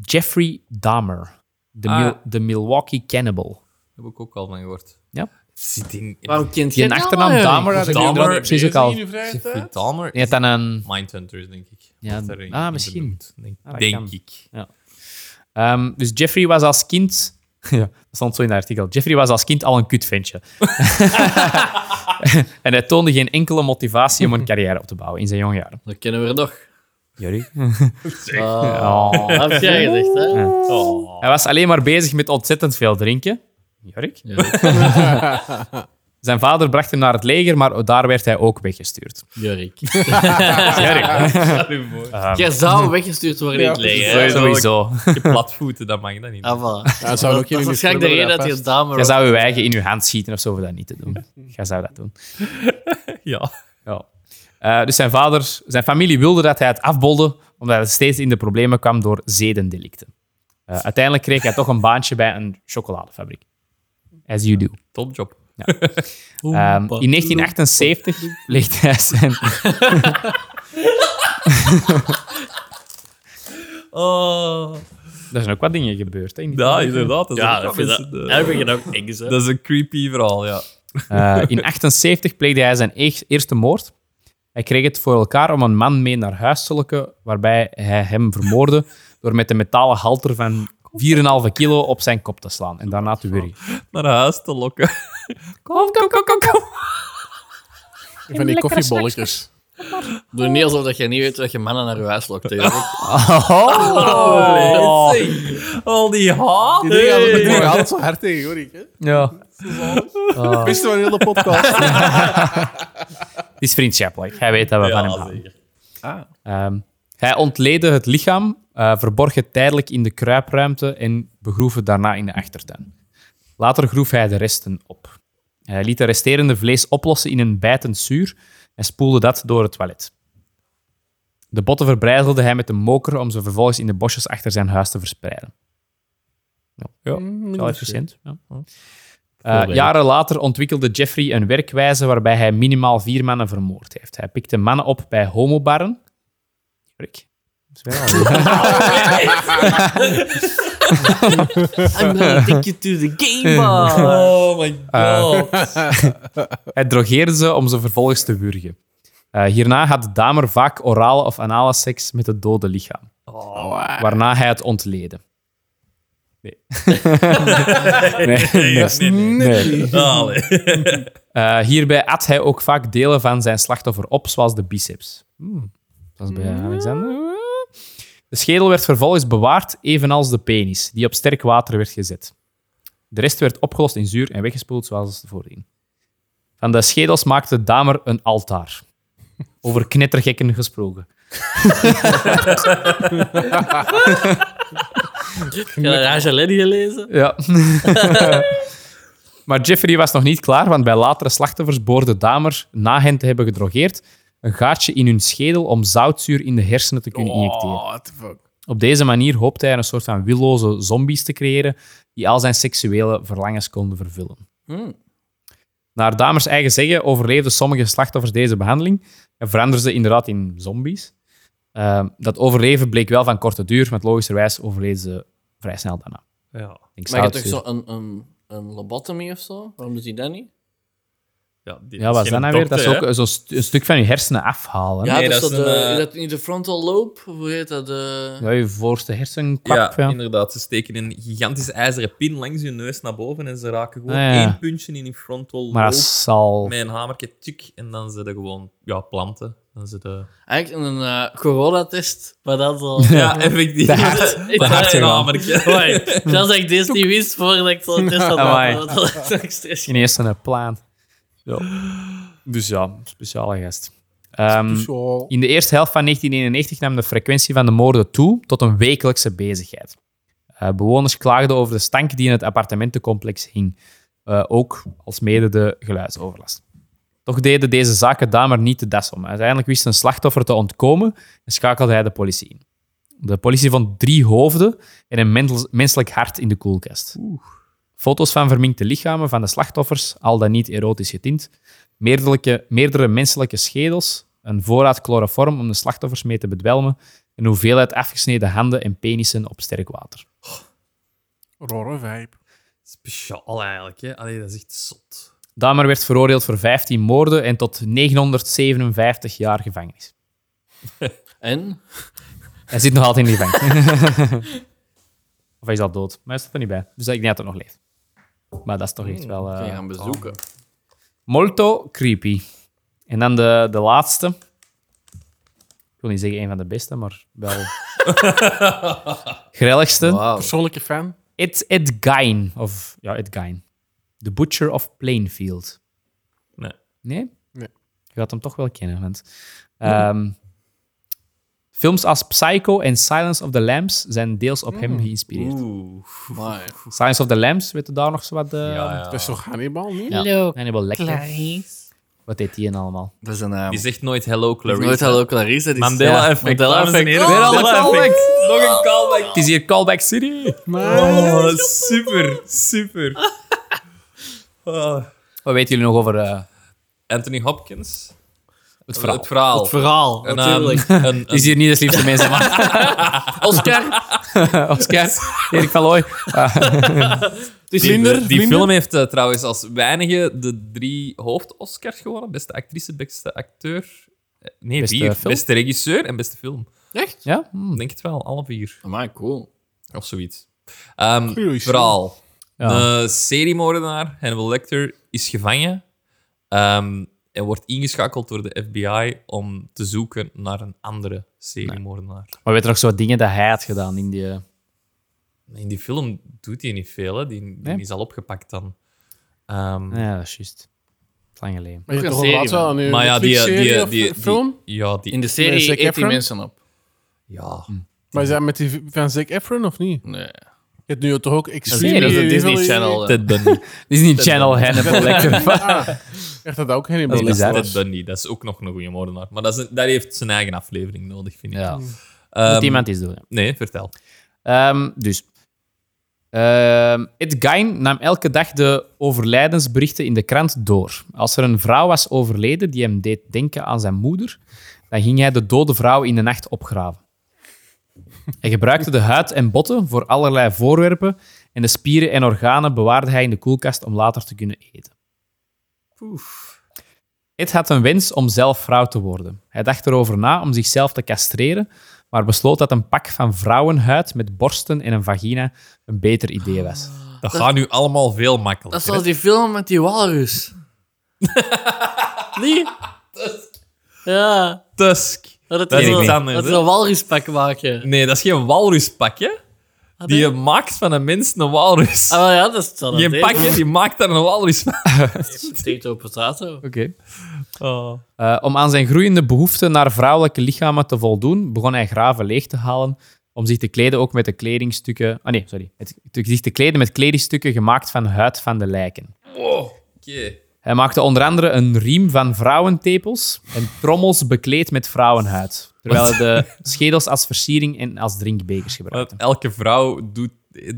Jeffrey Dahmer. De, Ah. Mil- de Milwaukee Cannibal. Heb ik ook al van gehoord. Ja. Zit in... Waarom kent je Die achternaam Dahmer had ik Dahmer, inderdaad precies ook al. In uw vrije Jeffrey tijd? Dahmer Je had dan een... Mindhunters, denk ik. Ja, Wordt daarin ah, misschien. genoemd, Denk, Ah, dat denk kan. ik. Ehm, dus Jeffrey was als kind. *laughs* Ja, dat stond zo in het artikel. Jeffrey was als kind al een *laughs* kutventje. *laughs* en hij toonde geen enkele motivatie om een carrière op te bouuen in zijn jonge jaren. Dat kennen we er nog. Jerry? Oh, dat heb jij gezegd, hè? Oh. Hij was alleen maar bezig met ontzettend veel drinken. Jorik? Jurk. *laughs* Zijn vader bracht hem naar het leger, maar daar werd hij ook weggestuurd. *laughs* Jurk. Jerry? *laughs* Jij zou weggestuurd worden in het Ja, leger. hè? sowieso. Sowieso. Je platvoeten, dat mag je dan niet. Ah, voilà. Ja, zou ook Dat is waarschijnlijk de reden dat hij dame Jij zou *laughs* je eigen in je hand schieten of zo, voor dat niet te doen. Jij zou dat doen. Ja. Ja. Eh, dus zijn vader, zijn familie wilde dat hij het afbolde, omdat hij steeds in de problemen kwam door zedendelicten. Eh, uiteindelijk kreeg hij toch een baantje bij een chocoladefabriek. As you do. Topjob. Ehm, in 1978 legt hij zijn... *laughs* Oh. Er zijn ook wat dingen gebeurd, hè? in die Ja, tijd. inderdaad. Dat is Ja, ook dat wel vind ik mensen, dat. eh, Daar ben je dan ook eng, hè? dat is een creepy verhaal, ja. Eh, in 78 pleegde hij zijn eeg- eerste moord. Hij kreeg het voor elkaar om een man mee naar huis te lokken, waarbij hij hem vermoordde door met een metalen halter van 4,5 kilo op zijn kop te slaan en daarna Oh. te wurgen. Naar huis te lokken. *laughs* Kom, kom, kom, kom, kom. Van die koffiebolletjes. Doe niet alsof dat jij niet weet dat je mannen naar je huis lokt. hè, *laughs* Jurk. Oh, Al die haat. Die dingen hadden hey. ik altijd zo hard tegen, hoor ik. hè. Ja. Ik wist van heel de podcast. Het is vriendschappelijk. Hij weet dat we van hem Ja, houden. zeker. Ehm, hij ontleedde het lichaam, eh, verborg het tijdelijk in de kruipruimte en begroef het daarna in de achtertuin. Later groef hij de resten op. Hij liet de resterende vlees oplossen in een bijtend zuur en spoelde dat door het toilet. De botten verbrijzelde hij met een moker om ze vervolgens in de bosjes achter zijn huis te verspreiden. Ja, ja wel efficiënt. Ja. Eh, jaren later ontwikkelde Jeffrey een werkwijze waarbij hij minimaal vier mannen vermoord heeft. Hij pikte mannen op bij homobarren. Rick. Dat is wel- I'm gonna take you to the game *laughs* bar. Oh my god. Hij drogeerde ze om ze vervolgens te wurgen. Eh, hierna had Damer vaak orale of anale seks met het dode lichaam, waarna hij het ontleedde. Oh. *laughs* Nee. nee, nee. Nee. Allee. *laughs* Eh, hierbij at hij ook vaak delen van zijn slachtoffer op, zoals de biceps. Zoals bij Alexander. De schedel werd vervolgens bewaard, evenals de penis, die op sterk water werd gezet. De rest werd opgelost in zuur en weggespoeld, zoals voordien. Van de schedels maakte Damer een altaar. Over knettergekken gesproken. Heb je dat Raja Lady gelezen? Ja. *laughs* maar Jeffrey was nog niet klaar, want bij latere slachtoffers boorde Damer, na hen te hebben gedrogeerd, een gaatje in hun schedel om zoutzuur in de hersenen te kunnen injecteren. Oh, what the fuck. Op deze manier hoopte hij een soort van willoze zombies te creëren die al zijn seksuele verlangens konden vervullen. Naar Damers eigen zeggen overleefden sommige slachtoffers deze behandeling en veranderden ze inderdaad in zombies. Ehm, dat overleven bleek wel van korte duur, want logischerwijs overleden ze vrij snel daarna. Ja. Ik Maar je hebt zou toch het zo een, een, een lobotomie of zo? Waarom doet hij dat niet? Ja, die Ja, wat is dat geen nou weer? Dat is dokter, ook zo'n st- een stuk van je hersenen afhalen. eh, Ja, dus Ja. Nee, dat dat, is is zo de, een, eh, is dat niet de frontal lobe? Of Hoe heet dat? eh? De... je voorste hè? hersenkwap. Ja, Ja, inderdaad. Ze steken een gigantische ijzeren pin langs hun neus naar boven en ze raken gewoon Ah, ja. één puntje in hun frontal Maar dat lobe zal... met een hamertje, tik, en dan zitten gewoon ja, planten. Dan zitten... Eigenlijk een eh, coronatest, maar dat zo... Ja, Ah. *laughs* effectief. De hart. *laughs* Ik- Dat hart een eh, hamertje. Amai. Zelfs dat ik deze niet wist voordat ik zo'n test had Amai. gehad, dat was ook stress. Geen eerste een plan. Ja. Dus ja, speciale gast. Ehm, Zo. in de eerste helft van 1991 nam de frequentie van de moorden toe tot een wekelijkse bezigheid. Eh, bewoners klaagden over de stank die in het appartementencomplex hing, eh, ook als mede de geluidsoverlast. Toch deden deze zaken Damer niet de das om. Uiteindelijk wist een slachtoffer te ontkomen en schakelde hij de politie in. De politie vond drie hoofden en een mendel- menselijk hart in de koelkast. Foto's van verminkte lichamen van de slachtoffers, al dan niet erotisch getint. Meerdere, meerdere menselijke schedels, een voorraad chloroform om de slachtoffers mee te bedwelmen en hoeveelheid afgesneden handen en penissen op sterk water. Rare vibe. Speciaal eigenlijk, hè? Allee, dat is echt zot. Dahmer werd veroordeeld voor 15 moorden en tot 957 jaar gevangenis. En? Hij zit nog altijd in de gevangenis. of hij is al dood, maar hij staat er niet bij. Dus ik denk dat hij nog leeft. Maar dat is toch echt wel... eh, Kun je gaan bezoeken. Molto creepy. En dan de, de laatste. Ik wil niet zeggen een van de beste, maar wel. Grilligste. Wauw. Persoonlijke fan. Ed, Ed Gein. Of, ja, Ed Gein. The Butcher of Plainfield. Nee. Nee? Nee. Je gaat hem toch wel kennen, want... ehm, films als Psycho en Silence of the Lambs zijn deels op hem geïnspireerd. Oeh. Amai. Silence of the Lambs, weet je daar nog zo wat? eh, Ja, ja. Dat is toch Hannibal, niet? Hallo, Hannibal Lecter. Wat deed die en allemaal? Dat is een naam. Die zegt nooit hello, Clarice. Nooit hallo Clarice. dat is- Mandela dus Ja, effect. Mandela dames en heren. effect. Oh, Mandela Mandela effect. effect. Oh. Nog een callback. Het is hier Callback City. Oh, super, super. Oh. Wat weten jullie nog over eh, Anthony Hopkins. het verhaal? Het verhaal. Het verhaal, Een, natuurlijk. ehm, *laughs* een- is hier niet de liefste mensen, *laughs* maar Oscar, Oscar, Erik van *laughs* Looy. Eh, *laughs* het is Die, Linder. die Linder. film heeft eh, trouwens als weinige de drie hoofd-Oscars gewonnen. Beste actrice, beste acteur. Eh, Nee, Beste vier. film? Beste regisseur en beste film. Echt? Hmm. Ja? Ik denk het wel, alle vier. Amai, cool. Of zoiets. Ehm, Goeie verhaal. Ja. Een seriemoordenaar, Hannibal Lecter, is gevangen. ehm, en wordt ingeschakeld door de FBI om te zoeken naar een andere seriemoordenaar. Maar weet je nog zo dingen dat hij had gedaan in die... eh, In die film doet hij niet veel. Hè. Die, die Nee. is al opgepakt dan. Ehm, Ja, dat is juist. Het is Lang geleden. Maar je Ook hebt een toch serie, laatst wel aan uw Maar ja, die, die, Netflix-serie die, of die- film? ja, die, In de Met serie Zac eet die Efron? mensen op. ja. Maar is dat met die van Zac Efron of niet? Nee. Je hebt nu toch ook Nee, Extreme... dat is een die- Disney die- Channel. hè. Ted *laughs* Bundy. Disney Channel Hannibal *laughs* Lecter. Ah, echt dat ook Hannibal Dat is Lecter bizar. was. Ted Bundy, dat is ook nog een goede moordenaar. Maar dat, is een- dat heeft zijn eigen aflevering nodig, vind ik. Ja. Ehm, Moet iemand iets doen. hè. Nee, vertel. Ehm, dus. Ehm, Ed Gein nam elke dag de overlijdensberichten in de krant door. Als er een vrouw was overleden die hem deed denken aan zijn moeder, dan ging hij de dode vrouw in de nacht opgraven. Hij gebruikte de huid en botten voor allerlei voorwerpen en de spieren en organen bewaarde hij in de koelkast om later te kunnen eten. Ed had een wens om zelf vrouw te worden. Hij dacht erover na om zichzelf te castreren, maar besloot dat een pak van vrouwenhuid met borsten en een vagina een beter idee was. Dat, gaat nu allemaal veel makkelijker. Dat is zoals die film met die walrus. Nee? Ja, hè. Tusk. dat, Dat is is wel- iets dat anders. is hè. een walruspak maken. Nee, dat is geen walruspakje. Ah, Die nee? maakt van een mens een walrus. Ah, wel ja, dat is hetzelfde. Geen pakje, die maakt daar een walrus van. Potato, potato. Oké. Oh. Eh, om aan zijn groeiende behoefte naar vrouwelijke lichamen te voldoen, begon hij graven leeg te halen om zich te kleden ook met de kledingstukken... Ah nee, sorry. Het, zich te kleden met kledingstukken gemaakt van huid van de lijken. Oké. Hij maakte onder andere een riem van vrouwentepels en trommels bekleed met vrouwenhuid. Terwijl hij de schedels als versiering en als drinkbekers gebruikte. Want elke vrouw doet...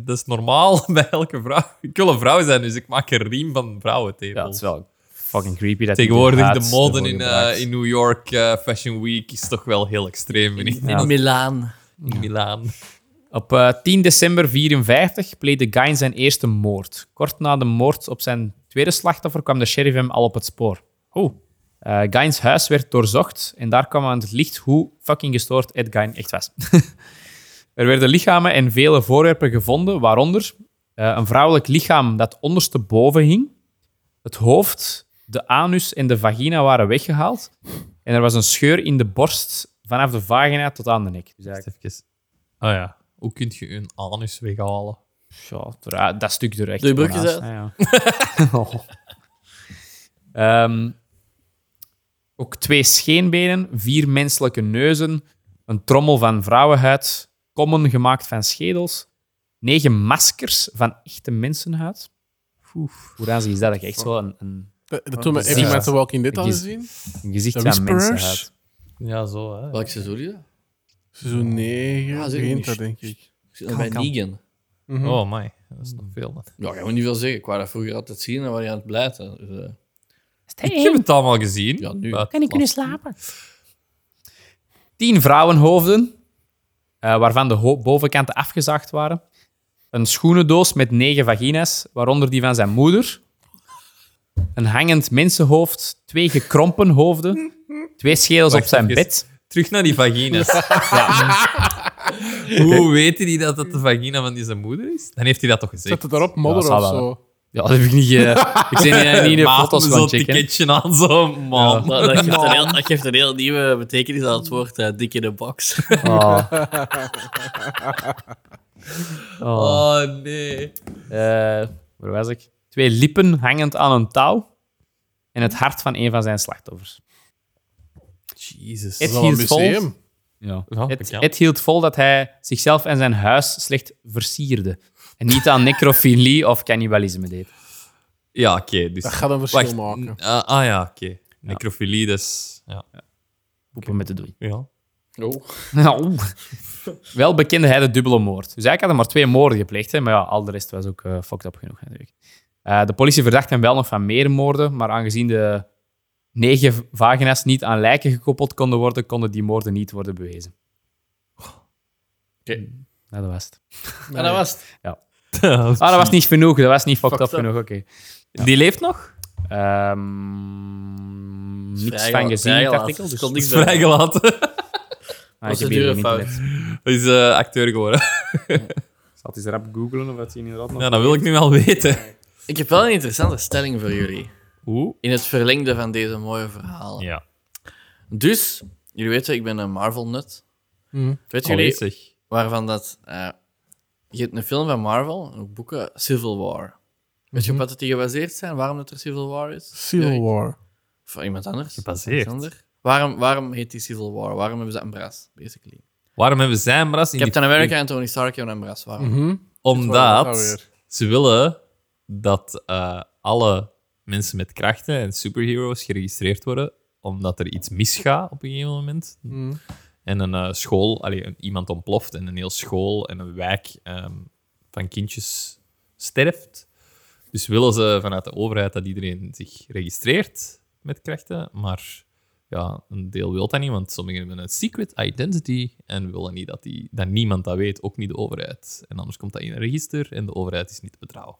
Dat is normaal *laughs* bij elke vrouw. Ik wil een vrouw zijn, dus ik maak een riem van Ja, vrouwentepels. het is wel fucking creepy. Dat hij die Tegenwoordig huid de mode ervoor in, eh, gebruikt. in New York eh, Fashion Week is toch wel heel extreem, vind ik. Ja. In Milaan. In Milaan. Op eh, 10 december 54 pleegde Gain zijn eerste moord. Kort na de moord op zijn tweede slachtoffer kwam de sheriff hem al op het spoor. Oh. Gains huis werd doorzocht en daar kwam aan het licht hoe fucking gestoord Ed Gain echt was. *laughs* er werden lichamen en vele voorwerpen gevonden, waaronder eh, een vrouwelijk lichaam dat ondersteboven hing. Het hoofd, de anus en de vagina waren weggehaald. En er was een scheur in de borst vanaf de vagina tot aan de nek. Dus eigenlijk- Even. Oh ja. Hoe kun je een anus weghalen? Ja, er- dat stuk er echt Doe je broekjes gewoon naast. *laughs* Ja, *laughs* ja. Ehm, ook twee scheenbenen, vier menselijke neuzen, een trommel van vrouwenhuid, kommen gemaakt van schedels, negen maskers van echte mensenhuid. Hoe ranzig is dat? Dat je echt zo een, een, Dat, dat toen we Ja. even met The Walking Dead Ik hadden is- gezien. een gezicht De van Whisperers. mensenhuid. Ja, zo hè. Welk seizoen is dat? Seizoen 9 Ah, zeker begint niet. dat, denk ik. Ik zit nog bij kan. Negan. Mhm. Oh, my. Dat is nog veel. dan. Ja, ik kan me niet veel zeggen. Ik wou dat vroeger altijd zien en waar je aan het blijven. Dus, eh, Ik heb het allemaal gezien. ja, nu. Maar- Kan ik nu slapen. Tien vrouwenhoofden, eh, waarvan de ho- bovenkanten afgezaagd waren. Een schoenendoos met negen vagina's, waaronder die van zijn moeder. Een hangend mensenhoofd, twee gekrompen hoofden, twee schedels op Wacht zijn even. bed. Terug naar die vagina's. *laughs* Hoe weet hij dat dat de vagina van die zijn moeder is? Dan heeft hij dat toch gezegd. Zet het daarop, modder Ja, dat of zal wel. zo. Ja, dat heb ik niet... eh, ik ben niet, niet in de Maat, foto's met van Zo'n checken. ticketje aan, zo. Man. Maar dat, *laughs* geeft een heel, dat geeft een heel nieuwe betekenis aan het woord eh, dik in de box. Oh. Oh. Oh, nee. Eh, waar was ik? Twee lippen hangend aan een touw. En het hart van een van zijn slachtoffers. Jezus. Het Dat is wel een hield vol. museum. Ja. Ja, het, dat kan. het hield vol dat hij zichzelf en zijn huis slecht versierde. En niet aan necrofilie of cannibalisme deed. Ja, oké. dus... Dat gaat een Wacht. verschil maken. n- ah, ah, ja, oké. Necrofilie, dus... Ja. Poepen met de doei. *laughs* ja. Oh. Nou, Wel bekende hij de dubbele moord. Dus eigenlijk had hij maar twee moorden gepleegd. Hè? Maar ja, al de rest was ook eh, fucked up genoeg natuurlijk. Eh, de politie verdacht hem wel nog van meer moorden. Maar aangezien de negen v- vagina's niet aan lijken gekoppeld konden worden, konden die moorden niet worden bewezen. Oké. Nou, dat was het. En dat was het. Ah, dat was niet genoeg. Dat was niet fucked, Fucked up, up. genoeg. Oké. Die leeft nog? Ehm, niks Vrij van gelaten, gezien vrij in het gelaten. artikel. Dus... Het kon Is niks doen. vrijgelaten. *laughs* Ah, ik heb hier Procedure geen fout. internet. Hij is eh, acteur geworden. Ik Zal het eens rap googlen of dat hij inderdaad nog... Ja, dat wil ik nu wel weten. Ik heb wel een interessante stelling voor jullie. Hoe? In het verlengde van deze mooie verhalen. Ja. Dus, jullie weten, ik ben een Marvel-nut. Mhm. Weet jullie Allee, zeg. waarvan dat... eh, je hebt een film van Marvel, en ook boeken, Civil War. Weet je Mhm. op wat het die gebaseerd zijn? Waarom dat er Civil War is? Civil Dirk? War. Of iemand anders? Gebaseerd. Alexander? Waarom, waarom heet die Civil War? Waarom hebben ze een bras, basically? Waarom hebben zij een bras in die Mhm. Captain America en Tony Stark hebben een bras. Waarom? Waar was dat Omdat weer? ze willen dat eh, alle mensen met krachten en superheroes geregistreerd worden, omdat er iets misgaat op een gegeven moment. Hmm. En een eh, school, allee, een- iemand ontploft en een heel school en een wijk ehm, van kindjes sterft. Dus willen ze vanuit de overheid dat iedereen zich registreert met krachten, maar ja, een deel wil dat niet, want sommigen hebben een secret identity en willen niet dat, die, dat niemand dat weet, ook niet de overheid. En anders komt dat in een register en de overheid is niet te betrouwen.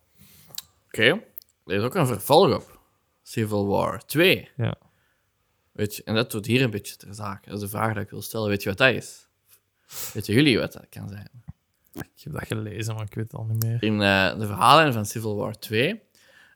Oké. Er is ook een vervolg op. Civil War 2. Ja. Weet je, en dat doet hier een beetje ter zake. Dat is de vraag die ik wil stellen. Weet je wat dat is? Weten jullie wat dat kan zijn? Ik heb dat gelezen, maar ik weet het al niet meer. In eh, de verhalen van Civil War 2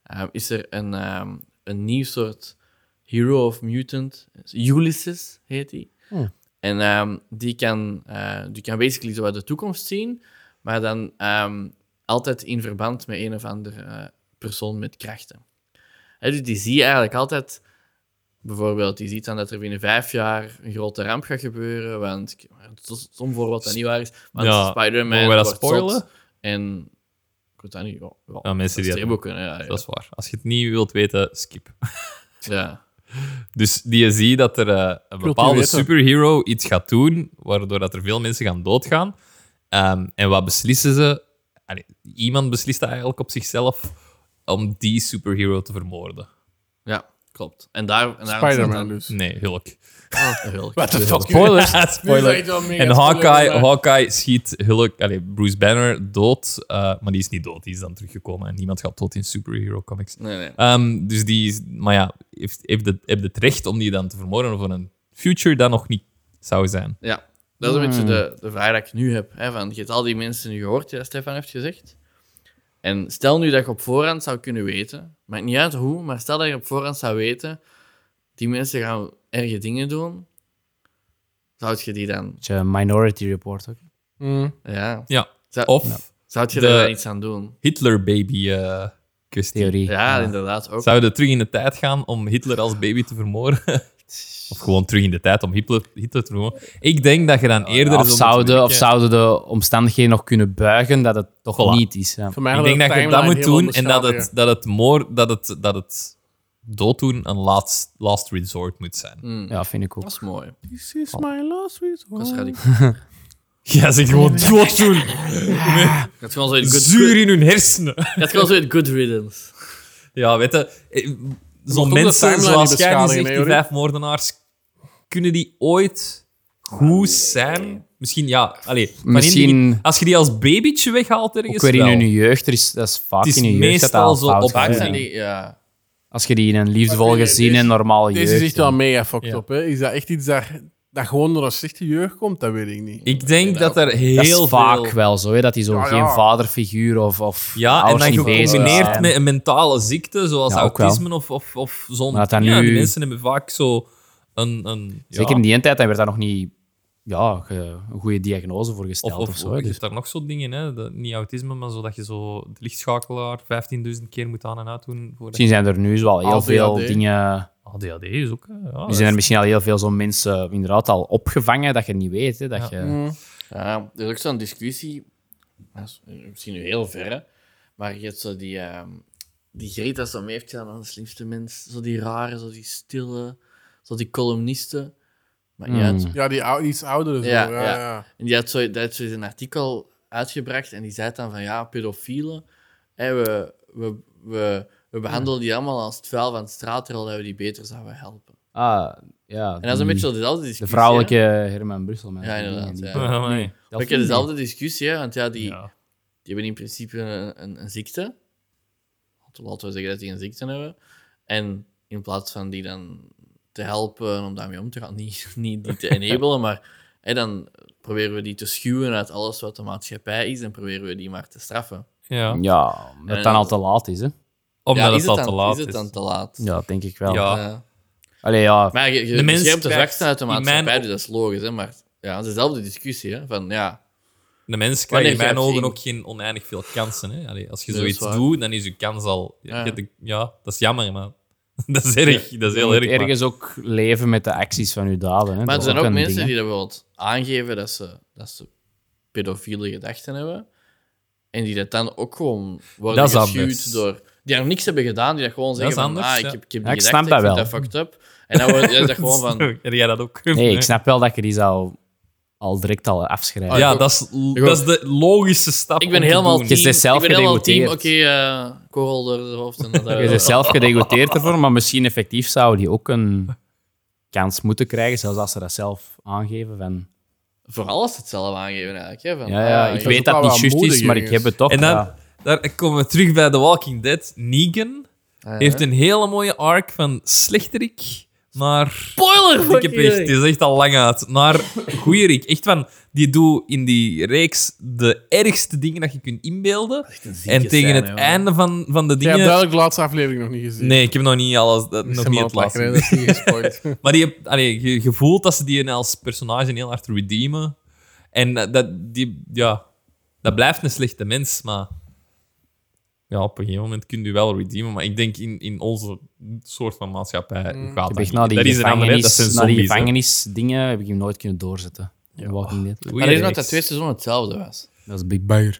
ehm, is er een, ehm, een nieuw soort hero of mutant. Ulysses heet die. Oh. En ehm, die, kan, eh, die kan basically zo uit de toekomst zien, maar dan ehm, altijd in verband met een of andere eh, persoon met krachten. Hè, dus die zie je eigenlijk altijd. Bijvoorbeeld, die ziet dan dat er binnen vijf jaar een grote ramp gaat gebeuren, want soms voor wat dat niet waar is. Want Ja, Spider-Man mogen we dat wordt spoilen? zot En ik weet dat niet. Ja, ja, Ja, mensen die dat dat- boeken. Ja, ja. Dat is waar. Als je het niet wilt weten, skip. ja. Dus die zie dat er eh, een niet bepaalde weten. superhero iets gaat doen, waardoor dat er veel mensen gaan doodgaan. Ehm, en wat beslissen ze? Allee, iemand beslist dat eigenlijk op zichzelf om die superhero te vermoorden. ja, klopt. En daar, en daar Spider-Man dus. Nee, Hulk. Wat de fuck? Spoilers. Nu weet je wel meer En het Hawkeye, Ah, spoiler, maar- Hawkeye schiet Hulk, allee, Bruce Banner dood, eh, maar die is niet dood. Die is dan teruggekomen en niemand gaat dood in superhero comics. Nee, nee. Ehm, dus die is, maar ja, heeft, heeft, het, heeft het recht om die dan te vermoorden of een future dat nog niet zou zijn. Ja, dat is een beetje Hmm. de, de vraag die ik nu heb. Hè, van, je hebt al die mensen nu gehoord die dat Stefan heeft gezegd. En stel nu dat je op voorhand zou kunnen weten, maakt niet uit hoe, maar stel dat je op voorhand zou weten, die mensen gaan erge dingen doen, zou je die dan... Beetje Minority Report ook. Mhm. Ja. Ja. Zou, Of zou je de- daar dan iets aan doen? eh, Hitler-baby-kwestie. Theorie. Ja, inderdaad ook. Zouden we terug in de tijd gaan om Hitler als baby te vermoorden? *laughs* of gewoon terug in de tijd om Hitler, Hitler te vermoorden? Ik denk dat je dan eerder... Of zult zouden, of moeten werken. zouden de omstandigheden nog kunnen buigen dat het toch Voilà. niet is? Ja. Voor mij Ik hadden denk dat de je dat timeline moet heel doen en dat anders het, dat het moord... Dat het, dat het dooddoen een last, last resort moet zijn. Ja, vind ik ook. Dat is mooi. This is my last resort. Dat is radicaal. Ja, ze gewoon dooddoen. Dat is gewoon zo'n good, Zuur in hun hersenen. dat is gewoon zo'n good riddance. Ja, weet je, eh, zo'n ook de mensen timeline zoals niet jij die beschadigen, zegt, hè, die Jorik? vijf moordenaars, kunnen die ooit goed zijn? Misschien, ja, allee, van in die- Ah, Misschien- als je die als babytje weghaalt ergens Ook weer in wel. hun jeugd, er is, dat is vaak Het is in hun jeugd dat meestal dat al zo fout op Ja. gaat. Vaak actie. zijn Ah, die, ja. Als je die in een liefdevol Maar gezin dus deze- en normaal jeugd... Deze is echt wel mega fucked Ja. up. Hè. Is dat echt iets dat, dat gewoon door een slechte jeugd komt? Dat weet ik niet. Ik denk dat er heel dat is vaak veel... wel zo, hè, dat die zo Ja, geen ja. vaderfiguur of, of Ja, en ouders dan niet bezig gecombineerd zijn. met een mentale ziekte, zoals Ja, ook wel. autisme of, of, of zo'n... Maar dat dan Ja, nu- die mensen hebben vaak zo een... een ja, Zeker in die tijd dan werd daar nog niet ja, ge- een goede diagnose voor gesteld Of, of, of, zo. of hè, je dus- hebt daar nog zo'n dingen, hè? dat- niet autisme, maar zo dat je zo de lichtschakelaar 15.000 keer moet aan en uit doen. Voor Misschien zijn er nu zo al heel ADHD. veel dingen... ADHD is ook. hè, Ja, Nu zijn er misschien al heel veel zo'n mensen inderdaad al opgevangen dat je niet weet. Hè, dat Ja. je... ja. Er is ook zo'n discussie, dat is misschien nu heel ver, hè, maar je hebt zo die, ehm die Greta zo mee heeft gedaan aan de slimste mens. Zo die rare, zo die stille, zo die columnisten. Maar ja, Hmm. het- Ja, die ou- iets ouderen. Zo. Ja, Ja, ja. ja. En die had zo, die had zo eens een artikel uitgebracht en die zei dan van ja, pedofielen, hè, we, we, we, we behandelen die allemaal als het vuil van de straat, terwijl dat we die beter zouden helpen. Ah, ja. En dat is een beetje dezelfde discussie. De hè. vrouwelijke Hmm. Herman Brussel. met Ja, die dingen, inderdaad, die- ja. Amai. Dat Ook vind ik. dezelfde discussie, hè, want ja, die, Ja. die hebben in principe een, een, een ziekte. Laten we- Laten we zeggen dat die een ziekte hebben. En in plaats van die dan te helpen om daarmee om te gaan, *laughs* niet, niet die *laughs* te enabelen, maar hè, dan proberen we die te schuwen uit alles wat de maatschappij is en proberen we die maar te straffen. Ja. Ja, dat het dan al te laat is, hè? Omdat ja, is het al te dan- laat is. is. het dan te laat? Ja, denk ik wel. Ja. Ja. Allee, ja. Maar je, je De mens beschermt de krijgt zwakste uit de in mijn maatschappij, op- dus dat is logisch. Hè? Maar ja, het is dezelfde discussie. Hè? Van, ja, De mensen krijgen in Wanneer mijn je het ogen ziet. ook geen oneindig veel kansen. Hè? Allee, als je Nee, dat zoiets is waar. doet, dan is je kans al. Ja. Ja, ja, dat is jammer, maar *laughs* dat is erg. dat is Je heel moet erg. maar- ergens ook leven met de acties van je daden. Hè? Maar er Dat zijn is ook een mensen ding, hè. die dat bijvoorbeeld aangeven dat ze, dat ze pedofiele gedachten hebben. En die dat dan ook gewoon worden Dat is geschuwd anders. door... Die nog niks hebben gedaan, die dat gewoon zeggen is van, anders, ah, ja. ik heb, ik heb Ja, die ik gedachten, snap ik dat vind dat fucked up. En dan wordt is dat gewoon van... *laughs* Zo, *laughs* Heb jij dat ook? *laughs* Nee, ik snap wel dat je die zou al direct al afschrijven. Oh, Ja, Ik ook. dat is, Ik ook. dat is de logische stap. Ik ben om te helemaal doen. Je team... is zelf ik ben helemaal team, gedegoteerd. oké, eh, korrel door de hoofd. En dat, *laughs* eh, Je bent zelf gedegoteerd ervoor, maar misschien effectief zou die ook een kans moeten krijgen, zelfs als ze dat zelf aangeven. Van, Voor alles hetzelfde aangeven eigenlijk. Hè, van, ja, ja, ah, ik dat weet is ook dat wel het niet wat juist is, maar ik moediging heb het toch. En dan, ja. daar komen we terug bij The Walking Dead. Negan Ah, ja. heeft een hele mooie arc van slechterik naar... Spoiler! Ik heb echt, het is echt al lang uit. Naar goeierik. Echt van, die doet in die reeks de ergste dingen dat je kunt inbeelden. En tegen het einde van, van de Jij hebt dingen... duidelijk de laatste aflevering nog niet gezien. Nee, ik heb nog niet alles, dat, nog niet het laatste. Dat is niet *laughs* gespoild. Maar die, heb- allee, je, je voelt dat ze die als personage heel hard redeemen. En dat, dat- die, ja, dat blijft een slechte mens, maar... Ja, op een gegeven moment kun je wel redeemen, maar ik denk in, in onze soort van maatschappij gaat Mm. Ik dat heb echt niet. na die dat is een andere, hè. dat zijn gevangenis- na die zombies. hè. gevangenisdingen heb ik hem nooit kunnen doorzetten. Ja. Walking Dead. Goeie Maar is reeks. omdat dat tweede seizoen hetzelfde was. Dat is Big Bear.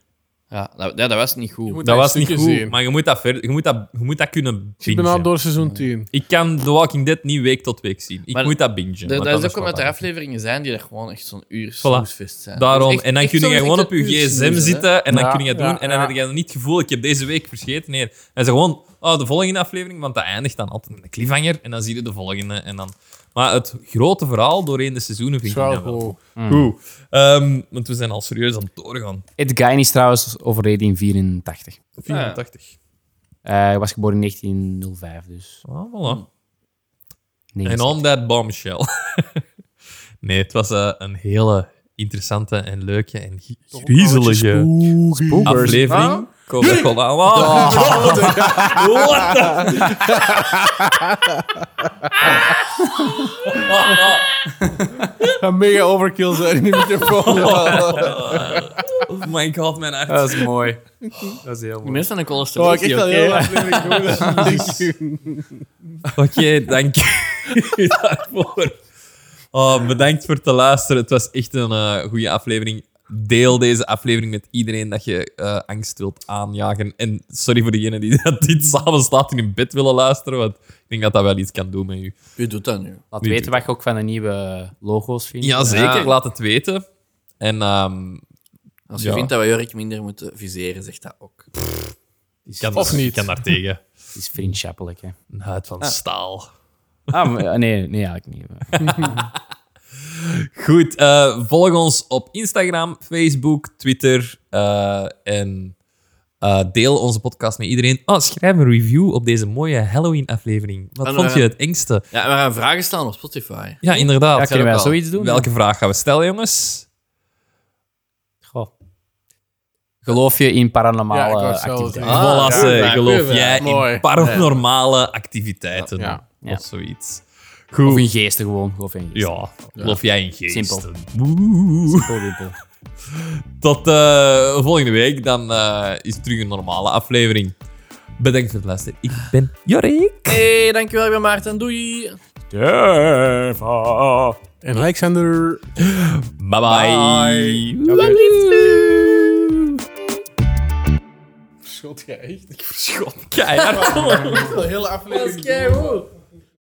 Ja, dat, ja, dat was niet goed. moet Dat een was niet stukje goed, zien. maar je moet dat, ver, je moet dat, je moet dat kunnen Ik ben al bingen. door seizoen 10. Ik kan The Walking Dead niet week tot week zien. Ik Maar moet dat bingen. Dat, want dat is anders ook omdat gaat er dat afleveringen zijn die er gewoon echt zo'n uur snoesfest zijn. niet. Daarom, Dat is echt- en dan echt kun je zo'n gewoon op echte je uur gsm snoezen, hè. zitten en dan Ja, kun je dat doen. ja, en dan ja. heb je dan niet het gevoel, ik heb deze week vergeten. Nee, dan is gewoon oh, de volgende aflevering, want dat eindigt dan altijd met een cliffhanger. En dan zie je de volgende. En dan... Maar het grote verhaal doorheen de seizoenen Dat is vind ik wel dat wel. goed. Goed. Ehm, want we zijn al serieus aan het doorgaan. Ed Gein is trouwens overleden in 84. 84. Eh, Hij was geboren in 1905, dus... Ah, voilà. En 69. on that bombshell. *laughs* nee, het was eh, een hele interessante en leuke en gi- griezelige aflevering. Kom, dat kon allemaal. What *laughs* the- Een mega overkill zijn in de microfoon. Oh my god, mijn hart. Dat is mooi. Dat is Die heel mooi. mensen zijn een cholesterol. Oh, ik echt al *laughs* heel aflevering doen. Dat is niet goed. Oké, dank *laughs* u daarvoor. Oh, bedankt voor het luisteren. Het was echt een eh goede aflevering. Deel deze aflevering met iedereen dat je eh, angst wilt aanjagen. En sorry voor degenen die *laughs* dat dit s'avonds laat in hun bed willen luisteren, want ik denk dat dat wel iets kan doen met u. Wie doet dat nu? Laat Niet weten wat je ook van de nieuwe logo's vindt. Jazeker, laat het weten. En ehm, Als je Ja. vindt dat we Jurk minder moeten viseren, zegt dat ook. is, kan, Of niet. kan daar tegen. het is vriendschappelijk, hè. Een huid van staal. Ah, maar- nee, nee, eigenlijk niet. Goed, eh, volg ons op Instagram, Facebook, Twitter eh, en eh, deel onze podcast met iedereen. Oh, schrijf een review op deze mooie Halloween-aflevering. Wat En, vond je eh, het engste? Ja, we gaan vragen staan op Spotify. Ja, inderdaad. Ja, kunnen wij Ook wel. zoiets doen? Welke vraag gaan we stellen, jongens? Goh. Geloof je in Ja, ik paranormale wou het zelf activiteiten? zeggen. Ah, Voilà, ja, ze, ja, geloof ja, jij mooi. in paranormale activiteiten? Ja. Ja. Of zoiets. Of Goed. in geesten gewoon. Geloof je in geesten. Ja, geloof jij in geesten? Simpel. Woehoe. Simpel, simpel. Tot eh, volgende week. Dan eh, is het terug een normale aflevering. Bedankt voor het luisteren. Ik ben Jorik. hey, dankjewel, ik ben Maarten. Doei! En Alexander... Bye bye. Schot jij echt? Ik Keihard. heb de hele aflevering... Let's go!